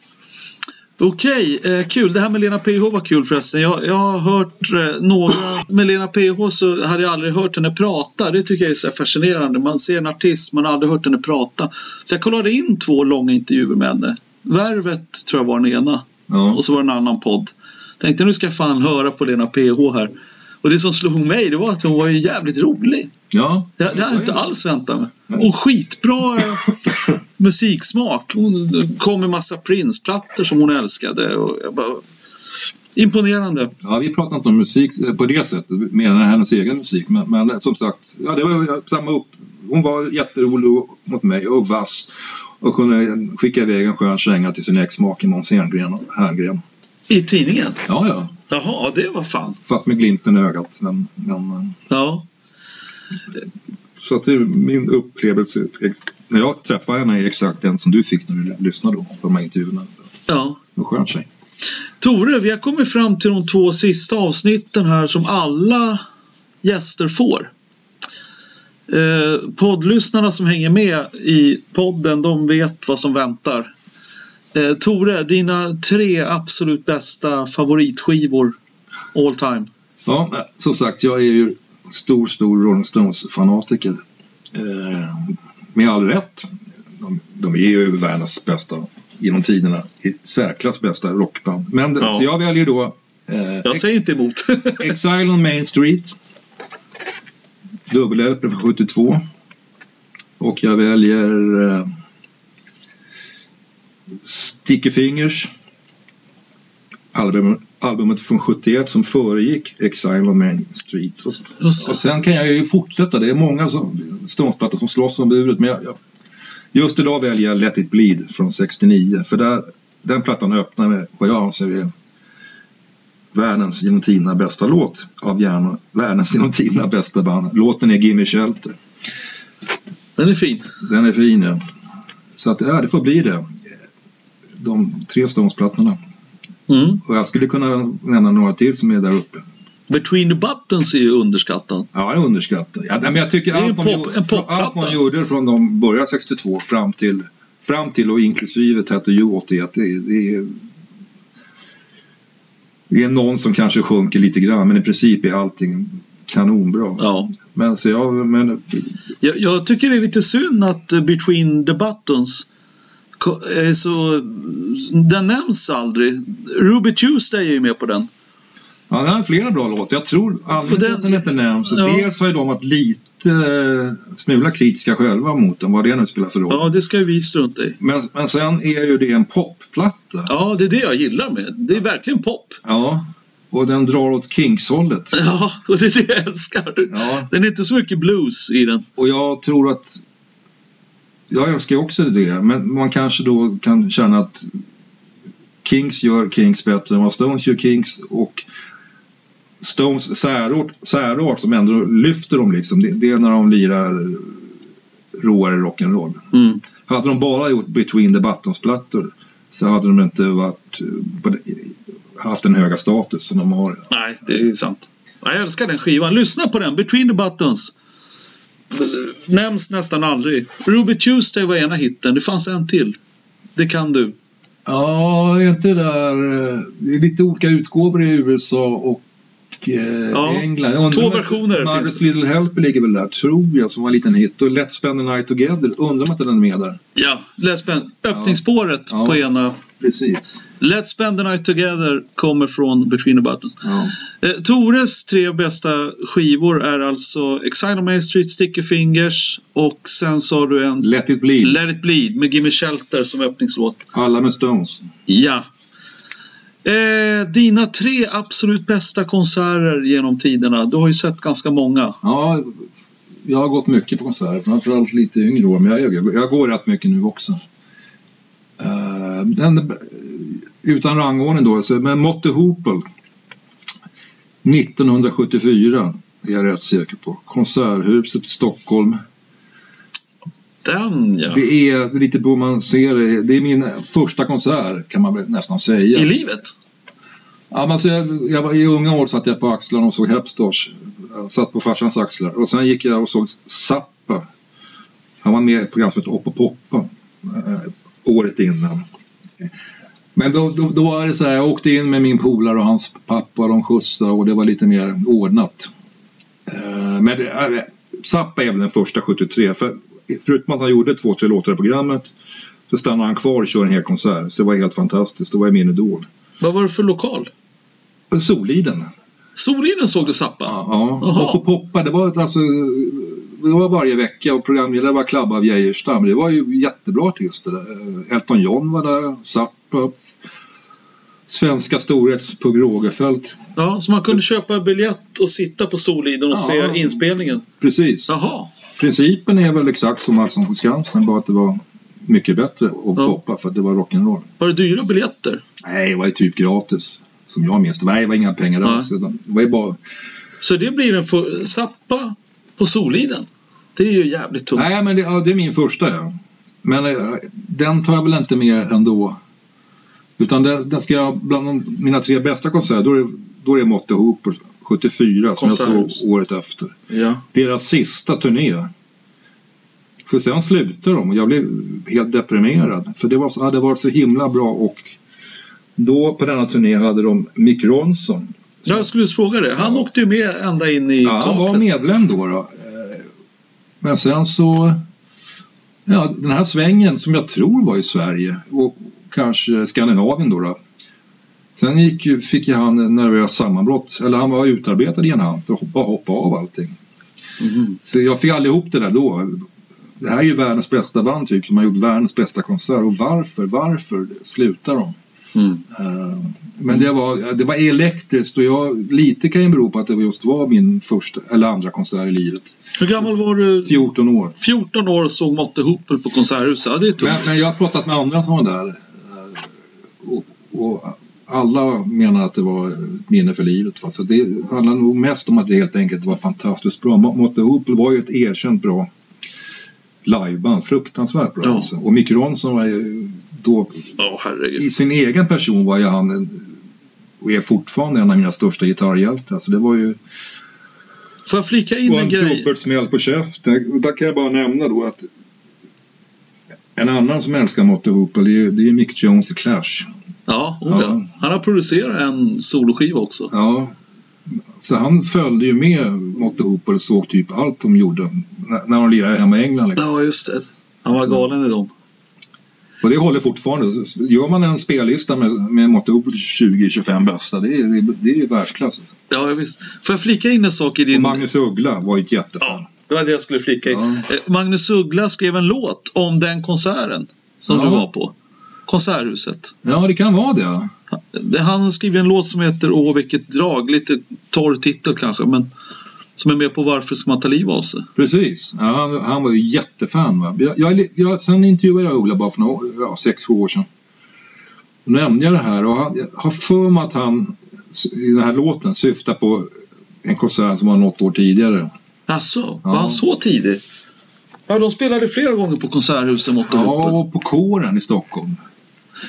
Speaker 1: Okej, eh, kul. Det här med Lena PH var kul förresten. Jag, jag har hört eh, några... Med Lena PH så hade jag aldrig hört henne prata. Det tycker jag är så här fascinerande. Man ser en artist, man har aldrig hört henne prata. Så jag kollade in två långa intervjuer med henne. Värvet tror jag var den ena.
Speaker 2: ja.
Speaker 1: Och så var det en annan podd. Tänkte nu ska jag fan höra på Lena PH här. Och det som slog mig det var att hon var ju jävligt rolig.
Speaker 2: ja.
Speaker 1: Det, det hade jag inte
Speaker 2: Ja,
Speaker 1: alls väntat mig. Och skitbra eh, musiksmak. Hon kom med massa Prince-plattor som hon älskade. Och jag bara... Imponerande.
Speaker 2: Ja, vi pratar inte om musik eh, på det sättet, mer än hennes egen musik. Men, men eh, som sagt, ja, det var ju samma upp. Hon var jätterolig och- mot mig och vass och kunde eh, skicka iväg en skön känga till sin exmake Måns Herngren. Herngren.
Speaker 1: I tidningen?
Speaker 2: Ja, ja,
Speaker 1: Jaha, det var fan.
Speaker 2: fast med glimten i ögat. Men, men, eh,
Speaker 1: Ja,
Speaker 2: så att det är min upplevelse eh, när jag träffade henne är exakt den som du fick när du l- lyssnade då, på de här intervjuerna.
Speaker 1: ja.
Speaker 2: En skön tjej.
Speaker 1: Tore, vi har kommit fram till de två sista avsnitten här som alla gäster får. Eh, poddlyssnarna som hänger med i podden, de vet vad som väntar. Eh, Tore, dina tre absolut bästa favoritskivor all time.
Speaker 2: Ja, men som sagt, jag är ju stor, stor Rolling Stones-fanatiker. Eh, med all rätt. De, de är ju världens bästa, genom tiderna, i särklass bästa rockband. Men det-
Speaker 1: Ja.
Speaker 2: så jag väljer då eh,
Speaker 1: Jag säger inte emot.
Speaker 2: Exile on Main Street. Dubbel-LP från 72. Och jag väljer eh, Sticky Fingers. Album, albumet från 71 som föregick Exile on Main Street. Och,
Speaker 1: Just det.
Speaker 2: och sen kan jag ju fortsätta. Det är många som- Stones-plattor som slåss om buret. Men jag, jag, just idag väljer jag Let It Bleed från 69. För där, den plattan öppnar med vad jag anser är världens genom tiderna bästa låt av järn, världens genom tiderna bästa band. Låten är Gimme Shelter.
Speaker 1: Den är fin.
Speaker 2: Den är fin ja. Så att, ja, det får bli det. De tre Stones-plattorna.
Speaker 1: Mm.
Speaker 2: Och jag skulle kunna nämna några till som är där uppe.
Speaker 1: Between the Buttons är ju underskattad.
Speaker 2: Ja, jag underskattar. Ja, men jag tycker
Speaker 1: Det är ju
Speaker 2: allt,
Speaker 1: pop-
Speaker 2: man gjorde,
Speaker 1: en popplatta.
Speaker 2: allt man gjorde från de början 62 fram till, fram till och inklusive Tattoo 81. Det, är- det, är, det är någon som kanske sjunker lite grann men i princip är allting kanonbra.
Speaker 1: Ja.
Speaker 2: Men, så jag, men
Speaker 1: Jag, jag tycker det är lite synd att eh, Between the Buttons ko- är så... Den nämns aldrig. Ruby Tuesday är ju med på den.
Speaker 2: Ja, han har flera bra låtar. Jag tror anledningen till
Speaker 1: den-
Speaker 2: att den inte nämns.
Speaker 1: Ja.
Speaker 2: Dels har ju de varit lite eh, smula kritiska själva mot den, vad det nu spelar för roll.
Speaker 1: Ja, det ska ju vi strunta i.
Speaker 2: Men, men sen är ju det en popplatta. Ja.
Speaker 1: Ja, det är det jag gillar med Det är verkligen pop.
Speaker 2: Och den drar åt Kinks-hållet.
Speaker 1: Ja, och det är det jag älskar.
Speaker 2: Ja.
Speaker 1: Den är inte så mycket blues i den.
Speaker 2: Och jag tror att... Jag älskar ju också det, men man kanske då kan känna att Kings gör Kings bättre än vad Stones gör Kings och Stones särart, särart som ändå lyfter dem liksom, det, det är när de lirar råare rock'n'roll.
Speaker 1: Mm.
Speaker 2: Hade de bara gjort Between the Buttons-plattor så hade de inte varit, eh, på det- haft den höga status som de har.
Speaker 1: Nej, det är sant. Jag älskar den skivan. Lyssna på den. Between the Buttons. Nämns nästan aldrig. Ruby Tuesday var ena hitten. Det fanns en till. Det kan du.
Speaker 2: Ja, är inte det där... eh, Det är lite olika utgåvor i USA och eh,
Speaker 1: Ja,
Speaker 2: England. Jag undrar
Speaker 1: två
Speaker 2: om-
Speaker 1: versioner finns.
Speaker 2: Margaret Little Helper ligger väl där, tror jag, som var en liten hit. Och Let's Spend the Night Together, undrar om inte den är med där.
Speaker 1: Ja, Let's spend, öppningsspåret
Speaker 2: Ja.
Speaker 1: på ena.
Speaker 2: Precis.
Speaker 1: Let's spend the night together kommer från Between the Buttons.
Speaker 2: Ja.
Speaker 1: Eh, Tores tre bästa skivor är alltså Exile on Main Street, Sticky Fingers och sen sa du en
Speaker 2: Let It Bleed,
Speaker 1: Let It Bleed med Gimme Shelter som öppningslåt.
Speaker 2: alla med Stones.
Speaker 1: Ja. Eh, dina tre absolut bästa konserter genom tiderna. Du har ju sett ganska många.
Speaker 2: Ja, jag har gått mycket på konserter, framförallt lite yngre år, men jag, jag, jag går rätt mycket nu också. Eh, den, eh, utan rangordning då, så, men Motte Hoople 1974 är jag rätt säker på. Konserthuset Stockholm.
Speaker 1: Den ja.
Speaker 2: Det är lite romanser, det är min första konsert kan man väl nästan säga.
Speaker 1: I livet.
Speaker 2: Ja, men så jag, jag var, I unga år satt jag på axlarna och såg Hepstars. Jag Satt på farsans axlar. Och sen gick jag och såg Zappa. Han var med i ett program som hette Upp och poppa. Eh, året innan. Men då, då, då var det så här, jag åkte in med min polare och hans pappa. De skjutsade och det var lite mer ordnat. Eh, men det, eh, Zappa är väl den första 73. För, förutom att han gjorde två, tre låtar i programmet så stannade han kvar och körde en hel konsert. Så det var helt fantastiskt. Det var ju min idol.
Speaker 1: Vad var det för lokal?
Speaker 2: Soliden.
Speaker 1: Soliden såg du Zappa?
Speaker 2: Ja, ja.
Speaker 1: Jaha.
Speaker 2: och på Poppa, det var ett, alltså, det var varje vecka och programledare var Klabbe av Geijerstam. Det var ju jättebra artister. där. Eh, Elton John var där, Zappa, svenska storhets Pugh Rogefeldt.
Speaker 1: Ja, så man kunde köpa biljett och sitta på Soliden och
Speaker 2: Ja.
Speaker 1: se inspelningen?
Speaker 2: Precis.
Speaker 1: Jaha.
Speaker 2: Principen är väl exakt som Allsång på Skansen, bara att det var mycket bättre att
Speaker 1: Ja.
Speaker 2: poppa för att det var rock'n'roll.
Speaker 1: Var det dyra biljetter?
Speaker 2: Nej, det var ju typ gratis. Som jag minns det. Nej, det var inga pengar
Speaker 1: Nej.
Speaker 2: alls. utan Det var ju bara
Speaker 1: Så det blir en för... Zappa på Soliden? Det är ju jävligt tungt.
Speaker 2: Nej, men det, ja, det är min första. Ja. Men eh, den tar jag väl inte med ändå. Utan den, den ska jag, bland de, mina tre bästa konserter, då är, det- då är det Motte Hooper 74 som jag
Speaker 1: Konserthus.
Speaker 2: såg året efter.
Speaker 1: Ja.
Speaker 2: Deras sista turné. För sen slutade de och jag blev helt deprimerad. För det var, så- hade varit så himla bra och då på denna turné hade de Mick Ronson
Speaker 1: Jag skulle just fråga det. Han
Speaker 2: Ja.
Speaker 1: åkte ju med ända in i
Speaker 2: Ja, han var
Speaker 1: kaklet.
Speaker 2: medlem då. då. Eh, Men sen så... Ja, den här svängen som jag tror var i Sverige och kanske Skandinavien då. då. Sen gick, ju- fick ju han nervöst sammanbrott. Eller han var utarbetad i en hand och hoppade, hoppade av allting.
Speaker 1: Mhm.
Speaker 2: Så jag fick aldrig ihop det där då. Det här är ju världens bästa band typ som har gjort världens bästa konsert. Och varför, varför slutar de?
Speaker 1: Mm.
Speaker 2: Eh, Men det var, det var elektriskt och jag, lite kan ju bero på att det just var min första eller andra konsert i livet.
Speaker 1: Hur gammal var du?
Speaker 2: 14 år.
Speaker 1: 14 år och såg Motte Hoople på Konserthuset. Ja, det är
Speaker 2: Men,
Speaker 1: tungt.
Speaker 2: men jag har pratat med andra som var där. eh, Och, och alla menar att det var ett minne för livet. Va? Så det handlar nog mest om att det helt enkelt var fantastiskt bra. Mo- Motte Hoople var ju ett erkänt bra liveband, fruktansvärt bra.
Speaker 1: Ja.
Speaker 2: Alltså. Och Mick Ronson var ju då
Speaker 1: Ja, herregud.
Speaker 2: i sin egen person var ju han en, och är fortfarande en av mina största gitarrhjältar. Alltså det var ju
Speaker 1: Får jag flika in
Speaker 2: och
Speaker 1: en
Speaker 2: en
Speaker 1: grej?
Speaker 2: dubbelsmäll på käften. Och Där kan jag bara nämna då att en annan som älskar Motte Hoople det är ju- det är ju Mick Jones i Clash.
Speaker 1: Ja, oh,
Speaker 2: Ja.
Speaker 1: ja, han har producerat en soloskiva också.
Speaker 2: Ja. Så han följde ju med Motte Hoople och såg typ allt de gjorde när- när de lirade hemma i England. Liksom.
Speaker 1: Ja, just det. Han var galen i dem.
Speaker 2: Och det håller fortfarande. Så Gör man en spellista med, med Motte Hoople 20-25 bästa, det är, det är- det är ju världsklass. Alltså.
Speaker 1: Ja, visst. Får jag flika in en sak i
Speaker 2: Och
Speaker 1: din...
Speaker 2: Magnus Uggla var ju ett jättefan.
Speaker 1: Ja, det var det jag skulle flika in.
Speaker 2: Ja.
Speaker 1: Eh, Magnus Uggla skrev en låt om den konserten som
Speaker 2: Ja.
Speaker 1: du var på. Konserthuset.
Speaker 2: Ja, det kan vara det.
Speaker 1: Det- Han skrev en låt som heter Åh vilket drag. Lite torr titel kanske men som är med på Varför ska man ta livet av sig?
Speaker 2: Precis. Ja, han, han var ju jättefan. Va? Jag, jag, jag, sen intervjuade jag Uggla bara för några, år- ja, sex, sju år sedan. Då nämnde jag det här och han, jag har för mig att han i den här låten syftar på en konsert som var något år tidigare.
Speaker 1: Jaså,
Speaker 2: Ja.
Speaker 1: var han så tidig? Ja, de spelade flera gånger på Konserthuset mot
Speaker 2: Ja,
Speaker 1: ja.
Speaker 2: och på kåren i Stockholm.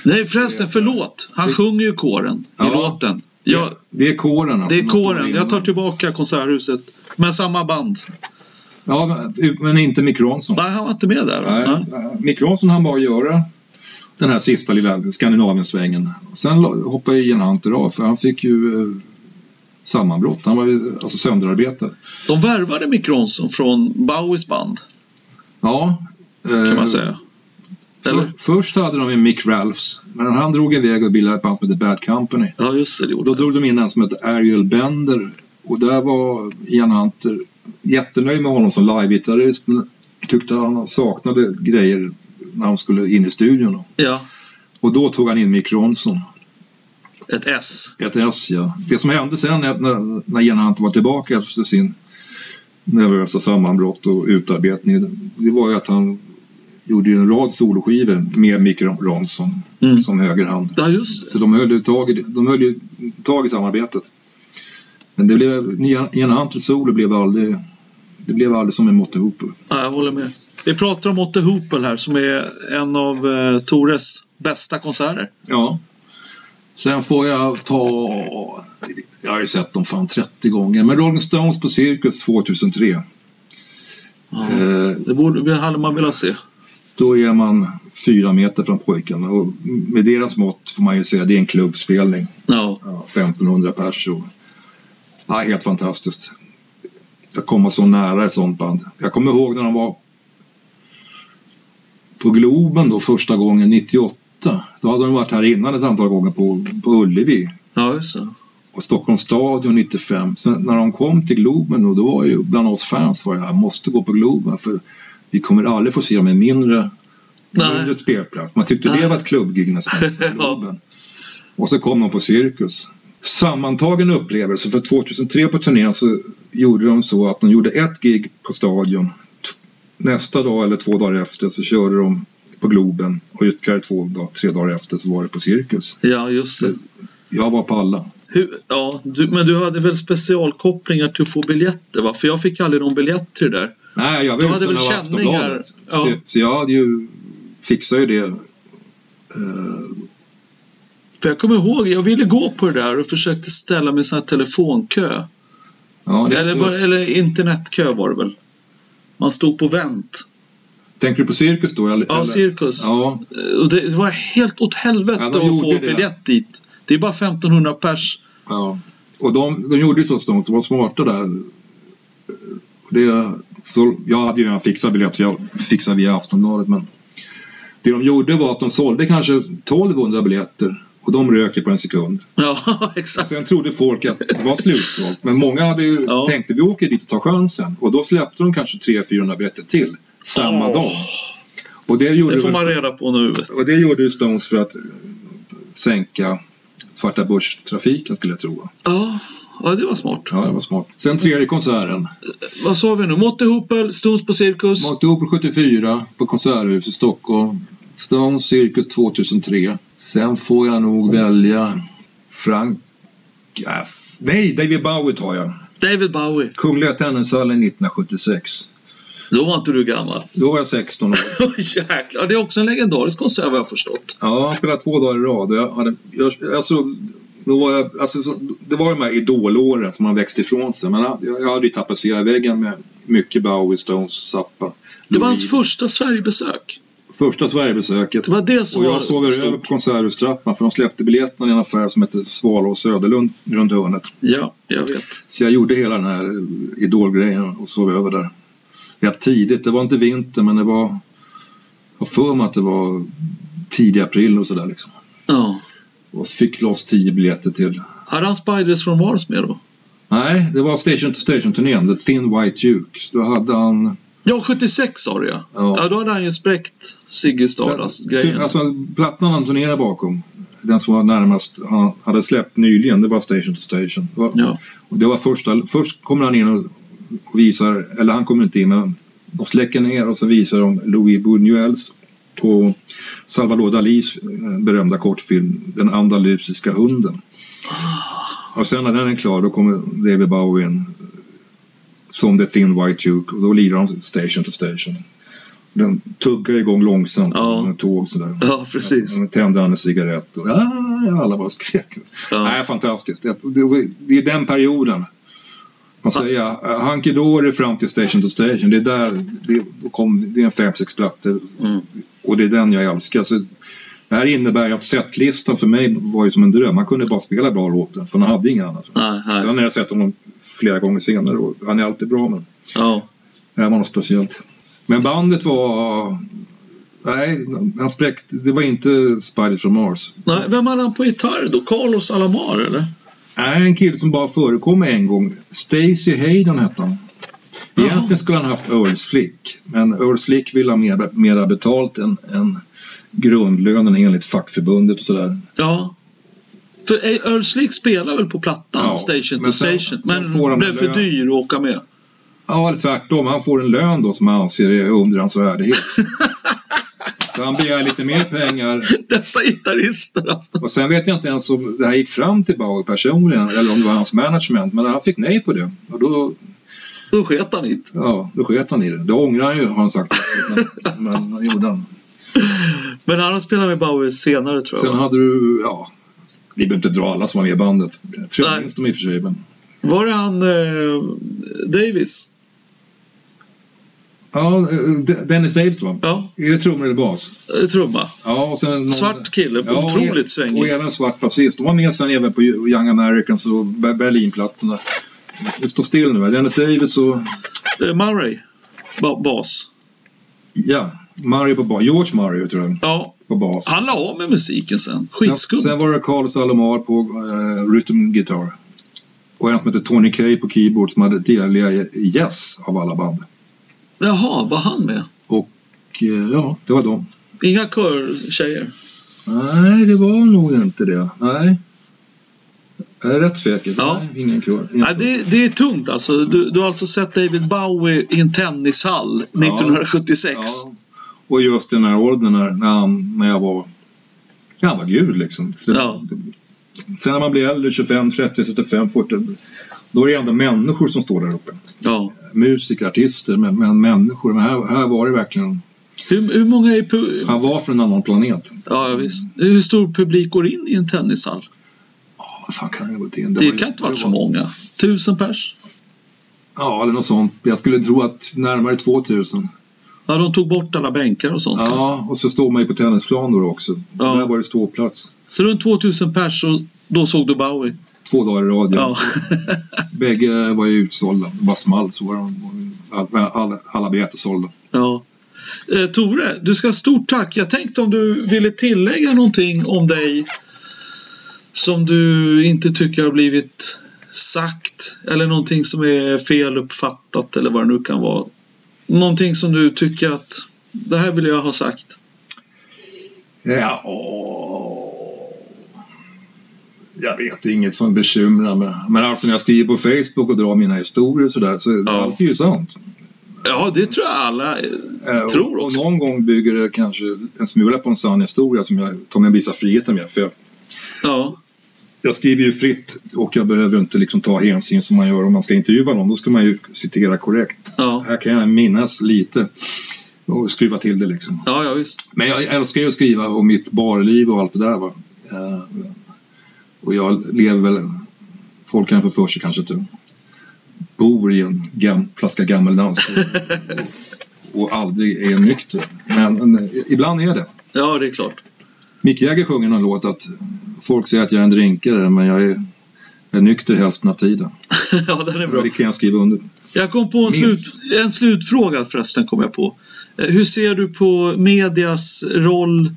Speaker 1: Nej förresten, förlåt. Han sjunger ju kåren
Speaker 2: Ja.
Speaker 1: i låten. Ja,
Speaker 2: Det är kåren alltså.
Speaker 1: det är
Speaker 2: något år
Speaker 1: kåren. Jag tar
Speaker 2: innan.
Speaker 1: tillbaka Konserthuset. Men samma band.
Speaker 2: Ja, men- men inte Mick Ronson.
Speaker 1: Nej, han var inte med där.
Speaker 2: Nej.
Speaker 1: Nej.
Speaker 2: eh, Mick Ronson han bara göra den här sista lilla Skandinavien-svängen. Sen la- hoppade Ian Hunter av för han fick ju eh, sammanbrott. Han var ju alltså sönderarbetad.
Speaker 1: De värvade Mick Ronson från Bowies band
Speaker 2: Ja. eh,
Speaker 1: kan man säga. Eller?
Speaker 2: Först hade de ju Mick Ralphs, men han drog iväg och bildade ett band som hette Bad Company.
Speaker 1: Ja, just det. det
Speaker 2: Och
Speaker 1: gjorde
Speaker 2: då
Speaker 1: han.
Speaker 2: drog de in en som hette Ariel Bender och där var Ian Hunter eh, jättenöjd med honom som livegitarrist men tyckte han saknade grejer när han skulle in i studion.
Speaker 1: Ja,
Speaker 2: Och då tog han in Mick Ronson,
Speaker 1: ett S.
Speaker 2: ett S ja. Det som hände sen är att när, när Ian Hunter var tillbaka efter sin nervösa sammanbrott och utarbetning det var ju att han gjorde ju en rad soloskivor med Mick Ronson
Speaker 1: Mm.
Speaker 2: som högerhand.
Speaker 1: Ja, just det.
Speaker 2: Så de höll ju tag i, de höll ju tag i samarbetet. Men det blev, nya- Ian Hunter solo blev aldrig, det blev aldrig som en Motte Hooper.
Speaker 1: Ja, jag håller med. Vi pratar om Otte Hoople här som är en av eh, Tores bästa konserter.
Speaker 2: Ja. Sen får jag ta, jag har ju sett dem fan 30 gånger, men Rolling Stones på Cirkus 2003.
Speaker 1: Ja.
Speaker 2: Eh,
Speaker 1: Det borde, det hade man velat se.
Speaker 2: då är man fyra meter från pojkarna och med deras mått får man ju säga det är en klubbspelning.
Speaker 1: Ja,
Speaker 2: Ja, 1500 pers. Och... Ja, helt fantastiskt. Jag kommer så nära ett sånt band. Jag kommer ihåg när de var på Globen då första gången 98. Då hade de varit här innan ett antal gånger på, på Ullevi
Speaker 1: ja just det.
Speaker 2: och Stockholms stadion 95. Sen när de kom till Globen då, då var ju bland oss fans var det här, måste gå på Globen för vi kommer aldrig få se dem i mindre,
Speaker 1: Nej.
Speaker 2: mindre spelplats. Man tyckte det
Speaker 1: Nej.
Speaker 2: var ett klubbgig nästan. på
Speaker 1: Ja.
Speaker 2: Globen. Och så kom de på Cirkus. Sammantagen upplevelse, för 2003 på turnén så gjorde de så att de gjorde ett gig på Stadion. T- Nästa dag eller två dagar efter så körde de på Globen och ytterligare två, dag- tre dagar efter så var det på Cirkus.
Speaker 1: Ja, just det.
Speaker 2: Jag var på alla.
Speaker 1: Hur, ja, du, men du hade väl specialkopplingar till att få biljetter? Va? För jag fick aldrig någon biljett till det där.
Speaker 2: Nej, jag var
Speaker 1: Du hade
Speaker 2: utan
Speaker 1: väl
Speaker 2: av
Speaker 1: känningar?
Speaker 2: Aftonbladet.
Speaker 1: Ja.
Speaker 2: Så, så jag hade ju, fixade ju det. Eh,
Speaker 1: För jag kommer ihåg, jag ville gå på det där och försökte ställa mig i sån här telefonkö.
Speaker 2: ja, det,
Speaker 1: Eller, bara, eller internetkö var det väl? Man stod på vänt.
Speaker 2: Tänker du på cirkus då? Eller,
Speaker 1: Ja,
Speaker 2: eller-
Speaker 1: cirkus. Eh,
Speaker 2: Ja,
Speaker 1: Och det var helt åt helvete
Speaker 2: Ja,
Speaker 1: att
Speaker 2: de gjorde
Speaker 1: få
Speaker 2: det.
Speaker 1: biljett dit. Det är bara 1500 pers.
Speaker 2: ja. Och de, de gjorde ju så att de som var smarta där. eh, Det, så, jag hade ju redan fixat biljett, för jag fixade via Aftonbladet. Men det de gjorde var att de sålde kanske 1200 biljetter och de röker på en sekund.
Speaker 1: Ja, exakt.
Speaker 2: Sen trodde folk att det var slutsålt. Men många hade ju
Speaker 1: Ja.
Speaker 2: tänkt att vi åker dit och tar chansen. Och då släppte de kanske 300-400 biljetter till samma
Speaker 1: Åh.
Speaker 2: dag. Och det gjorde,
Speaker 1: Det får
Speaker 2: väl-
Speaker 1: man reda på nu. vet du.
Speaker 2: och det gjorde ju Stones för att eh, sänka svarta börstrafiken skulle jag tro.
Speaker 1: Ja, ja det var smart.
Speaker 2: Ja, det var smart. Sen tredje konserten.
Speaker 1: Vad sa vi nu? Motte Hoople, Stones på Cirkus.
Speaker 2: Åkte ihop på 74 på Konserthuset i Stockholm. Stones Cirkus 2003. Sen får jag nog välja Frank... ja, f- Nej, David Bowie tar jag.
Speaker 1: David Bowie.
Speaker 2: Kungliga Tennishallen 1976.
Speaker 1: Då var inte du gammal.
Speaker 2: Då var jag 16 år.
Speaker 1: Åh, Jäklar, det är också en legendarisk konsert vad jag har förstått.
Speaker 2: Ja, jag spelade två dagar i rad. Jag hade, jag, alltså, då var jag, alltså, så- det var de här idolåren som man växte ifrån sig. Men jag, jag hade ju tapetserat väggen med mycket Bowie, Stones, Zappa.
Speaker 1: Det var
Speaker 2: Louis.
Speaker 1: hans första Sverigebesök.
Speaker 2: första Sverigebesöket.
Speaker 1: Det var det som
Speaker 2: Och
Speaker 1: var
Speaker 2: jag sov
Speaker 1: stort.
Speaker 2: över på Konserthustrappan för de släppte biljetterna i en affär som hette Svala och Söderlund runt hörnet.
Speaker 1: Ja, jag vet.
Speaker 2: Så jag gjorde hela den här idolgrejen och sov över där. Rätt tidigt, det var inte vinter men det var... Jag har för mig att det var tidig april och sådär liksom.
Speaker 1: Ja.
Speaker 2: Och fick loss tio biljetter till.
Speaker 1: Hade han Spiders från Mars med då?
Speaker 2: Nej, det var Station to Station-turnén, The Thin White Duke. Så då hade han...
Speaker 1: Ja, 76 sa du ja.
Speaker 2: Ja.
Speaker 1: Ja, då hade han ju spräckt Ziggy Stardust-grejen.
Speaker 2: Alltså, plattan han turnerade bakom, den som var närmast, han hade släppt nyligen, det var Station to Station. Det var-
Speaker 1: Ja.
Speaker 2: Och det var första, först kommer han in och och visar, eller han kommer inte in men de släcker ner och så visar de Louis Buñuels på Salvador Dalis eh, berömda kortfilm Den andalusiska hunden. Och sen när den är klar då kommer David Bowie in eh, som The Thin White Duke och då lirar de station to station. Den tuggar igång långsamt
Speaker 1: Ja.
Speaker 2: med tåg sådär.
Speaker 1: Ja, precis.
Speaker 2: Sen tände han en cigarett och "Ah", alla bara skrek.
Speaker 1: Ja.
Speaker 2: Nej, fantastiskt. Det, det, var- det är den perioden. Man säger eh, Hunky Dory fram till Station to Station. Det är där det, då kom, det är en fem, sex plattor
Speaker 1: Mm.
Speaker 2: och det är den jag älskar. Så, det här innebär ju att setlistan för mig var ju som en dröm. Man kunde bara spela bra låtar för man hade inget annat.
Speaker 1: Nej, nej.
Speaker 2: Sen har jag sett honom flera gånger senare och han är alltid bra men
Speaker 1: Ja.
Speaker 2: det här var något speciellt. Men bandet var... Nej, han spräckte... Det var inte Spiders from Mars.
Speaker 1: Nej, vem hade han på gitarr då? Carlos Alomar eller?
Speaker 2: är en kille som bara förekom en gång. Stacy Hayden hette han. Egentligen skulle han haft Earl Slick. Men Earl Slick ville ha mera, mera betalt än, än grundlönen enligt fackförbundet och sådär.
Speaker 1: Ja. För Earl Slick spelar väl på plattan
Speaker 2: Ja,
Speaker 1: Station to
Speaker 2: men
Speaker 1: Station.
Speaker 2: sen- sen
Speaker 1: Men
Speaker 2: får han
Speaker 1: blev för
Speaker 2: lön.
Speaker 1: dyr att åka med.
Speaker 2: Ja, eller tvärtom. Han får en lön då som han anser är under hans värdighet. Så han begär lite mer pengar.
Speaker 1: Dessa gitarrister alltså.
Speaker 2: Och sen vet jag inte ens om det här gick fram till Bauer personligen eller om det var hans management. Men han fick nej på det. Och då,
Speaker 1: Då sket han hit.
Speaker 2: ja, då sket han i det. Det ångrar han ju har han sagt. Men, men det gjorde han.
Speaker 1: Men han har spelat med Bowie senare tror jag.
Speaker 2: Sen hade du, ja, vi behöver inte dra alla som var med i bandet. Jag tror jag
Speaker 1: Nej.
Speaker 2: minns dem i och för sig. Men,
Speaker 1: Var det han eh, Davis?
Speaker 2: ja, eh, De- Dennis Davis va?
Speaker 1: Ja,
Speaker 2: Är det trummor eller bas?
Speaker 1: eh, trumma.
Speaker 2: Ja, och sen någon,
Speaker 1: Svart kille,
Speaker 2: Ja, och-
Speaker 1: otroligt
Speaker 2: Och
Speaker 1: svängig.
Speaker 2: även svart basist. De var med sen även på Young Americans och Be- Berlinplattorna. Det står still nu. va? Dennis Davis och
Speaker 1: Eh, Murray, ba- bas.
Speaker 2: ja, Mario på bas. George Mario tror jag
Speaker 1: Ja,
Speaker 2: på bas.
Speaker 1: han la av med musiken sen.
Speaker 2: Sen-
Speaker 1: Ah, Skitskumt.
Speaker 2: Sen var det Carlos Alomar på eh, rhythm guitar. Och en som hette Tony Kay på keyboard som hade tidigare i Yes av alla band.
Speaker 1: Jaha, var han med?
Speaker 2: Och eh, ja, det var de.
Speaker 1: Inga körtjejer?
Speaker 2: Nej, det var nog inte det. Nej. Jag är rätt säker.
Speaker 1: Ja.
Speaker 2: Nej, ingen kör. Ingen
Speaker 1: Nej, det, det är tungt alltså. Du, du har alltså sett David Bowie i en tennishall 1976.
Speaker 2: Ja. Och just den här åldern när, när, han, när jag var... ja, Han var gud liksom. Så det-
Speaker 1: Ja.
Speaker 2: Sen när man blir äldre, 25, 30, 35, 40. Då är det ändå människor som står där uppe.
Speaker 1: Ja.
Speaker 2: Musiker, artister, men, men människor. Men här, här var det verkligen...
Speaker 1: Hur, hur många är... Pu-
Speaker 2: Han var från en annan planet.
Speaker 1: ja, ja, visst. Hur stor publik går in i en tennishall?
Speaker 2: Ja, vad fan kan jag gå till? Det,
Speaker 1: Det
Speaker 2: var-
Speaker 1: kan inte
Speaker 2: det
Speaker 1: vara så många. Tusen pers?
Speaker 2: Ja, eller något sånt. Jag skulle tro att närmare 2000.
Speaker 1: Ja, de tog bort alla bänkar och sånt.
Speaker 2: Ja, och så står man ju på tennisplan då också.
Speaker 1: Ja.
Speaker 2: Där var det ståplats.
Speaker 1: Så runt 2000 pers och då såg du Bowie?
Speaker 2: Två dagar i rad. Ja.
Speaker 1: Ja.
Speaker 2: Bägge var ju utsålda. Det bara small så var de, alla, alla, alla biljetter sålda.
Speaker 1: ja. Eh, Tore, du ska ha stort tack. Jag tänkte om du ville tillägga någonting om dig som du inte tycker har blivit sagt eller någonting som är feluppfattat eller vad det nu kan vara. Någonting som du tycker att det här vill jag ha sagt.
Speaker 2: Ja, åh. Jag vet inget som bekymrar mig. Men alltså när jag skriver på Facebook och drar mina historier och sådär så är
Speaker 1: Ja.
Speaker 2: allt är ju sant.
Speaker 1: Ja, det tror jag alla. eh,
Speaker 2: Eh,
Speaker 1: Tror
Speaker 2: och, och
Speaker 1: också.
Speaker 2: någon gång bygger det kanske en smula på en sann historia som jag tar mig en visa friheten med. För jag
Speaker 1: Ja,
Speaker 2: jag skriver ju fritt och jag behöver inte liksom ta hänsyn som man gör om man ska intervjua någon. Då ska man ju citera korrekt.
Speaker 1: Ja,
Speaker 2: Här kan jag minnas lite och skruva till det liksom.
Speaker 1: ja, ja visst.
Speaker 2: Men jag älskar ju att skriva om mitt barliv och allt det där. Va? Eh, Och jag lever väl... Folk kan få för sig kanske att jag bor i en gam, flaska gammeldans och, och aldrig är nykter. Men eh, ibland är det.
Speaker 1: Ja, det är klart.
Speaker 2: Mick Jagger sjunger någon låt att folk säger att jag är en drinkare men jag är, är nykter hälften av tiden.
Speaker 1: ja, den är bra.
Speaker 2: Det kan jag skriva under.
Speaker 1: Jag kom på en, slut,
Speaker 2: Minst.
Speaker 1: en slutfråga förresten, kom jag på. Eh, Hur ser du på medias roll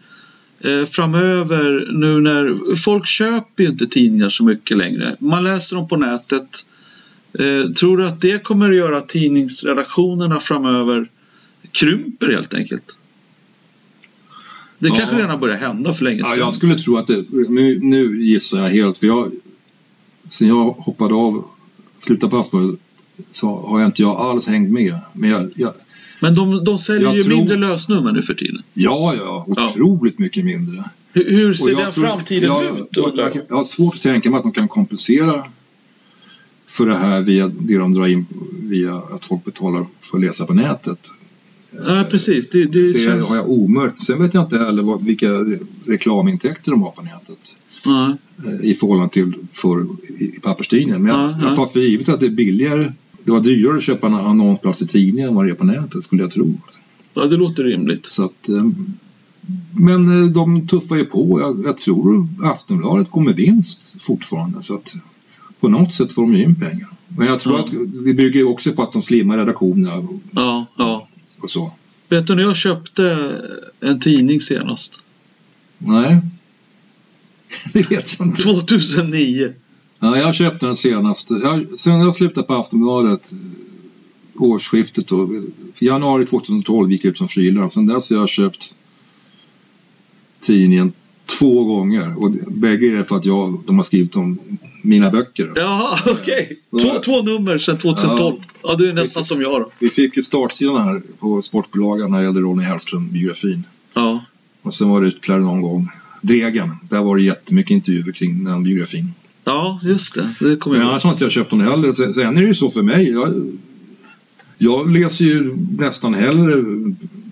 Speaker 1: eh, framöver nu när folk köper ju inte tidningar så mycket längre. Man läser dem på nätet. Eh, Tror du att det kommer att göra att tidningsredaktionerna framöver krymper helt enkelt? Det
Speaker 2: Ja.
Speaker 1: kanske redan börjar hända för länge
Speaker 2: Ja,
Speaker 1: sedan.
Speaker 2: jag skulle tro att det... Nu, nu gissar jag helt, för jag... Sen jag hoppade av, slutade på Aftonbladet, så har jag inte jag alls hängt med. Men jag, jag,
Speaker 1: Men de, de säljer
Speaker 2: Jag
Speaker 1: ju
Speaker 2: tror-
Speaker 1: mindre lösnummer nu för tiden.
Speaker 2: ja, ja,
Speaker 1: Ja.
Speaker 2: otroligt mycket mindre.
Speaker 1: Hur, hur ser
Speaker 2: jag
Speaker 1: den
Speaker 2: tror-
Speaker 1: framtiden
Speaker 2: jag,
Speaker 1: ut?
Speaker 2: Jag,
Speaker 1: undrar
Speaker 2: jag,
Speaker 1: jag?
Speaker 2: jag har svårt att tänka mig att de kan kompensera för det här via det de drar in via att folk betalar för att läsa på nätet.
Speaker 1: Ja, precis. Det, det,
Speaker 2: Det
Speaker 1: känns...
Speaker 2: har jag omöjligt. Sen vet jag inte heller vad, vilka re- reklamintäkter de har på nätet.
Speaker 1: Nej.
Speaker 2: eh, i förhållande till för, i papperstidningen. Men jag,
Speaker 1: Ja, ja.
Speaker 2: jag tar för givet att det är billigare. Det var dyrare att köpa en annonsplats i tidningen än vad det är på nätet skulle jag tro.
Speaker 1: Ja, det låter rimligt.
Speaker 2: Så att, eh, men eh, de tuffar ju på. Jag, jag tror Aftonbladet går med vinst fortfarande. Så att på något sätt får de ju in pengar. Men jag tror
Speaker 1: Ja.
Speaker 2: att det bygger ju också på att de slimmar redaktionerna och-
Speaker 1: Ja, ja.
Speaker 2: och så.
Speaker 1: Vet du när jag köpte en tidning senast?
Speaker 2: Nej, det vet jag inte.
Speaker 1: 2009.
Speaker 2: Ja, jag köpte den senaste. Jag, sen jag slutade på Aftonbladet eh, årsskiftet då, eh, januari 2012 gick jag ut som frilans. Sen dess har jag köpt tidningen två gånger och det- bägge är för att jag, de har skrivit om mina böcker.
Speaker 1: Ja, okej. Två, två nummer sedan 2012. Ja, du är nästan som jag då.
Speaker 2: Vi fick ju startsidan här på Sportbolagen när det gällde Ronny Hellström-biografin.
Speaker 1: Ja,
Speaker 2: Och sen var det ytterligare någon gång Dregen. Där var det jättemycket intervjuer kring den biografin.
Speaker 1: ja just det. Det kommer
Speaker 2: Men
Speaker 1: jag ihåg.
Speaker 2: annars har inte jag köpt den heller. Sen sen är det ju så för mig. Jag, jag läser ju nästan hellre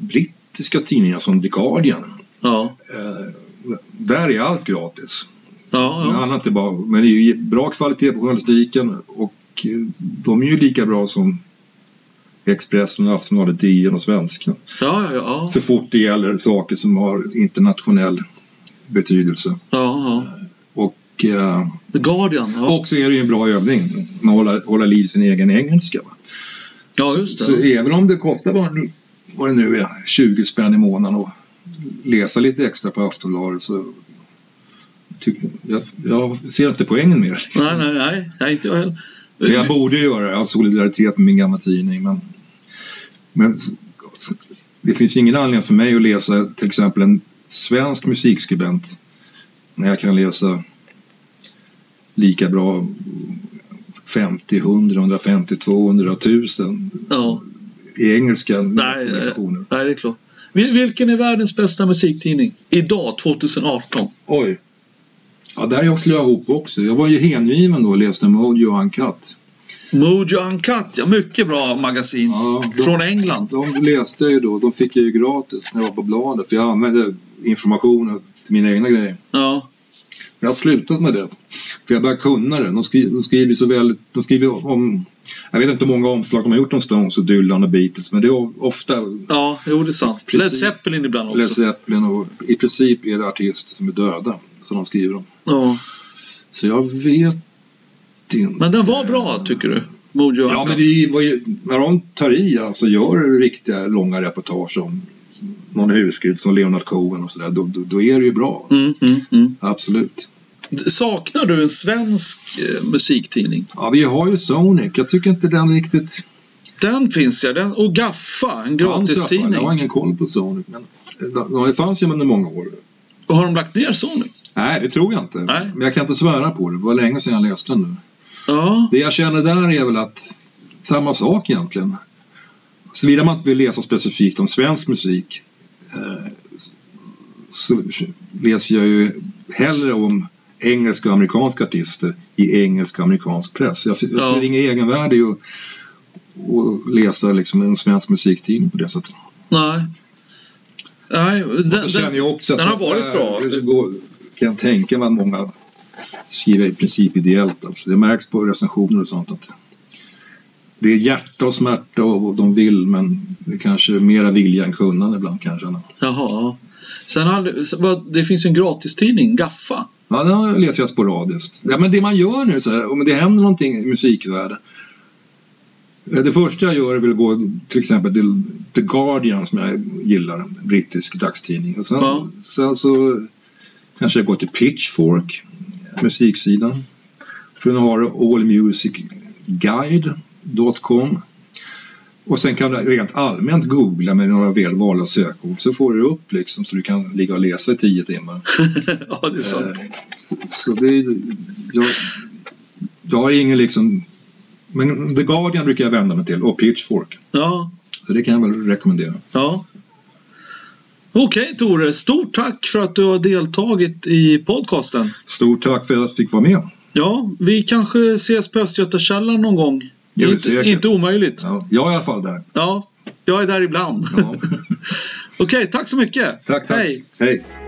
Speaker 2: brittiska tidningar som The Guardian.
Speaker 1: Ja,
Speaker 2: Eh, där är allt gratis.
Speaker 1: ja,
Speaker 2: Det
Speaker 1: ja.
Speaker 2: handlar inte bara, om- men det är ju bra kvalitet på journalistiken och eh, de är ju lika bra som Expressen, Aftonbladet, DN och Svenskan.
Speaker 1: ja, ja, ja.
Speaker 2: Så fort det gäller saker som har internationell betydelse.
Speaker 1: ja, ja.
Speaker 2: Och eh,
Speaker 1: The Guardian. Ja,
Speaker 2: Och så är det ju en bra övning. Man håller, håller liv i sin egen engelska. Va?
Speaker 1: ja just
Speaker 2: Så
Speaker 1: det.
Speaker 2: även om det kostar bara nu, vad det nu är, 20 spänn i månaden och läsa lite extra på Aftonbladet så tycker jag, jag ser inte poängen med det. liksom.
Speaker 1: Nej, nej, nej. nej inte jag heller.
Speaker 2: Men Jag borde göra det av solidaritet med min gamla tidning. Men, men det finns ingen anledning för mig att läsa till exempel en svensk musikskribent när jag kan läsa lika bra 50, 100, 150, 200, 1000
Speaker 1: Ja,
Speaker 2: i engelska
Speaker 1: nej, eh. nej,
Speaker 2: rekommendationer.
Speaker 1: nej, det är klart. Vil- Vilken är världens bästa musiktidning? Idag, 2018.
Speaker 2: Oj! Ja, där jag slog jag ihop också. Jag var ju hängiven då och läste Mojo och Uncut.
Speaker 1: Mojo Uncut, ja. Mycket bra magasin.
Speaker 2: Ja, då-
Speaker 1: Från England.
Speaker 2: De läste jag ju då, de fick jag ju gratis när jag var på bladet för jag använde informationen till mina egna grejer.
Speaker 1: Ja,
Speaker 2: Jag har slutat med det, för jag börjar kunna det. De skriver, de skriver så väldigt, de skriver om, jag vet inte hur många omslag de har gjort om Stones och Dylan och Beatles, men det är ofta
Speaker 1: ja jo, det är sant.
Speaker 2: Precis.
Speaker 1: Led Zeppelin ibland också.
Speaker 2: Led Zeppelin och i princip är det artister som är döda som de skriver om.
Speaker 1: Ja.
Speaker 2: Så jag vet inte.
Speaker 1: Men den var bra, tycker du? Mojo
Speaker 2: Ja,
Speaker 1: Uncut.
Speaker 2: men det var ju, när de tar i alltså gör riktiga långa reportage om någon husgud som Leonard Cohen och sådär, då, då, då är det ju bra.
Speaker 1: Mm, mm, mm.
Speaker 2: Absolut.
Speaker 1: Saknar du en svensk eh, musiktidning?
Speaker 2: Ja, vi har ju Sonic. Jag tycker inte den riktigt...
Speaker 1: Den finns ja. Den, och Gaffa, en
Speaker 2: fanns i alla fall. Jag har
Speaker 1: gratistidning.
Speaker 2: ingen koll på Sonic. Men det- det fanns ju under många år.
Speaker 1: Och har de lagt ner Sonic?
Speaker 2: Nej, det tror jag inte.
Speaker 1: Nej.
Speaker 2: Men jag kan inte svära på det. Det var länge sedan jag läste den nu.
Speaker 1: Ja,
Speaker 2: Det jag känner där är väl att samma sak egentligen. Såvida man inte vill läsa specifikt om svensk musik eh, så läser jag ju hellre om engelska och amerikanska artister i engelsk och amerikansk press. Jag, jag ser
Speaker 1: Ja.
Speaker 2: inget egenvärde i att att läsa liksom en svensk musiktidning på det sättet.
Speaker 1: Nej. Nej, den,
Speaker 2: Så känner jag också att
Speaker 1: den har
Speaker 2: det
Speaker 1: varit
Speaker 2: här-
Speaker 1: bra.
Speaker 2: det går- kan jag tänka mig att många skriver i princip ideellt. Alltså. Det märks på recensioner och sånt att det är hjärta och smärta och och de vill men det kanske är mera vilja än kunnande ibland kanske.
Speaker 1: Jaha. Sen hade, så- vad- det finns ju en gratistidning, Gaffa.
Speaker 2: Ja, den läser jag sporadiskt. Ja, men det man gör nu så här, om det händer någonting i musikvärlden. eh, Det första jag gör är väl att gå till exempel till The Guardian som jag gillar, en brittisk dagstidning. Och sen,
Speaker 1: Ja.
Speaker 2: sen så kanske jag går till Pitchfork, musiksidan. Sen har du allmusicguide.com. Och sen kan du rent allmänt googla med några välvalda sökord så får du det upp liksom så du kan ligga och läsa i tio timmar.
Speaker 1: ja, det är sant.
Speaker 2: Eh, Så, så det är, jag, jag har ingen liksom... Men The Guardian brukar jag vända mig till och Pitchfork.
Speaker 1: Ja,
Speaker 2: Så det kan jag väl rekommendera.
Speaker 1: ja. Okej Tore, stort tack för att du har deltagit i podcasten.
Speaker 2: Stort tack för att jag fick vara med.
Speaker 1: Ja, vi kanske ses på Östgötakällan någon gång.
Speaker 2: Det är väl
Speaker 1: inte,
Speaker 2: säkert.
Speaker 1: inte omöjligt. Ja.
Speaker 2: Ja, jag är i alla fall där.
Speaker 1: jag är där ibland.
Speaker 2: Ja.
Speaker 1: Okej, tack så mycket.
Speaker 2: Tack, tack.
Speaker 1: Hej.
Speaker 2: Hej.